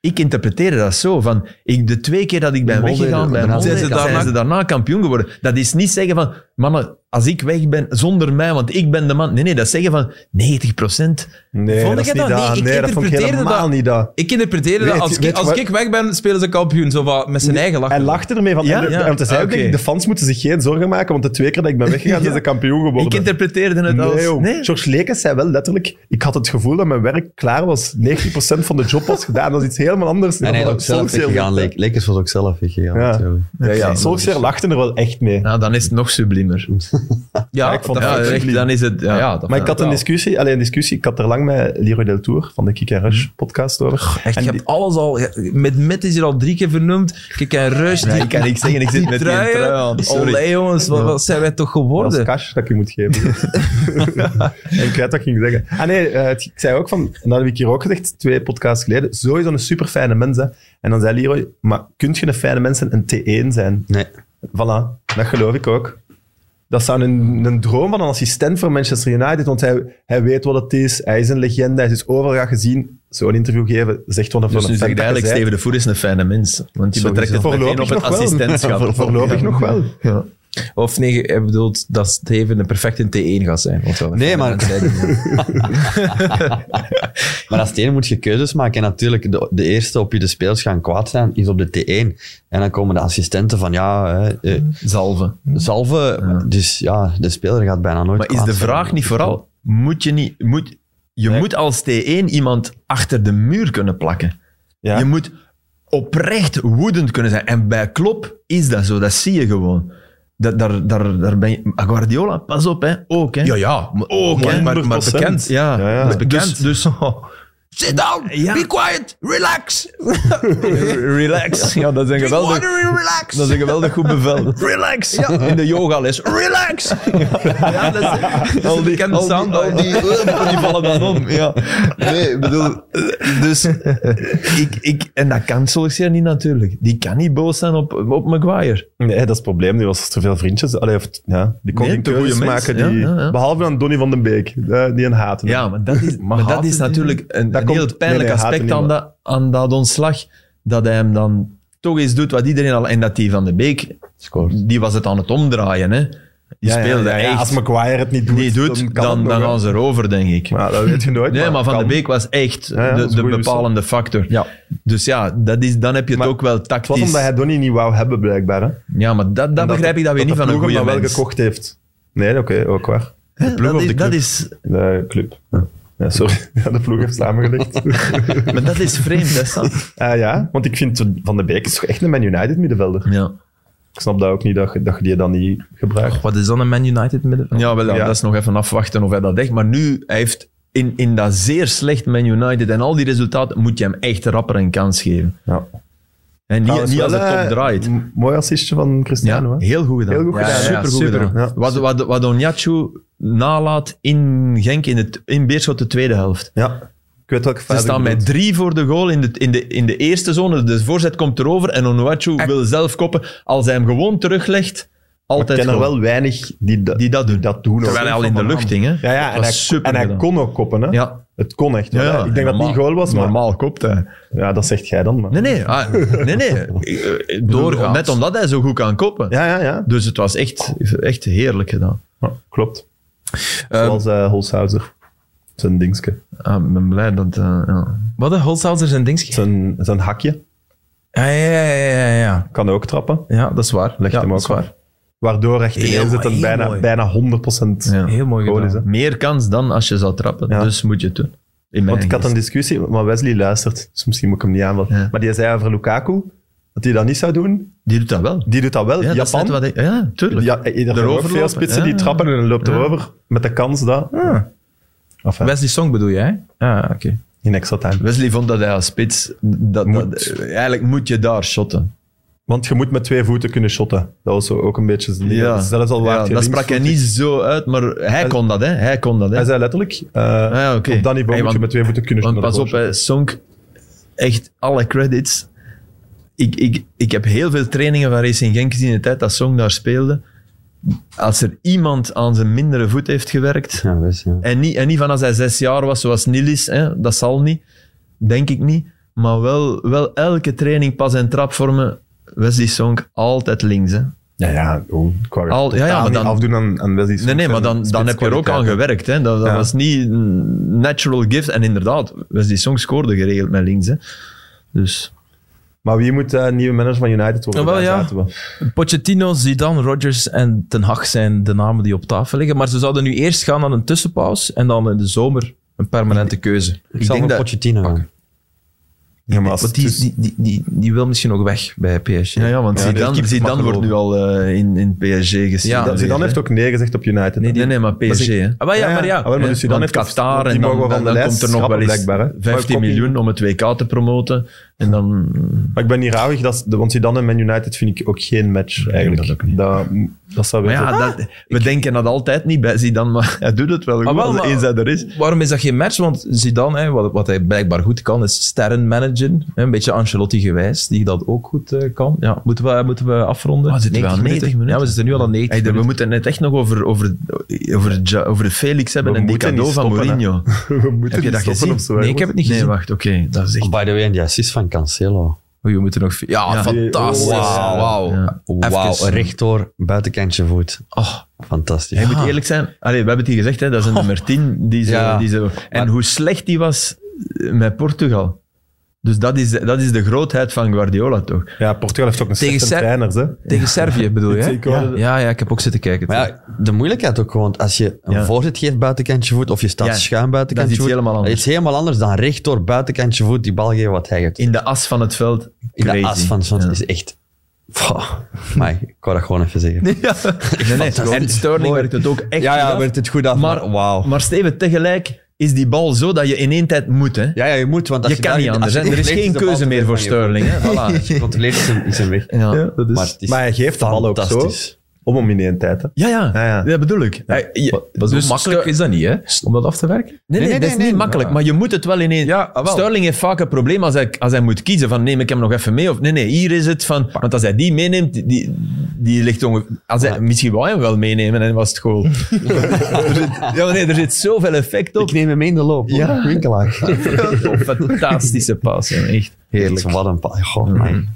C: Ik interpreteerde dat zo. Van, ik, de twee keer dat ik ben
D: Molde,
C: weggegaan bij
D: daarna
C: Molde,
A: zijn
C: zijn
A: ze
C: ze,
A: daarna-
C: daarna kampioen geworden. Dat is niet zeggen van, mannen, als ik weg ben, zonder mij, want ik ben de man. Nee, nee, dat zeggen van 90
B: Nee,
A: Vond ik
B: dat is
A: het
B: niet
A: dan?
B: dat.
A: Nee, ik
B: Nee, dat vond ik
A: interpreteerde
B: helemaal
A: dat-
B: niet dat.
A: Ik interpreteerde dat
B: Weet-
A: als,
B: weet
A: ik, als
B: wat-
A: ik weg ben, spelen ze kampioen. Zo van, met zijn eigen
B: Hij
A: lachen.
B: lachte ermee van.
C: Ja?
B: En, de,
C: Ja. Ah,
B: en te zeggen,
C: Oké.
B: denk ik, de fans moeten zich geen zorgen maken, want de twee keer dat ik ben weggegaan, zijn ze kampioen geworden.
C: Ik interpreteerde het
B: Nee,
C: als...
B: joh.
C: Nee,
B: George Lekes zei wel letterlijk, ik had het gevoel dat mijn werk klaar was. 90% van de job was gedaan. Dat is iets helemaal anders.
D: En hij is ook zelf weggegaan.
B: Ja,
D: Leek- Lekers was ook zelf weggegaan.
B: Ja.
D: natuurlijk.
B: ja, Solskjaer lachte er wel echt mee.
C: nou, dan is het nog subliemer.
A: Ja,
B: ik vond
A: dat
C: Ja,
B: dat
A: vind ik
C: echt, dan is het... Ja, ja, dat
B: Maar ik had een discussie, alleen een discussie, ik had er lang met Leroy Deltour van de Kick and Rush podcast over.
A: Echt, je
B: En
A: hebt alles al... je- Met Met is hier al drie keer vernoemd. Kijk, en Rush, die,
C: ik kan niks zeggen, ik zit
A: die
C: met die
A: truien.
C: trui aan. Sorry.
A: Olé, jongens, wat, wat zijn wij toch
B: Dat was
A: geworden?
B: cash dat ik je moet geven. en ik weet wat ik ging zeggen. Ah nee, eh, het- ik zei ook van, en dat heb ik hier ook gezegd, twee podcasts geleden, sowieso een super fijne mens. Hè. En dan zei Leroy, maar kunt je een fijne mens en een T1 zijn?
D: Nee.
B: Voilà, dat geloof ik ook. Dat zou een, een droom van een assistent voor Manchester United, want hij, hij weet wat het is, hij is een legende, hij is overal gezien. Zo'n interview geven, zegt van een
C: Dus
B: van
C: nu
B: een
C: zeg ik
B: fan dat je
C: eigenlijk,
B: bent.
C: Steven de Voer is een fijne mens. Want die
B: Sowieso.
C: betrekt het meteen op
B: Voorlopig
C: het
B: nog wel.
C: assistentschap.
B: Voor- voorlopig nog wel.
C: Ja.
A: Of nee, je bedoelt dat Steven een perfecte T1 gaat zijn. of zo.
D: Nee, maar- Maar als trainer moet je keuzes maken. En natuurlijk, de, de eerste op wie de spelers gaan kwaad zijn, is op de T1. En dan komen de assistenten van, ja, hè, eh,
C: Zalven.
D: zalven. Dus ja, de speler gaat bijna nooit
C: Maar is
D: kwaad
C: de
D: zijn.
C: vraag niet vooral, moet je niet... Moet, je moet als T1 iemand achter de muur kunnen plakken.
B: Ja.
C: Je moet oprecht woedend kunnen zijn. En bij Klop is dat zo, dat zie je gewoon. Dat, daar, daar, daar ben je... Guardiola, pas op, hè. Ook, hè.
A: Ja, ja. Maar,
C: Ook, hè.
A: maar, maar, maar
B: 100%.
A: bekend.
C: Ja, oh.
B: Ja, ja.
C: dat is bekend.
A: Dus, dus sit down,
C: Ja.
A: be quiet, relax.
C: Relax. Ja, dat is een
A: Drink
C: geweldig...
A: water and relax.
C: Dat is een geweldig goed bevel. Relax! In de yogales. Relax!
A: ja, dat is, al die,
C: al die- al
A: die,
C: Die vallen dan om, ja. Nee, ik bedoel... Dus... Ik, ik, en dat kan Solskjaer niet natuurlijk. Die kan niet boos zijn op, op Maguire.
B: Nee, dat is het probleem. Die was te veel vriendjes. Allee, of, ja, die kon
C: Nee,
B: geen
C: te
B: keuzes
C: goede mens.
B: maken.
C: Ja,
B: die,
C: ja, ja.
B: Behalve dan Donny van den Beek, eh, die een haten.
C: Ja, maar dat is, maar dat
A: haat
C: is
A: het
C: natuurlijk een,
B: Dat
C: een
B: komt-
C: heel pijnlijk
B: nee, nee, haat
C: aspect
B: het
C: aan
B: niet,
C: dat, aan dat ontslag. Dat hij hem dan toch eens doet wat iedereen al... En dat die Van de Beek, die was het aan het omdraaien, hè. Die
B: Ja, ja,
C: speelde
B: ja, ja.
C: echt...
B: Als McGuire het niet doet,
C: niet doet,
B: kan
C: dan,
B: het nog,
C: dan
B: hè.
C: gaan ze erover, denk ik.
B: Maar dat weet je nooit.
C: Nee, maar Van
B: kan.
C: de Beek was echt
B: ja, dat is
C: de,
B: een
C: de
B: goeie
C: bepalende factor.
A: Ja.
C: Dus ja, dat is, dan heb je het
B: Maar
C: ook wel
B: Het was
C: tactisch.
B: omdat hij Donny niet wou hebben, blijkbaar. Hè? En
C: Ja, maar dat, dat begrijp ik dat weer niet van een
B: ploeg hem
C: goede
B: dan wel
C: mens.
B: gekocht heeft. Nee, oké, ook waar.
C: Hè,
B: ploeg
C: dat,
B: of de
C: is,
B: club?
C: dat is,
B: De club. Ja, sorry, Ja, de ploeg heeft samengelegd.
C: maar dat is vreemd, hè, Sam?
B: Ah ja, want ik vind Van de Beek is toch echt een Man United middenvelder.
C: Ja,
B: Ik snap dat ook niet, dat je, dat je die dan niet gebruikt.
A: Wat is dan een Man United middenveld?
C: ja, wel, ja,
B: Ja.
C: dat is nog even afwachten of hij dat echt. Maar nu, hij heeft in, in dat zeer slecht Man United en al die resultaten, moet je hem echt rapper een kans geven.
B: Ja.
C: En niet,
B: Trouwens,
C: niet als
B: wel,
C: het
B: eh,
C: top draait.
B: m- Mooi assistje van Cristiano.
C: Ja,
B: hè?
C: heel goed gedaan.
B: Heel goed
C: Ja,
B: gedaan.
C: ja, ja,
B: Supergoed
C: super
B: gedaan.
C: Wat, wat, wat Onyachu nalaat in Genk, in, het, in Beerschot de tweede helft.
B: Ja. Ik weet welke
C: Ze
B: fase
C: staan
B: je bedoelt.
C: met drie voor de goal in de, in de, in de eerste zone. De voorzet komt erover en Onuachu wil zelf koppen. Als hij hem gewoon teruglegt,
B: Maar Ik
C: altijd
B: ken er
C: goal.
B: wel weinig die, da-
C: die dat doen.
B: dat doen. ook.
C: Terwijl hij al in de lucht ging. Hè.
B: Ja, ja en,
C: Dat
B: hij,
C: was super
B: en hij
C: gedaan.
B: kon ook koppen. Hè?
C: Ja.
B: Het kon echt.
C: Ja,
B: wel, hè.
C: ja,
B: ik denk dat
C: normaal-
B: het niet goal was, maar
C: Normaal kopt hij.
B: ja, dat zegt jij dan. Maar.
C: Nee, nee. ah, nee, nee. Door,
A: Doorgaans.
C: net omdat hij zo goed kan koppen.
B: Ja, ja, ja.
C: Dus het was echt, echt heerlijk gedaan.
B: Ja, klopt.
C: Ehm,
B: Zoals eh Holshouser. Zijn dingske.
C: Ah, Ik ben blij dat... eh, ja.
A: Wat een Holzhauser zijn ding.
B: Zijn, zijn hakje.
A: Ja, ja, ja, ja, ja, ja.
B: Kan ook trappen.
A: Ja, dat is waar.
B: Legt
A: ja,
B: hem
A: dat
B: ook
A: is waar.
B: Waardoor
A: Heel
B: achterin zit
A: mooi,
B: het
A: heel
B: bijna,
A: mooi.
B: bijna 100%
C: Ja.
A: Heel mooi
B: goal
A: gedaan.
B: is. hè.
C: Meer kans dan als je zou trappen.
B: Ja.
C: Dus moet je het doen. In mijn
B: Want ik had
C: geest.
B: een discussie, maar Wesley luistert, dus misschien moet ik hem niet aanvallen.
C: Ja.
B: Maar die zei over Lukaku, dat hij dat niet zou doen.
C: Die doet dat wel.
B: Die doet dat wel.
C: Ja, dat is
B: Japan,
C: net wat ik- ja tuurlijk.
B: ja, er zijn ook
C: Erover
B: veel
C: lopen,
B: spitsen
C: ja.
B: die trappen en loopt erover met de kans dat... Enfin,
A: Wesley Song bedoel jij? Ah, oké.
B: in extra time.
C: Wesley vond dat hij als spits... Dat,
B: Moet.
C: dat- eigenlijk moet je daar shotten.
B: Want je moet met twee voeten kunnen shotten. Dat was zo ook een beetje zijn ding.
C: Ja.
B: dus Dat is Zelfs al
C: Ja,
B: waar je
C: dat
B: links
C: sprak hij
B: voet-
C: niet zo uit, maar hij kon dat, hè. Hij kon dat, hè. Ah,
B: Hij zei letterlijk, eh,
C: ja, oké.
B: op dat niveau
C: Hey,
B: moet
C: want-
B: je met twee voeten kunnen
C: Want
B: shotten.
C: pas op, hè, Sonk, echt alle credits. Ik, ik, ik heb heel veel trainingen van Racing Genk gezien in de tijd dat Sonk daar speelde. Als er iemand aan zijn mindere voet heeft gewerkt,
D: Ja, wees, ja.
C: en niet, en niet van als hij zes jaar was, zoals Nilis, hè, dat zal niet, denk ik niet. Maar wel, wel elke training pas en trap vormen. Wesley Sonk altijd links. Hè.
B: Ja, ja. Oh, ik wou er
C: Al- ja, ja,
B: totaal
C: maar
B: niet
C: dan-
B: afdoen aan, aan Wesley
C: Nee,
B: Sneijder
C: nee, maar
B: en
C: dan, dan heb je er ook aan
B: spitskwaliteiten.
C: gewerkt. Hè. Dat, dat
B: Ja.
C: was niet een natural gift. En inderdaad, Wesley Song scoorde geregeld met links. Hè. Dus
B: Maar wie moet eh, nieuwe manager van United worden?
C: Oh,
A: Ja, wel,
B: Daar
A: ja.
B: zaten we.
A: Pochettino, Zidane, Rodgers en Ten Hag zijn de namen die op tafel liggen. Maar ze zouden nu eerst gaan naar een tussenpauze en dan in de zomer een permanente keuze.
D: Ik
C: denk
D: denk
C: dat-
D: dat Pochettino gaan.
B: Ja, maar als
A: Want
B: het
A: die,
B: dus-
A: die, die, die, die wil misschien ook weg bij PSG.
C: ja, ja, want
B: Ja, die
C: Zidane,
B: keeper
C: Zidane
B: mag
C: wordt nu al eh, in, in PSG gezien.
A: Ja,
B: dat, Zidane heeft ook nee gezegd op United.
C: Nee, nee, nee, maar
A: Maar
C: PSG.
A: ze-
C: hè.
A: Ah, maar ja, maar ja.
B: Ah, wel, maar dus Zidane
C: Want
B: heeft
C: Qatar
B: die
C: en dan,
B: mogen we
C: dan,
B: van de
C: dan
B: lijst
C: komt er nog wel
B: schrappen,
C: eens
B: blijkbaar, hè.
C: 15
B: Maar ik
C: miljoen om het WK te promoten. En dan...
B: Maar ik ben hier rouwig, dat, is- de- want Zidane en Man United vind ik ook geen match eigenlijk.
C: dat
B: Dat,
C: ook niet.
B: dat, zou
C: Maar
B: weten.
C: ja, dat, we denken dat altijd niet bij Zidane, maar hij doet het wel goed
A: Ah, wel,
C: als
A: maar-
C: eens hij er is.
A: Waarom is dat geen match? Want Zidane, hè, wat, wat hij blijkbaar goed kan, is sterren managen. Hè, Een beetje Ancelotti gewijs, die dat ook goed eh, kan. Ja, moeten, we, moeten we afronden?
C: Ah, zitten we aan 90 minuten?
A: Ja, we zitten nu al aan 90
C: Hey, de- we
A: minuten.
C: moeten het echt nog over, over, over, Ja- over Felix hebben
B: We
C: en die
B: moeten
C: cadeau
B: niet
C: van
B: stoppen, hè.
C: Mourinho.
B: we moeten
C: Heb je
B: niet
C: dat
B: stoppen
C: gezien?
B: of zo, hè.
A: Nee, ik heb het niet
C: Nee,
A: gezien.
C: wacht, oké. dat is echt...
D: Oh, by the way, en die assist van Cancelo.
A: Oei, Oh, we moeten nog... ve- Ja,
C: Ja.
A: fantastisch.
D: Wauw.
A: Wauw.
C: Ja.
D: Wauw,
A: Even.
D: rechtdoor, buitenkantje voet.
A: Oh,
D: Fantastisch.
C: Hij moet eerlijk zijn. Allee, we hebben het hier gezegd, hè, dat is een nummer 10. Die ze,
D: Ja.
C: die ze, en hoe slecht die was eh, met Portugal. Dus dat is, dat is de grootheid van Guardiola, toch?
B: Ja, Portugal heeft ook een
A: Tegen
B: slechte
A: Ser-
B: trainers. Hè.
A: tegen Servië bedoel je? hè?
B: Ik hoorde-
A: Ja, ja, ik heb ook zitten kijken.
D: Maar ja, de moeilijkheid ook gewoon, als je een
C: Ja.
D: voorzet geeft buitenkantje voet, of je staat
C: Ja,
D: schuin
C: dat is
D: buitenkantje
C: iets
D: voet,
C: helemaal
D: dat
C: anders.
D: is helemaal anders dan rechtdoor buitenkantje voet die bal geven wat hij geeft.
C: In de as van het veld.
D: In de
C: crazy.
D: as van Sons
C: Ja.
D: is echt... Pff, Maar ik wou dat gewoon even zeggen.
C: Nee, nee. En Sterling werkt het ook echt
D: ja,
C: goed
D: ja,
C: af.
D: werd het goed af, maar,
C: Maar-
D: wauw.
C: Maar Steven, tegelijk is die bal zo dat je in één tijd moet. Hè?
D: Ja, ja, je moet, want als
C: je
D: je,
C: kan
D: daar-
C: niet
D: als
C: anders.
D: je
C: Hè? Er is geen
D: controleert, de bal
C: keuze
D: terug
C: meer
D: van
C: voor
D: je
C: Sterling. Dus- Hè?
D: voet.
C: Voilà.
D: Als je controleert, is hem- is hem weg.
C: Ja.
B: Ja, dat is-
D: Maar het is
B: maar hij geeft de bal ook zo.
D: fantastisch.
B: Om hem in één tijd. hè.
C: Ja, ja,
B: Ja, ja.
C: dat bedoel ik. Hij- je-
A: Dat is
C: dus
A: ook makkelijk
C: Ster-
A: is dat niet, hè? Om dat af te werken?
C: Nee, nee,
D: Nee, nee,
C: dat is
D: nee,
C: niet
D: nee.
C: makkelijk, maar je moet het wel in één...
A: Ja, ah, wel.
C: Sterling heeft vaak een probleem als hij, als hij moet kiezen van neem ik hem nog even mee of nee, nee, hier is het van... Want als hij die meeneemt, die- die, die ligt ongeveer... Als hij, misschien wou hij hem wel meenemen en was het goal. Er zit- ja, maar nee, er zit zoveel effect op.
D: Ik neem hem mee in de loop. hoor.
C: Ja.
D: Winkelaar.
C: Fantastische pas, hè, echt.
D: Heerlijk. Wat een pa- Goh,
C: Mm.
D: man.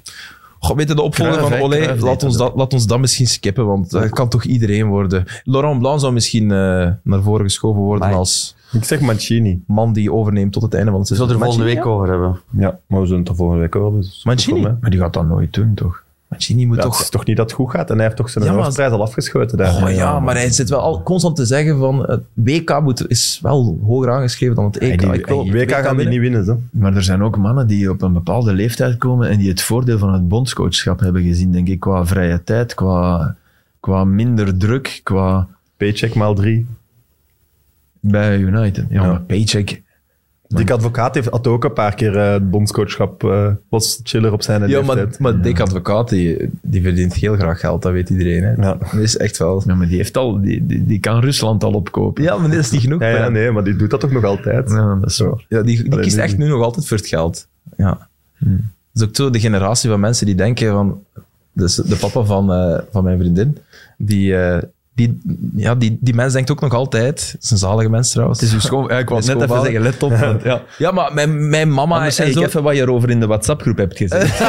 A: Goh, weet je, de opvolger
C: Cruijff,
A: van
C: hè,
A: Olé,
C: Cruijff
A: laat
C: deed
A: ons,
C: dat
A: dat, laat ons dat misschien skippen, want dat kan toch iedereen worden. Laurent Blanc zou misschien eh, naar voren geschoven worden
D: Amai.
A: als
B: Ik zeg Mancini.
A: man die overneemt tot het einde van het
D: We zullen
A: seizoen.
D: het er volgende week over hebben.
B: Ja, maar we zullen het er volgende week over hebben. dus
A: Mancini?
B: goed, hè.
C: Maar die gaat dat nooit doen, toch?
A: Mancini moet
B: Ja,
A: toch...
B: Het is toch niet dat het goed gaat. En hij heeft toch zijn
A: Ja, maar-
B: hoofdprijs al afgeschoten daar.
A: Oh ja, maar hij zit wel al constant te zeggen van het WK moet, is wel hoger aangeschreven dan het EK.
C: die-
A: Ik wil
C: hij-
A: het
B: WK gaan die
A: winnen.
B: niet winnen. Zo.
C: Maar er zijn ook mannen die op een bepaalde leeftijd komen en die het voordeel van het bondscoachschap hebben gezien, denk ik, qua vrije tijd, qua, qua minder druk, qua...
B: Paycheck maal drie.
C: Bij United. Ja,
B: Ja.
C: maar paycheck...
B: Dick Advocaat heeft, had ook een paar keer eh, het bondscoachschap. eh, was chiller op zijn
A: Ja, maar,
B: leeftijd.
A: maar Dick Advocaat, die, die verdient heel graag geld, dat weet iedereen. Hè.
B: Ja.
A: Dat is echt wel...
C: Ja, maar die, heeft al, die, die, die kan Rusland al opkopen.
A: Ja, maar dat is niet genoeg.
B: Ja, ja, nee, maar die doet dat toch nog altijd.
C: Ja, dat is waar.
A: Ja, die, die
B: Allee,
A: kiest
B: nu
A: echt
B: niet.
A: nu nog altijd voor het geld. Ja.
C: Hmm.
A: Dat is ook zo de generatie van mensen die denken van... Dus de papa van, eh, van mijn vriendin, die, eh, die, ja, die, die mens denkt ook nog altijd... Het is een zalige mens trouwens.
C: Het is uw schoon... Ja, ik wou
A: Is
C: het net even
A: schoonvader.
C: zeggen, Ah, let op. Want, ja.
A: ja, maar mijn, mijn mama
C: Anders
A: en
C: zeg ik
A: zo...
C: even wat je erover in de WhatsApp-groep hebt gezegd.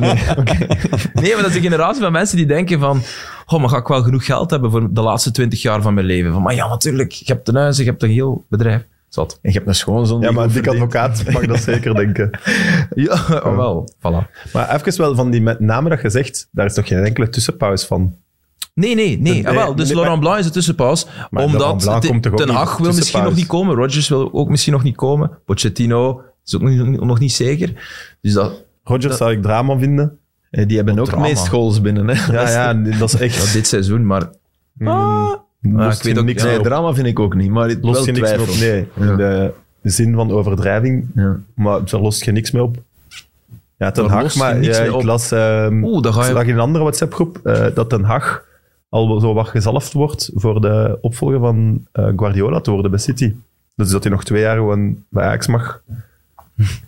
A: Nee, maar dat is een generatie van mensen die denken van... Oh, maar ga ik wel genoeg geld hebben voor de laatste twintig jaar van mijn leven? Van, maar ja, natuurlijk. Je hebt een huis, je hebt een heel bedrijf. Zat. En je hebt een schoonzoon.
B: Ja,
A: die
B: maar
A: goed
B: dik
A: verdient.
B: advocaat mag dat zeker denken.
A: Ja, oh, wel. Voilà.
B: Maar even wel van die met namen dat je zegt, daar is toch geen enkele tussenpauze van.
A: Nee, nee, nee.
B: Nee,
A: ah, wel, dus
B: nee,
A: Laurent
B: maar-
A: Blanc is de tussenpaus.
B: Maar Laurent
A: omdat
B: Blanc
A: Te-
B: komt toch ook
A: Ten
B: niet
A: Hag wil misschien
B: tussenpaus?
A: nog niet komen. Rodgers wil ook misschien nog niet komen. Pochettino is ook nog, nog niet zeker. Dus dat,
B: Rogers zou ik drama vinden.
C: Eh, Die hebben ook
A: drama.
C: meest goals binnen. Hè?
B: Ja, ja, dat is echt.
A: ja, dit seizoen, maar... Ah,
B: lost
A: ik weet
B: je
A: ook-
B: niks
A: ja,
B: mee
C: Nee,
B: op.
C: drama vind ik ook niet, maar het
B: Lost
C: lost
B: je
C: wel
B: niks mee op.
C: twijfel.
B: Nee, in de zin van overdrijving.
C: Ja.
B: Maar daar lost je niks mee op. Ja, Ten
A: Daar
B: Hag,
A: lost je
B: maar
A: niks
B: ja,
A: mee op.
B: ik las, ehm,
A: Oeh, daar ga
B: ik
A: je...
B: zag in een andere WhatsApp-groep eh, dat Den Haag al zo wat gezalfd wordt voor de opvolger van eh, Guardiola te worden bij City. Dus dat hij nog twee jaar gewoon bij Ajax mag.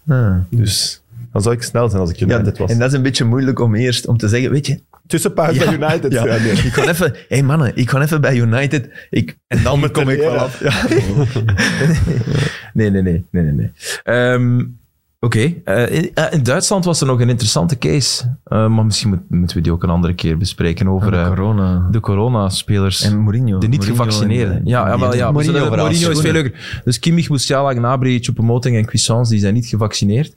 C: Ah.
B: Dus dan zou ik snel zijn als ik
C: Ja,
B: United was.
C: en dat is een beetje moeilijk om eerst om te zeggen, weet je,
B: Tussenpauze bij United.
C: ja,
B: Ja, nee.
C: ik ga even, hé hey mannen, ik ga even bij United ik, en dan kom ik wel
B: leren.
C: af. Ja.
A: Nee, nee, nee. nee, nee, nee. Ehm, Oké. Eh, in, eh, in Duitsland was er nog een interessante case. Eh, maar misschien moet- moeten we die ook een andere keer bespreken over eh,
C: corona.
A: de coronaspelers.
C: En Mourinho.
A: De niet
C: Mourinho
A: gevaccineerden.
C: en-
A: Ja, ja, wel, ja.
D: Mourinho
A: Mourinho,
D: vooral,
A: Mourinho is veel
D: schoenen.
A: leuker. Dus Kimmich, Musiala, Gnabry, Choupo-Moting en Cuisance, die zijn niet gevaccineerd.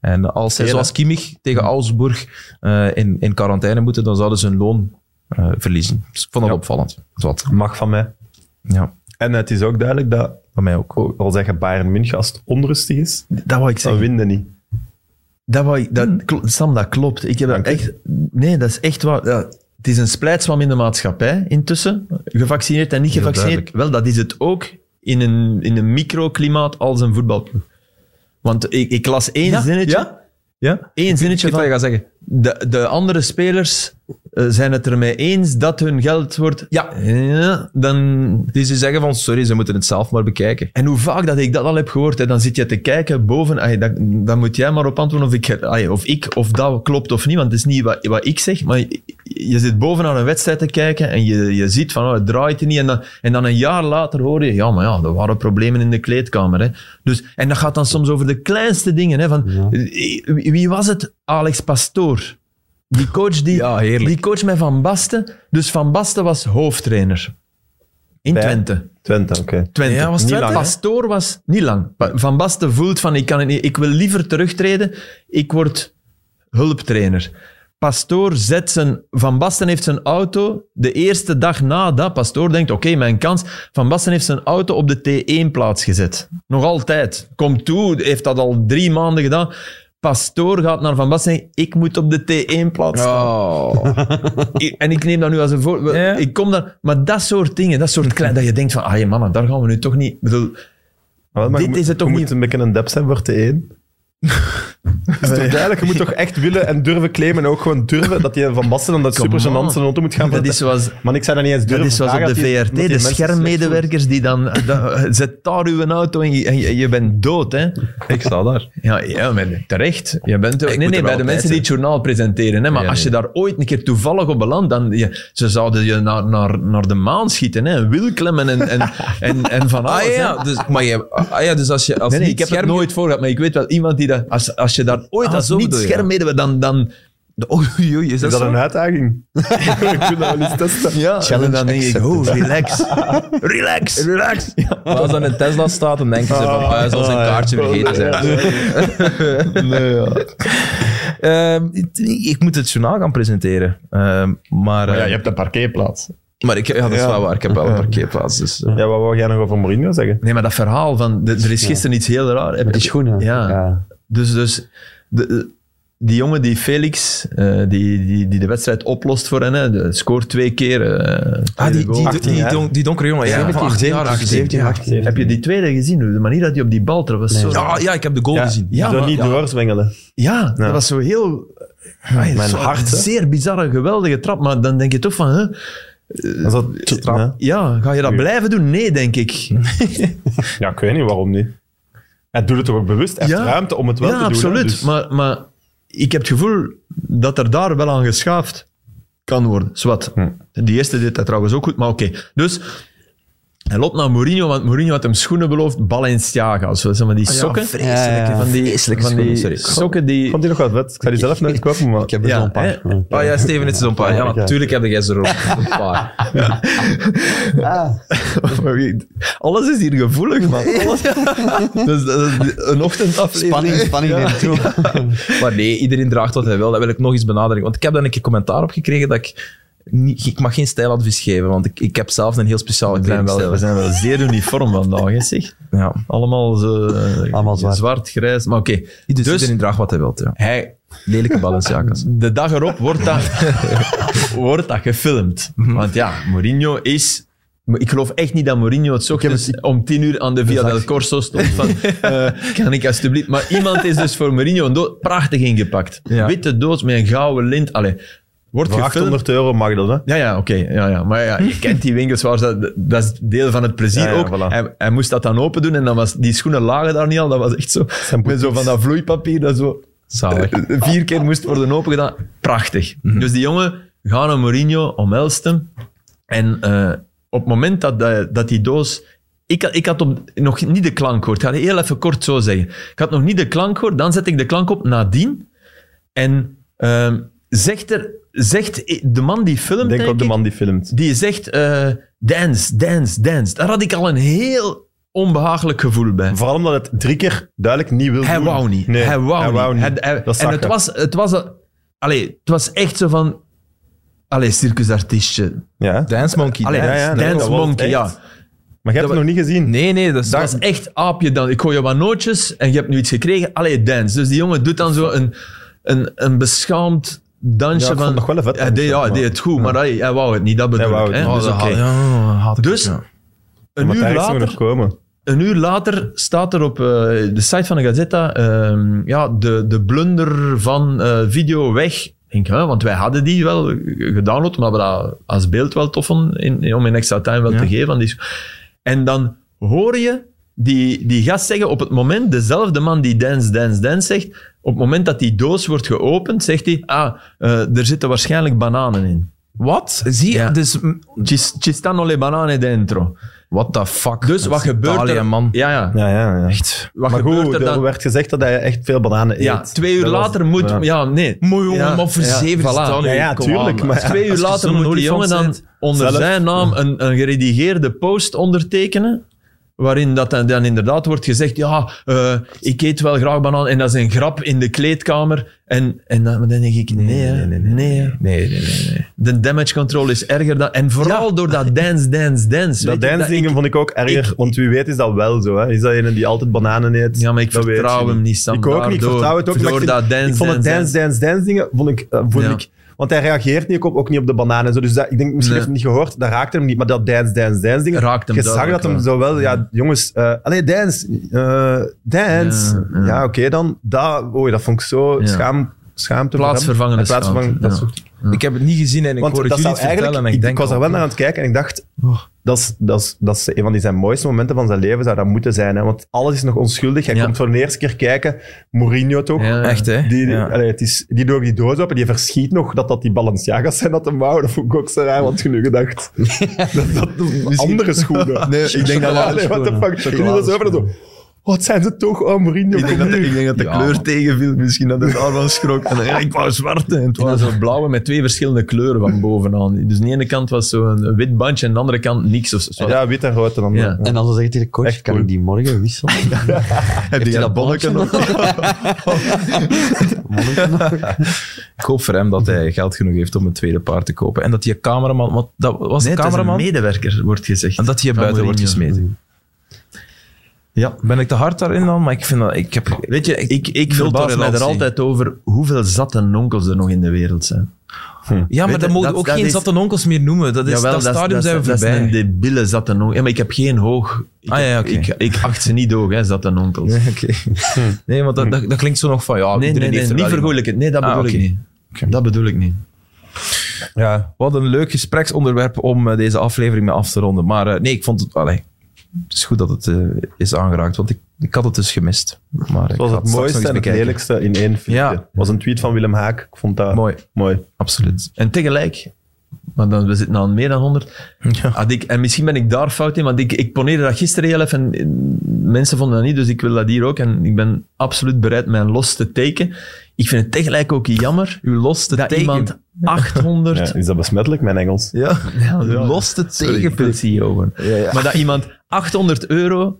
A: En als zij,
B: Hele.
A: zoals Kimmich, tegen Augsburg eh, in, in quarantaine moeten, dan zouden ze hun loon eh, verliezen. Dus ik vond dat opvallend. Wat.
B: Mag van mij.
A: Ja,
B: En eh, het is ook duidelijk dat,
A: van mij ook.
B: ook al zeggen Bayern München, als het onrustig is,
C: Dat wou
B: dan
C: ik zeggen.
B: winnen niet.
C: Dat wou ik, dat,
A: Hm.
C: kl- Sam, dat klopt. Ik heb dat
B: Dank u.
C: echt... Nee, dat is echt waar. Ja, het is een splijtswam in de maatschappij intussen. Gevaccineerd en niet
A: Heel
C: gevaccineerd. Wel, dat is het ook in een, in een microklimaat als een voetbalclub. Want ik, ik las één
A: Ja,
C: zinnetje...
A: ja. Ja?
C: Eén zinnetje
A: Shit wat
C: van...
A: je gaat zeggen.
C: De, de andere spelers eh, zijn het ermee eens dat hun geld wordt...
A: Ja.
C: Ja, dan...
A: Dus ze zeggen van, sorry, ze moeten het zelf maar bekijken.
C: En hoe vaak dat ik dat al heb gehoord, hè, dan zit je te kijken boven, ay, dat- dan moet jij maar op antwoorden of ik, ay, of ik of dat klopt of niet, want het is niet wat, wat ik zeg, maar je, je zit boven aan een wedstrijd te kijken en je, je ziet van, oh, het draait er niet. En dan, en dan een jaar later hoor je, ja, maar ja, er waren problemen in de kleedkamer. Hè. Dus, en dat gaat dan soms over de kleinste dingen. Hè, van, eh, wie- Wie was het? Alex Pastoor. Die coach, die,
A: Ja, heerlijk.
C: die coach met Van Basten. Dus Van Basten was hoofdtrainer. In
B: Bij-
C: Twente.
B: Twente, oké.
C: Twente.
A: Ja, was
C: niet
A: Twente,
C: lang.
A: hè?
C: Pastoor was niet lang. Pa- Van Basten voelt van, ik, kan het niet, ik wil liever terugtreden. Ik word hulptrainer. Pastoor zet zijn... Van Basten heeft zijn auto de eerste dag na dat. Pastoor denkt, oké, mijn kans. Van Basten heeft zijn auto op de T1-plaats gezet. Nog altijd. Komt toe, heeft dat al drie maanden gedaan. Pastoor gaat naar Van Basten en zegt, ik moet op de T1-plaats staan.
A: Oh.
C: Ik- en ik neem dat nu als een voorbeeld.
A: Ja.
C: Ik kom daar, maar dat soort dingen, dat soort klein, dat je denkt van, ah je mannen, daar gaan we nu toch niet. Ik bedoel,
B: Maar, maar
C: Dit
B: je
C: is
B: moet-
C: het toch
B: je
C: niet-
B: moet een beetje een dep zijn voor T1. Het is toch duidelijk, je moet toch echt willen en durven claimen en ook gewoon durven dat je van Basten en dat
C: Come
B: super
C: on.
B: gênant zijn auto moet gaan
C: dat is zoals,
B: Maar ik zou dat niet eens
C: dat
B: durven
C: is zoals op
B: vragen
C: de
B: dat die-
C: VRT,
B: dat die
C: de
B: mensen
C: schermmedewerkers die dan, dan- zet daar uw auto en je, en je, je bent dood, hè?
A: Ik sta daar.
C: Ja, ja maar terecht. Je bent,
A: Ik
C: nee,
A: moet
C: nee,
A: er
C: bij
A: wel
C: de
A: bij
C: mensen
A: zijn.
C: die het journaal presenteren. Hè, maar
A: Ja,
C: als je daar ooit een keer toevallig op belandt, dan je, ze zouden je naar, naar, naar de maan schieten. Hè, en wilklemmen en, en, en, en van
A: Ah
C: alles. hè.
A: ja, dus, maar je, ah, ja, dus als je als
C: Nee,
A: niet
C: nee, ik heb het
A: scherm-
C: nooit voor gehad, maar ik weet wel iemand die dat... Als, als je daar ooit
A: Ah,
C: als
A: zo
C: niet
A: bedoel je.
C: scherm mee dan... dan
A: Oei, oei, is
B: Is
A: dat,
B: dat
A: zo?
B: een uitdaging? ik wil dat wel eens testen.
C: ja, en dan denk ik,
D: accepted.
C: oh, relax. relax.
A: Relax. Maar als dan een Tesla staat, dan denken ze van,
B: Ah,
A: ah, zal zijn
B: ah,
A: kaartje
B: ja.
A: vergeten zijn.
B: Nee, ja.
A: Ehm, ik- ik moet het journaal gaan presenteren. Ehm, maar, eh,
B: een parkeerplaats.
A: maar ik, ja, dat is
B: Ja.
A: wel waar. Ik heb wel een parkeerplaats. Dus, eh.
B: Ja, wat wou jij nog over Mourinho zeggen?
C: Nee, maar dat verhaal van... de- er is gisteren iets heel raar. Heb
D: Met die
C: je-
D: schoenen.
C: Ja. Dus, dus de- de, die jongen die Felix, eh, die, die, die de wedstrijd oplost voor hen, hè, de- scoort twee keer. eh, Ah,
A: ah, die,
C: tweede
A: die,
C: goal.
A: die, die, don- die donkere jongen. Ja, van 18 jaar. 18.
D: 17, 18.
C: Heb je die tweede gezien? De manier dat hij op die bal trok was zo...
A: Ja, ja, ik heb de goal gezien.
C: Ja,
B: Zo
C: maar-
B: niet doorzwengelen.
C: Ja, dat was zo heel... Mijn
B: Mijn hart, hè?
C: Zeer bizarre, geweldige trap. Maar dan denk je toch van... Hè, Eh,
B: Is dat te
A: trap.
B: Ja.
C: ja, ga je dat blijven doen? Nee, denk ik.
B: Ja, ik weet niet waarom niet. Hij doet het toch ook bewust? Hij heeft
C: Ja.
B: ruimte om het wel
C: ja,
B: te doen.
C: absoluut.
B: hè, dus-
C: maar, maar ik heb het gevoel dat er daar wel aan
B: Hm.
C: geschaafd kan worden. Zwat. Die eerste deed dat trouwens ook goed, maar oké. Dus Hij loopt naar Mourinho, want Mourinho had hem schoenen beloofd, Balenciaga. of Zo, zeg maar die
D: Ah
C: sokken.
A: vreselijke,
D: Ja,
C: van die,
A: vreselijke
C: van die
A: schoenen, sorry.
C: sokken die...
B: Vond die nog wat vet? Ik zou die zelf nooit kopen, maar...
D: Ik heb er
C: Ja,
D: zo'n paar.
C: hè?
A: Oh ja, Steven, het is zo'n paar. Ja, natuurlijk heb jij ze er ook een paar.
D: Ah.
C: Alles is hier gevoelig, man. Alles- dus, dat is een ochtendaflevering.
D: Spanning, spanning neemt toe.
A: Maar nee, iedereen draagt wat hij wil. Dat wil ik nog eens benadrukken. Want ik heb daar een keer commentaar op gekregen dat ik... Niet, ik mag geen stijladvies geven, want ik, ik heb zelf een heel speciale
C: We zijn, wel,
A: kledingstijl.
C: we zijn wel zeer uniform vandaag, hè, zeg.
A: Ja.
C: Allemaal, zo, eh,
D: Allemaal zwart.
C: grijs. Maar oké,
A: Dus,
C: Dus-
A: iedereen draagt wat hij wil. Ja.
C: hij,
A: Lelijke Balenciagas.
C: de dag erop wordt dat, wordt dat gefilmd.
B: Mhm.
C: Want ja, Mourinho is... maar Ik geloof echt niet dat Mourinho het ochtends om tien uur aan de Via del Corso stond. Van, eh, kan ik alsjeblieft... Maar iemand is dus voor Mourinho een doos prachtig ingepakt.
A: Ja.
C: Witte doos met een gouden lint. Allee, wordt
B: Voor
C: gefilmd.
B: 800 euro mag dat, hè?
C: Ja, ja, oké. Ja, ja. Maar ja, je kent die winkels, waar ze, dat is deel van het plezier
B: Ja, ja,
C: ook.
B: voilà.
C: Hij, hij moest dat dan open doen en dan was, die schoenen lagen daar niet al. Dat was echt zo, met zo van dat vloeipapier dat zo
A: Zalig.
C: vier keer moest worden opengedaan. Prachtig.
B: Mhm.
C: Dus die jongen gaat naar Mourinho, omhelst hem. En eh, op het moment dat, eh, dat, dat die doos... Ik, had- ik had op, nog niet de klank gehoord. Ik ga het heel even kort zo zeggen. Ik had nog niet de klank gehoord. Dan zet ik de klank op nadien. En ehm, zegt, er, zegt de man die filmt...
B: Denk
C: denk
B: op de
C: ik,
B: man die filmt.
C: die zegt eh, dance, dance, dance. Daar had ik al een heel onbehagelijk gevoel bij.
B: Vooral omdat het drie keer duidelijk niet wil
C: Hij
B: doen.
C: wou niet.
B: Nee,
C: hij wou niet.
B: niet.
C: Hij- hij-
B: dat zag
C: en het
B: je.
C: was, het, was, een- allee, het was echt zo van... Allee, circusartiestje.
B: Ja.
A: Dance Monkey.
C: Allee,
A: dance.
B: ja, nee,
C: dance
B: dat was
C: monkey,
B: echt-
C: ja.
B: Maar jij hebt het nog niet gezien.
A: Nee, nee, dat is...
C: Dat was echt aapje dan. Ik gooi je wat nootjes en je hebt nu iets gekregen. Allee, dance. Dus die jongen doet dan zo een, een, een beschaamd dansje
B: Ja, ik
C: van...
B: vond het nog wel een vet
C: hij deed,
B: dansje,
C: ja, hij
B: maar-
C: deed het goed, maar hij, hij wou het niet. Dat bedoel
B: wou
C: ik.
B: het
C: hè.
B: niet.
C: Dus
A: Oh, dat
C: oké.
A: had- ja, had ik
C: Dus,
A: ook, ja.
C: Een
B: maar
C: uur
B: daar is
C: later...
B: nog komen.
C: Een uur later staat er op eh, de site van de Gazetta ehm, ja, de, de blunder van eh, video weg. Ik Denk, hè, want wij hadden die wel eh, gedownload, maar we dat als beeld wel tof vonden in, in- om in extra time wel te geven. aan die- En dan hoor je die, die gast zeggen op het moment, dezelfde man die dance, dance, dance zegt, op het moment dat die doos wordt geopend, zegt hij, ah, eh, er zitten waarschijnlijk bananen in.
A: Wat? Zie je?
C: Ja.
A: Dus, mm,
C: Ci, ci stanno le banane dentro.
A: what the fuck?
C: Dus
A: Dat
C: wat
A: is
C: gebeurt
A: Italië,
C: er?
A: man.
C: Ja, ja.
B: Ja, ja, ja.
A: Echt.
C: Wat
B: maar
C: gebeurt
B: goed,
C: er
B: er
C: dan?
B: werd gezegd dat hij echt veel bananen eet.
C: Ja, twee uur
B: Dat was-
C: later moet... Ja,
B: ja.
C: nee.
A: Mooi jongen,
C: Ja,
A: maar voor
C: ja,
A: zeven
C: voilà.
A: staan nu,
B: Ja, ja,
A: come
B: tuurlijk,
A: on.
B: maar-
A: Als je
C: Twee uur
A: zo'n
C: later moet die
A: olifant
C: jongen dan
A: bent.
C: onder
B: Zelf.
C: zijn naam een, een geredigeerde post ondertekenen. Waarin dat dan, dan inderdaad wordt gezegd, ja, eh, ik eet wel graag banaan. En dat is een grap in de kleedkamer. En, en dan, maar dan denk ik, nee, hè, nee,
A: nee, nee,
C: hè.
A: Nee, nee, nee. nee.
C: De damage control is erger dan... En vooral door dat dance, dance, dance.
B: Dat
C: weet je,
B: dancing
C: ik-
B: vond ik ook erger, want wie weet is dat wel zo. Hè? Is dat ene die altijd bananen eet?
C: Ja, maar ik
B: Dat weet je
C: vertrouw hem niet, Sam.
B: Ik ook niet, ik
C: Daardoor-
B: vertrouw het ook niet. maar
C: door
B: ik vind-
C: dat dance,
B: Ik vond het
C: dance,
B: dance, dance, dance dingen, vond ik, eh, vond
C: Ja.
B: ik... Want hij reageert niet, ook, ook niet op de bananen. en Zo. Dus dat, ik denk, misschien heeft
C: Nee.
B: hij het niet gehoord, dat raakte hem niet. Maar dat dance, dance, dance dingen...
C: Raakt hem
B: je zag
C: duidelijk
B: dat hem
C: wel.
B: zo wel... Ja, jongens, eh allee, dance, eh, dance.
C: Ja,
B: Ja,
C: ja.
B: oké dan. Dat, oei, dat vond ik zo
C: Ja.
B: schaam, schaamte. voor hem.
C: Plaatsvervangende
B: En Plaatsvervangend,
C: schaamte,
B: dat
C: ja.
B: zocht ik.
A: Ik heb het niet gezien en ik
B: Want
A: hoor het
B: dat
A: jullie
B: zou
A: het vertellen.
B: eigenlijk,
A: En ik,
B: ik,
A: denk
B: was er
A: al,
B: wel naar aan het kijken en ik dacht,
C: Oh.
B: dat is, dat, is, dat is een van die zijn mooiste momenten van zijn leven, zou dat moeten zijn. Hè? Want alles is nog onschuldig. Hij
C: Ja.
B: komt voor de eerste keer kijken, Mourinho toch?
C: Ja, ja.
A: Echt, hè?
B: Die, die-
A: Ja.
B: allee, het is, die doet ook die doos op en die verschiet nog dat dat die Balenciagas zijn dat hem wou. Dat vond ik ook zo raar, want je nu gedacht. dat, dat, andere schoenen.
C: Nee, ik denk dat we
B: Allee, what the fuck. Die doen dat zo over en zo, Wat zijn ze toch? Oh, Mourinho.
C: Ik denk, dat, ik denk dat de
A: Ja,
C: kleur
A: man.
C: tegenviel. Misschien dat het daarvan schrok. En dan, ja, ik wou zwarte. En het was een blauwe met twee verschillende kleuren van bovenaan. Dus de ene kant was zo'n wit bandje en de andere kant niks. Of zo.
B: Ja, wit en rood en dan.
C: Ja.
D: En dan zegt hij de coach,
B: Echt
D: kan
B: cool.
D: ik die morgen wisselen?
C: heb je dat bonnetje nog?
A: ik hoop voor hem dat hij geld genoeg heeft om een tweede paard te kopen. En dat die cameraman... Want dat was
C: Nee,
A: de
C: het is een
A: cameraman.
C: medewerker, wordt gezegd.
A: En dat hij
C: Van
A: buiten wordt
C: Mourinho.
A: gesmeten.
C: Ja.
A: Ben ik te hard daarin dan? Maar ik vind dat... Ik heb,
C: Weet je, ik, ik
A: Nul
C: verbaas mij er
A: tolerantie.
C: altijd over hoeveel zatte nonkels er nog in de wereld zijn.
A: ja, maar
C: weet
A: dan
C: je,
A: mogen
C: dat-
A: we ook
C: dat
A: geen
C: is-
A: zatte onkels meer noemen. Dat, is, dat,
C: is-
A: stadium
C: is-
A: zijn we
C: dat is
A: voorbij.
C: een debiele zatte nonkel. Ja, maar ik heb geen hoog. Ik,
A: Ah,
C: heb-
A: ja, oké.
C: ik, ik acht ze niet hoog, hè, zatte nonkels.
A: Nee, oké. Nee, want dat, dat, dat klinkt zo nog van... Ja,
C: Nee,
A: iedereen
C: nee,
A: heeft
C: nee,
A: er
C: niet
A: wel iemand.
C: vergoeilijkend. Nee, dat
A: Ah,
C: bedoel ik
A: oké.
C: niet. Dat bedoel ik niet.
B: Ja.
A: Wat een leuk gespreksonderwerp om eh, deze aflevering mee af te ronden. Maar eh, nee, ik vond het... Allee, het is goed dat het eh, is aangeraakt, want ik, ik had het dus gemist. Maar ik
B: Het was
A: ga
B: het
A: straks nog
B: mooiste
A: eens
B: en het
A: bekijken.
B: lelijkste in één filmpje.
A: Ja.
B: was een tweet van Willem Haak. Ik vond dat
A: Mooi.
B: mooi.
A: Absoluut.
C: En tegelijk maar dan, we zitten aan meer dan 100.
A: Ah,
C: Had ik, en misschien ben ik daar fout in, want ik, ik poneerde dat gisteren heel even en eh, mensen vonden dat niet, dus ik wil dat hier ook. En ik ben absoluut bereid mijn los te tekenen. Ik vind het tegelijk ook jammer
A: U lost het
C: dat
A: tegen.
C: iemand
B: Ja,
C: 800...
B: is dat besmettelijk, mijn Engels?
A: Ja,
C: Ja,
A: u lost het
C: Sorry, ik
A: tegen.
C: wil CEO worden.
A: Ja, ja.
C: E Maar dat iemand 800 euro.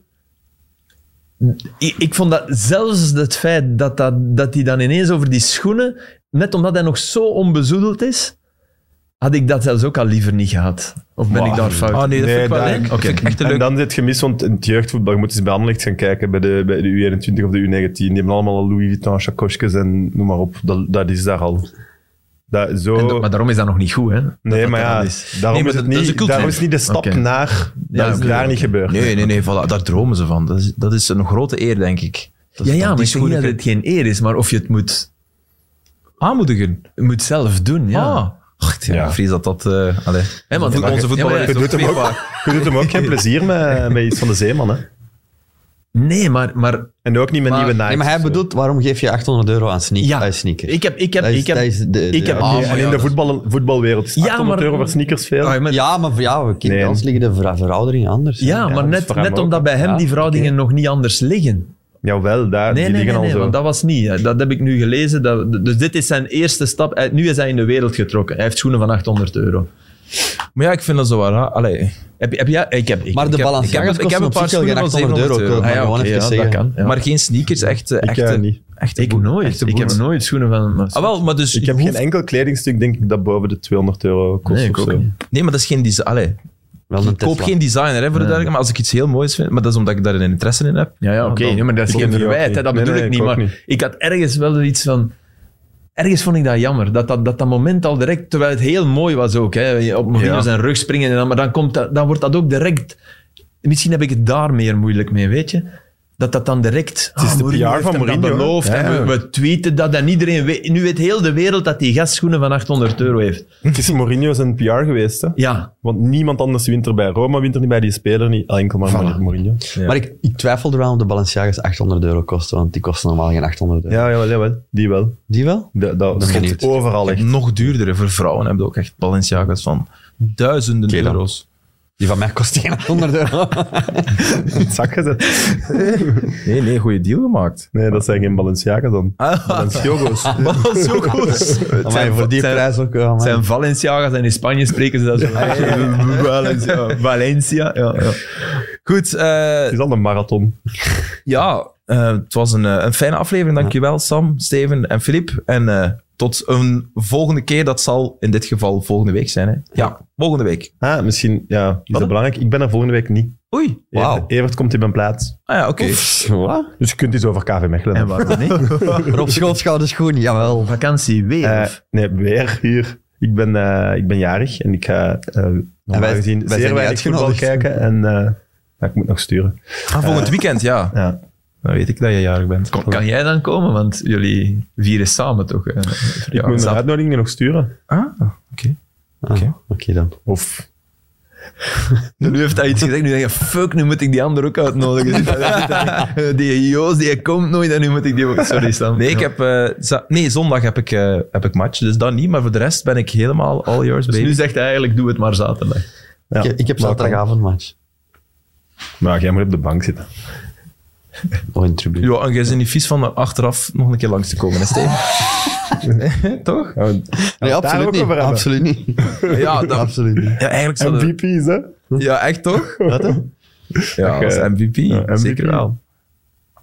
C: Ik, ik vond dat zelfs het feit dat hij dat, die dan ineens over die schoenen. Net omdat hij nog zo onbezoedeld is. Had ik dat zelfs ook al liever niet gehad. Of ben
B: Maar-
C: ik daar fout?
A: Oh nee, dat
B: Nee,
A: vind ik wel
B: dat-
A: leuk. Dat
C: Oké.
A: vind ik echt een
B: En
A: leuk.
B: dan zit je mis, want in het jeugdvoetbal je moet eens bij Anderlecht gaan kijken, bij de, bij de U21 of de U19. Die hebben allemaal al Louis Vuitton, chakosjes en noem maar op. Dat, dat is daar al. Dat, zo...
C: En dat- maar daarom is dat nog niet goed, hè?
B: nee, maar
C: Oh. dat
B: ja,
C: dan is.
A: Nee,
B: daarom,
A: maar
B: is
A: dat-
B: het
A: dat is
B: niet,
A: een cultuur.
B: daarom is het niet de stap
C: Oké.
B: naar...
C: Ja,
B: dat is
C: oké,
B: daar
C: oké.
B: niet gebeurd.
A: Nee, nee, nee, voilà, daar dromen ze van. Dat is, dat is een grote eer, denk ik. Dat
C: Ja,
A: ze
C: ja,
A: dan
C: maar
A: die
C: ik zeg niet
A: schoenen
C: dat het geen eer is, maar of je het moet,
A: aanmoedigen.
C: moet zelf doen. Ja.
A: Ah. Och, ja,
B: Ja.
A: Ik vrees dat dat... eh allee.
C: Hè, want
A: Onze
C: Ja, maar
A: voetballer
C: ja,
A: is
B: je, doet hem ook, je doet hem ook geen plezier met, met iets van de zeeman. Hè.
C: Nee, maar, maar
B: En ook niet met
C: Maar-
B: nieuwe Nike.
D: Nee, maar hij bedoelt, waarom geef je 800 euro aan eh, sneakers?
C: Ja.
D: aan sneakers?
C: ik heb. Ik heb,
D: Dat is-
C: ik heb
D: dat is de- de-
C: ik heb
D: Ah,
C: nee,
B: en in de voetbal, voetbalwereld is
C: Ja,
B: 800
C: maar-
B: euro voor sneakers veel.
C: Ah, maar-
D: Ja, maar ja, we
B: Nee.
D: kinderen ons liggen de ver- verhouderingen anders. hè.
C: Ja,
B: Ja,
C: maar
B: dat is
C: net,
B: voor hem
C: net
B: ook,
C: omdat bij hem
D: Ja,
C: die verhoudingen nog niet anders liggen.
B: Jawel, daar,
C: Nee,
B: die
C: nee,
B: liggen
C: nee,
B: al
C: nee,
B: zo.
C: want dat was niet. hè. Dat heb ik nu gelezen. Dat, dus dit is zijn eerste stap. Hij- Nu is hij in de wereld getrokken. Hij heeft schoenen van 800 euro.
A: Maar ja, ik vind dat zo waar. hè. Allee.
C: Heb, je- heb jij... Ik heb... Ik,
D: Maar de
C: ik heb-
A: balans- ik
D: Balenciaga's
A: heb- ik
D: kosten
A: heb een
D: op
A: paar
D: zich al
A: schoenen
D: geen
A: van
D: 800 euro. Ik wil
C: Ah,
D: maar
C: ja,
D: gewoon
C: oké,
D: even
C: ja,
D: zeggen.
C: dat kan. Ja.
A: Maar geen sneakers, echt... eh,
B: ik
A: echte,
B: eh, niet.
A: Echte
C: ik
A: boe-
C: nooit.
A: echte
C: Ik heb
A: boetes.
C: nooit schoenen van... maar-
A: Ah, wel, maar dus
B: Ik
A: je
B: heb
A: hoeft-
B: geen enkel kledingstuk, denk ik, dat boven de 200 euro kost.
C: Nee, ik
B: of
C: ook
B: zo.
C: niet.
A: Nee, maar dat is geen design. Allee,
D: Wel een
A: ik koop
D: Tesla.
A: geen designer, hè, voor de duidelijkheid. Maar als ik iets heel moois vind, maar dat is omdat ik daar een interesse in heb.
C: Ja, ja, oké.
A: dan-
C: nee, maar dat is
B: Ik
C: geen
B: ook niet,
C: verwijt.
B: ook
C: Hè, dat
B: niet.
C: bedoel
B: Nee,
C: ik
B: nee,
C: niet.
B: ik ook
C: Maar ik had ergens wel iets van... Ergens vond ik dat jammer. Dat dat, dat, dat moment al direct... Terwijl het heel mooi was ook. Hè, op Mourinho
B: Ja.
C: zijn rug springen. En dan, maar dan, komt dat, dan wordt dat ook direct... Misschien heb ik het daar meer moeilijk mee, weet je? Dat dat dan direct... Ah, Het
B: is de PR van Mourinho,
C: beloofd.
B: hè.
C: en
B: Ja.
C: we, we tweeten dat en iedereen weet... Nu weet heel de wereld dat die gastschoenen van 800 euro heeft.
B: Het is Mourinho zijn PR geweest, hè?
C: Ja.
B: Want niemand anders wint er bij Roma, wint er niet bij die speler, niet Ah, enkel maar Mourinho.
A: Ja.
D: Maar ik, ik twijfel eraan of de Balenciaga's 800 euro kosten, want die kosten normaal geen 800 euro.
B: Ja, jawel, jawel. Die wel.
D: Die wel?
B: Dat, dat stond
D: benieuwd.
B: overal echt.
A: Nog duurdere voor vrouwen hebben ook echt Balenciaga's van duizenden
D: Oké, dan.
A: euro's.
D: Die van mij kost geen 800 euro.
B: in het zak gezet.
A: Nee, nee, goede deal gemaakt.
B: Nee, dat zijn geen Balenciaga dan. Balenciago's.
A: Ah. Dat is zo goed.
D: Maar voor die
C: zijn-
D: prijs ook eh, wel.
C: Het zijn Valenciaga's en in Spanje spreken ze dat zo. Valencia. Valencia. Ja, ja.
A: Goed, eh,
B: Het is al een marathon.
A: ja, eh, het was een, eh, een fijne aflevering. Dankjewel, Sam, Steven en Filip. En eh, tot een volgende keer. Dat zal in dit geval volgende week zijn. Hè? Ja, volgende week.
B: Ah, misschien, ja, is dat belangrijk? Ik ben er volgende week niet.
A: Oei.
B: Evert-
D: Wauw.
B: Evert komt in mijn plaats.
A: Ah ja, oké.
D: Wat?
B: Dus je kunt iets over KV Mechelen.
C: En
B: hebben.
C: waarom niet?
D: Rob Schootschouders schoen, jawel.
C: Vakantie weer.
B: Eh,
C: of?
B: nee, weer hier. Ik ben, eh, ik ben jarig en ik ga eh normaal
D: wij-
B: gezien
D: wij zijn
B: zeer
D: niet
B: weinig voetbal
D: uitgenodigd.
B: kijken. En eh, ja, ik moet nog sturen.
A: Ah, volgend weekend, ja.
B: Ja.
A: Dan weet ik dat je jarig bent.
C: kan jij dan komen? Want jullie vieren samen toch? eh,
B: Ik moet mijn
C: zat-
B: uitnodigingen nog sturen.
A: Ah, oké.
D: Ah, Oké dan.
B: Of
C: nu heeft hij iets gezegd. Nu denk je, fuck, nu moet ik die ander ook uitnodigen. Eh, die Joost, die komt nooit en nu moet ik die ook... Sorry Sam.
A: Nee, ik heb, eh, za- nee, zondag heb ik, eh, heb ik match, dus dan niet. Maar voor de rest ben ik helemaal all yours,
C: Dus
A: baby.
C: nu zegt hij eigenlijk, doe het maar zaterdag.
B: Ja, Nou,
D: ik, ik heb
B: maar
D: zaterdagavondmatch.
B: kan. Maar jij moet op de bank zitten.
D: Oh, in tribune.
A: Ja, en jij bent niet vies van er achteraf nog een keer langs te komen, hè, Steven? Nee, Toch?
B: Ja, want-
D: Nee,
B: daar ook
D: absoluut niet.
B: over hebben.
D: Absoluut niet.
A: Ja, dan,
D: Absoluut niet.
A: ja eigenlijk zou dat-
B: MVP's, hè?
A: Ja, echt toch? Ja,
B: Ach,
A: als
B: eh,
A: MVP,
B: ja,
A: zeker
B: MVP.
A: wel.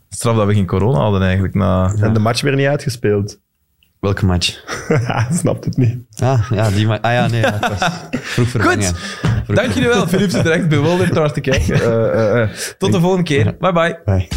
A: Straf dat we geen corona hadden eigenlijk. Na...
B: En de match weer niet uitgespeeld.
D: Welke match?
B: Hij snapt het niet.
D: Ah, ja, die match. Ah ja, nee. ja, het was Vroeg vervangen. Vroeg
A: Dank jullie wel, Filip zit er echt bewonderd naar te kijken. Eh, eh, eh. Tot de volgende keer. Bye bye.
D: Bye.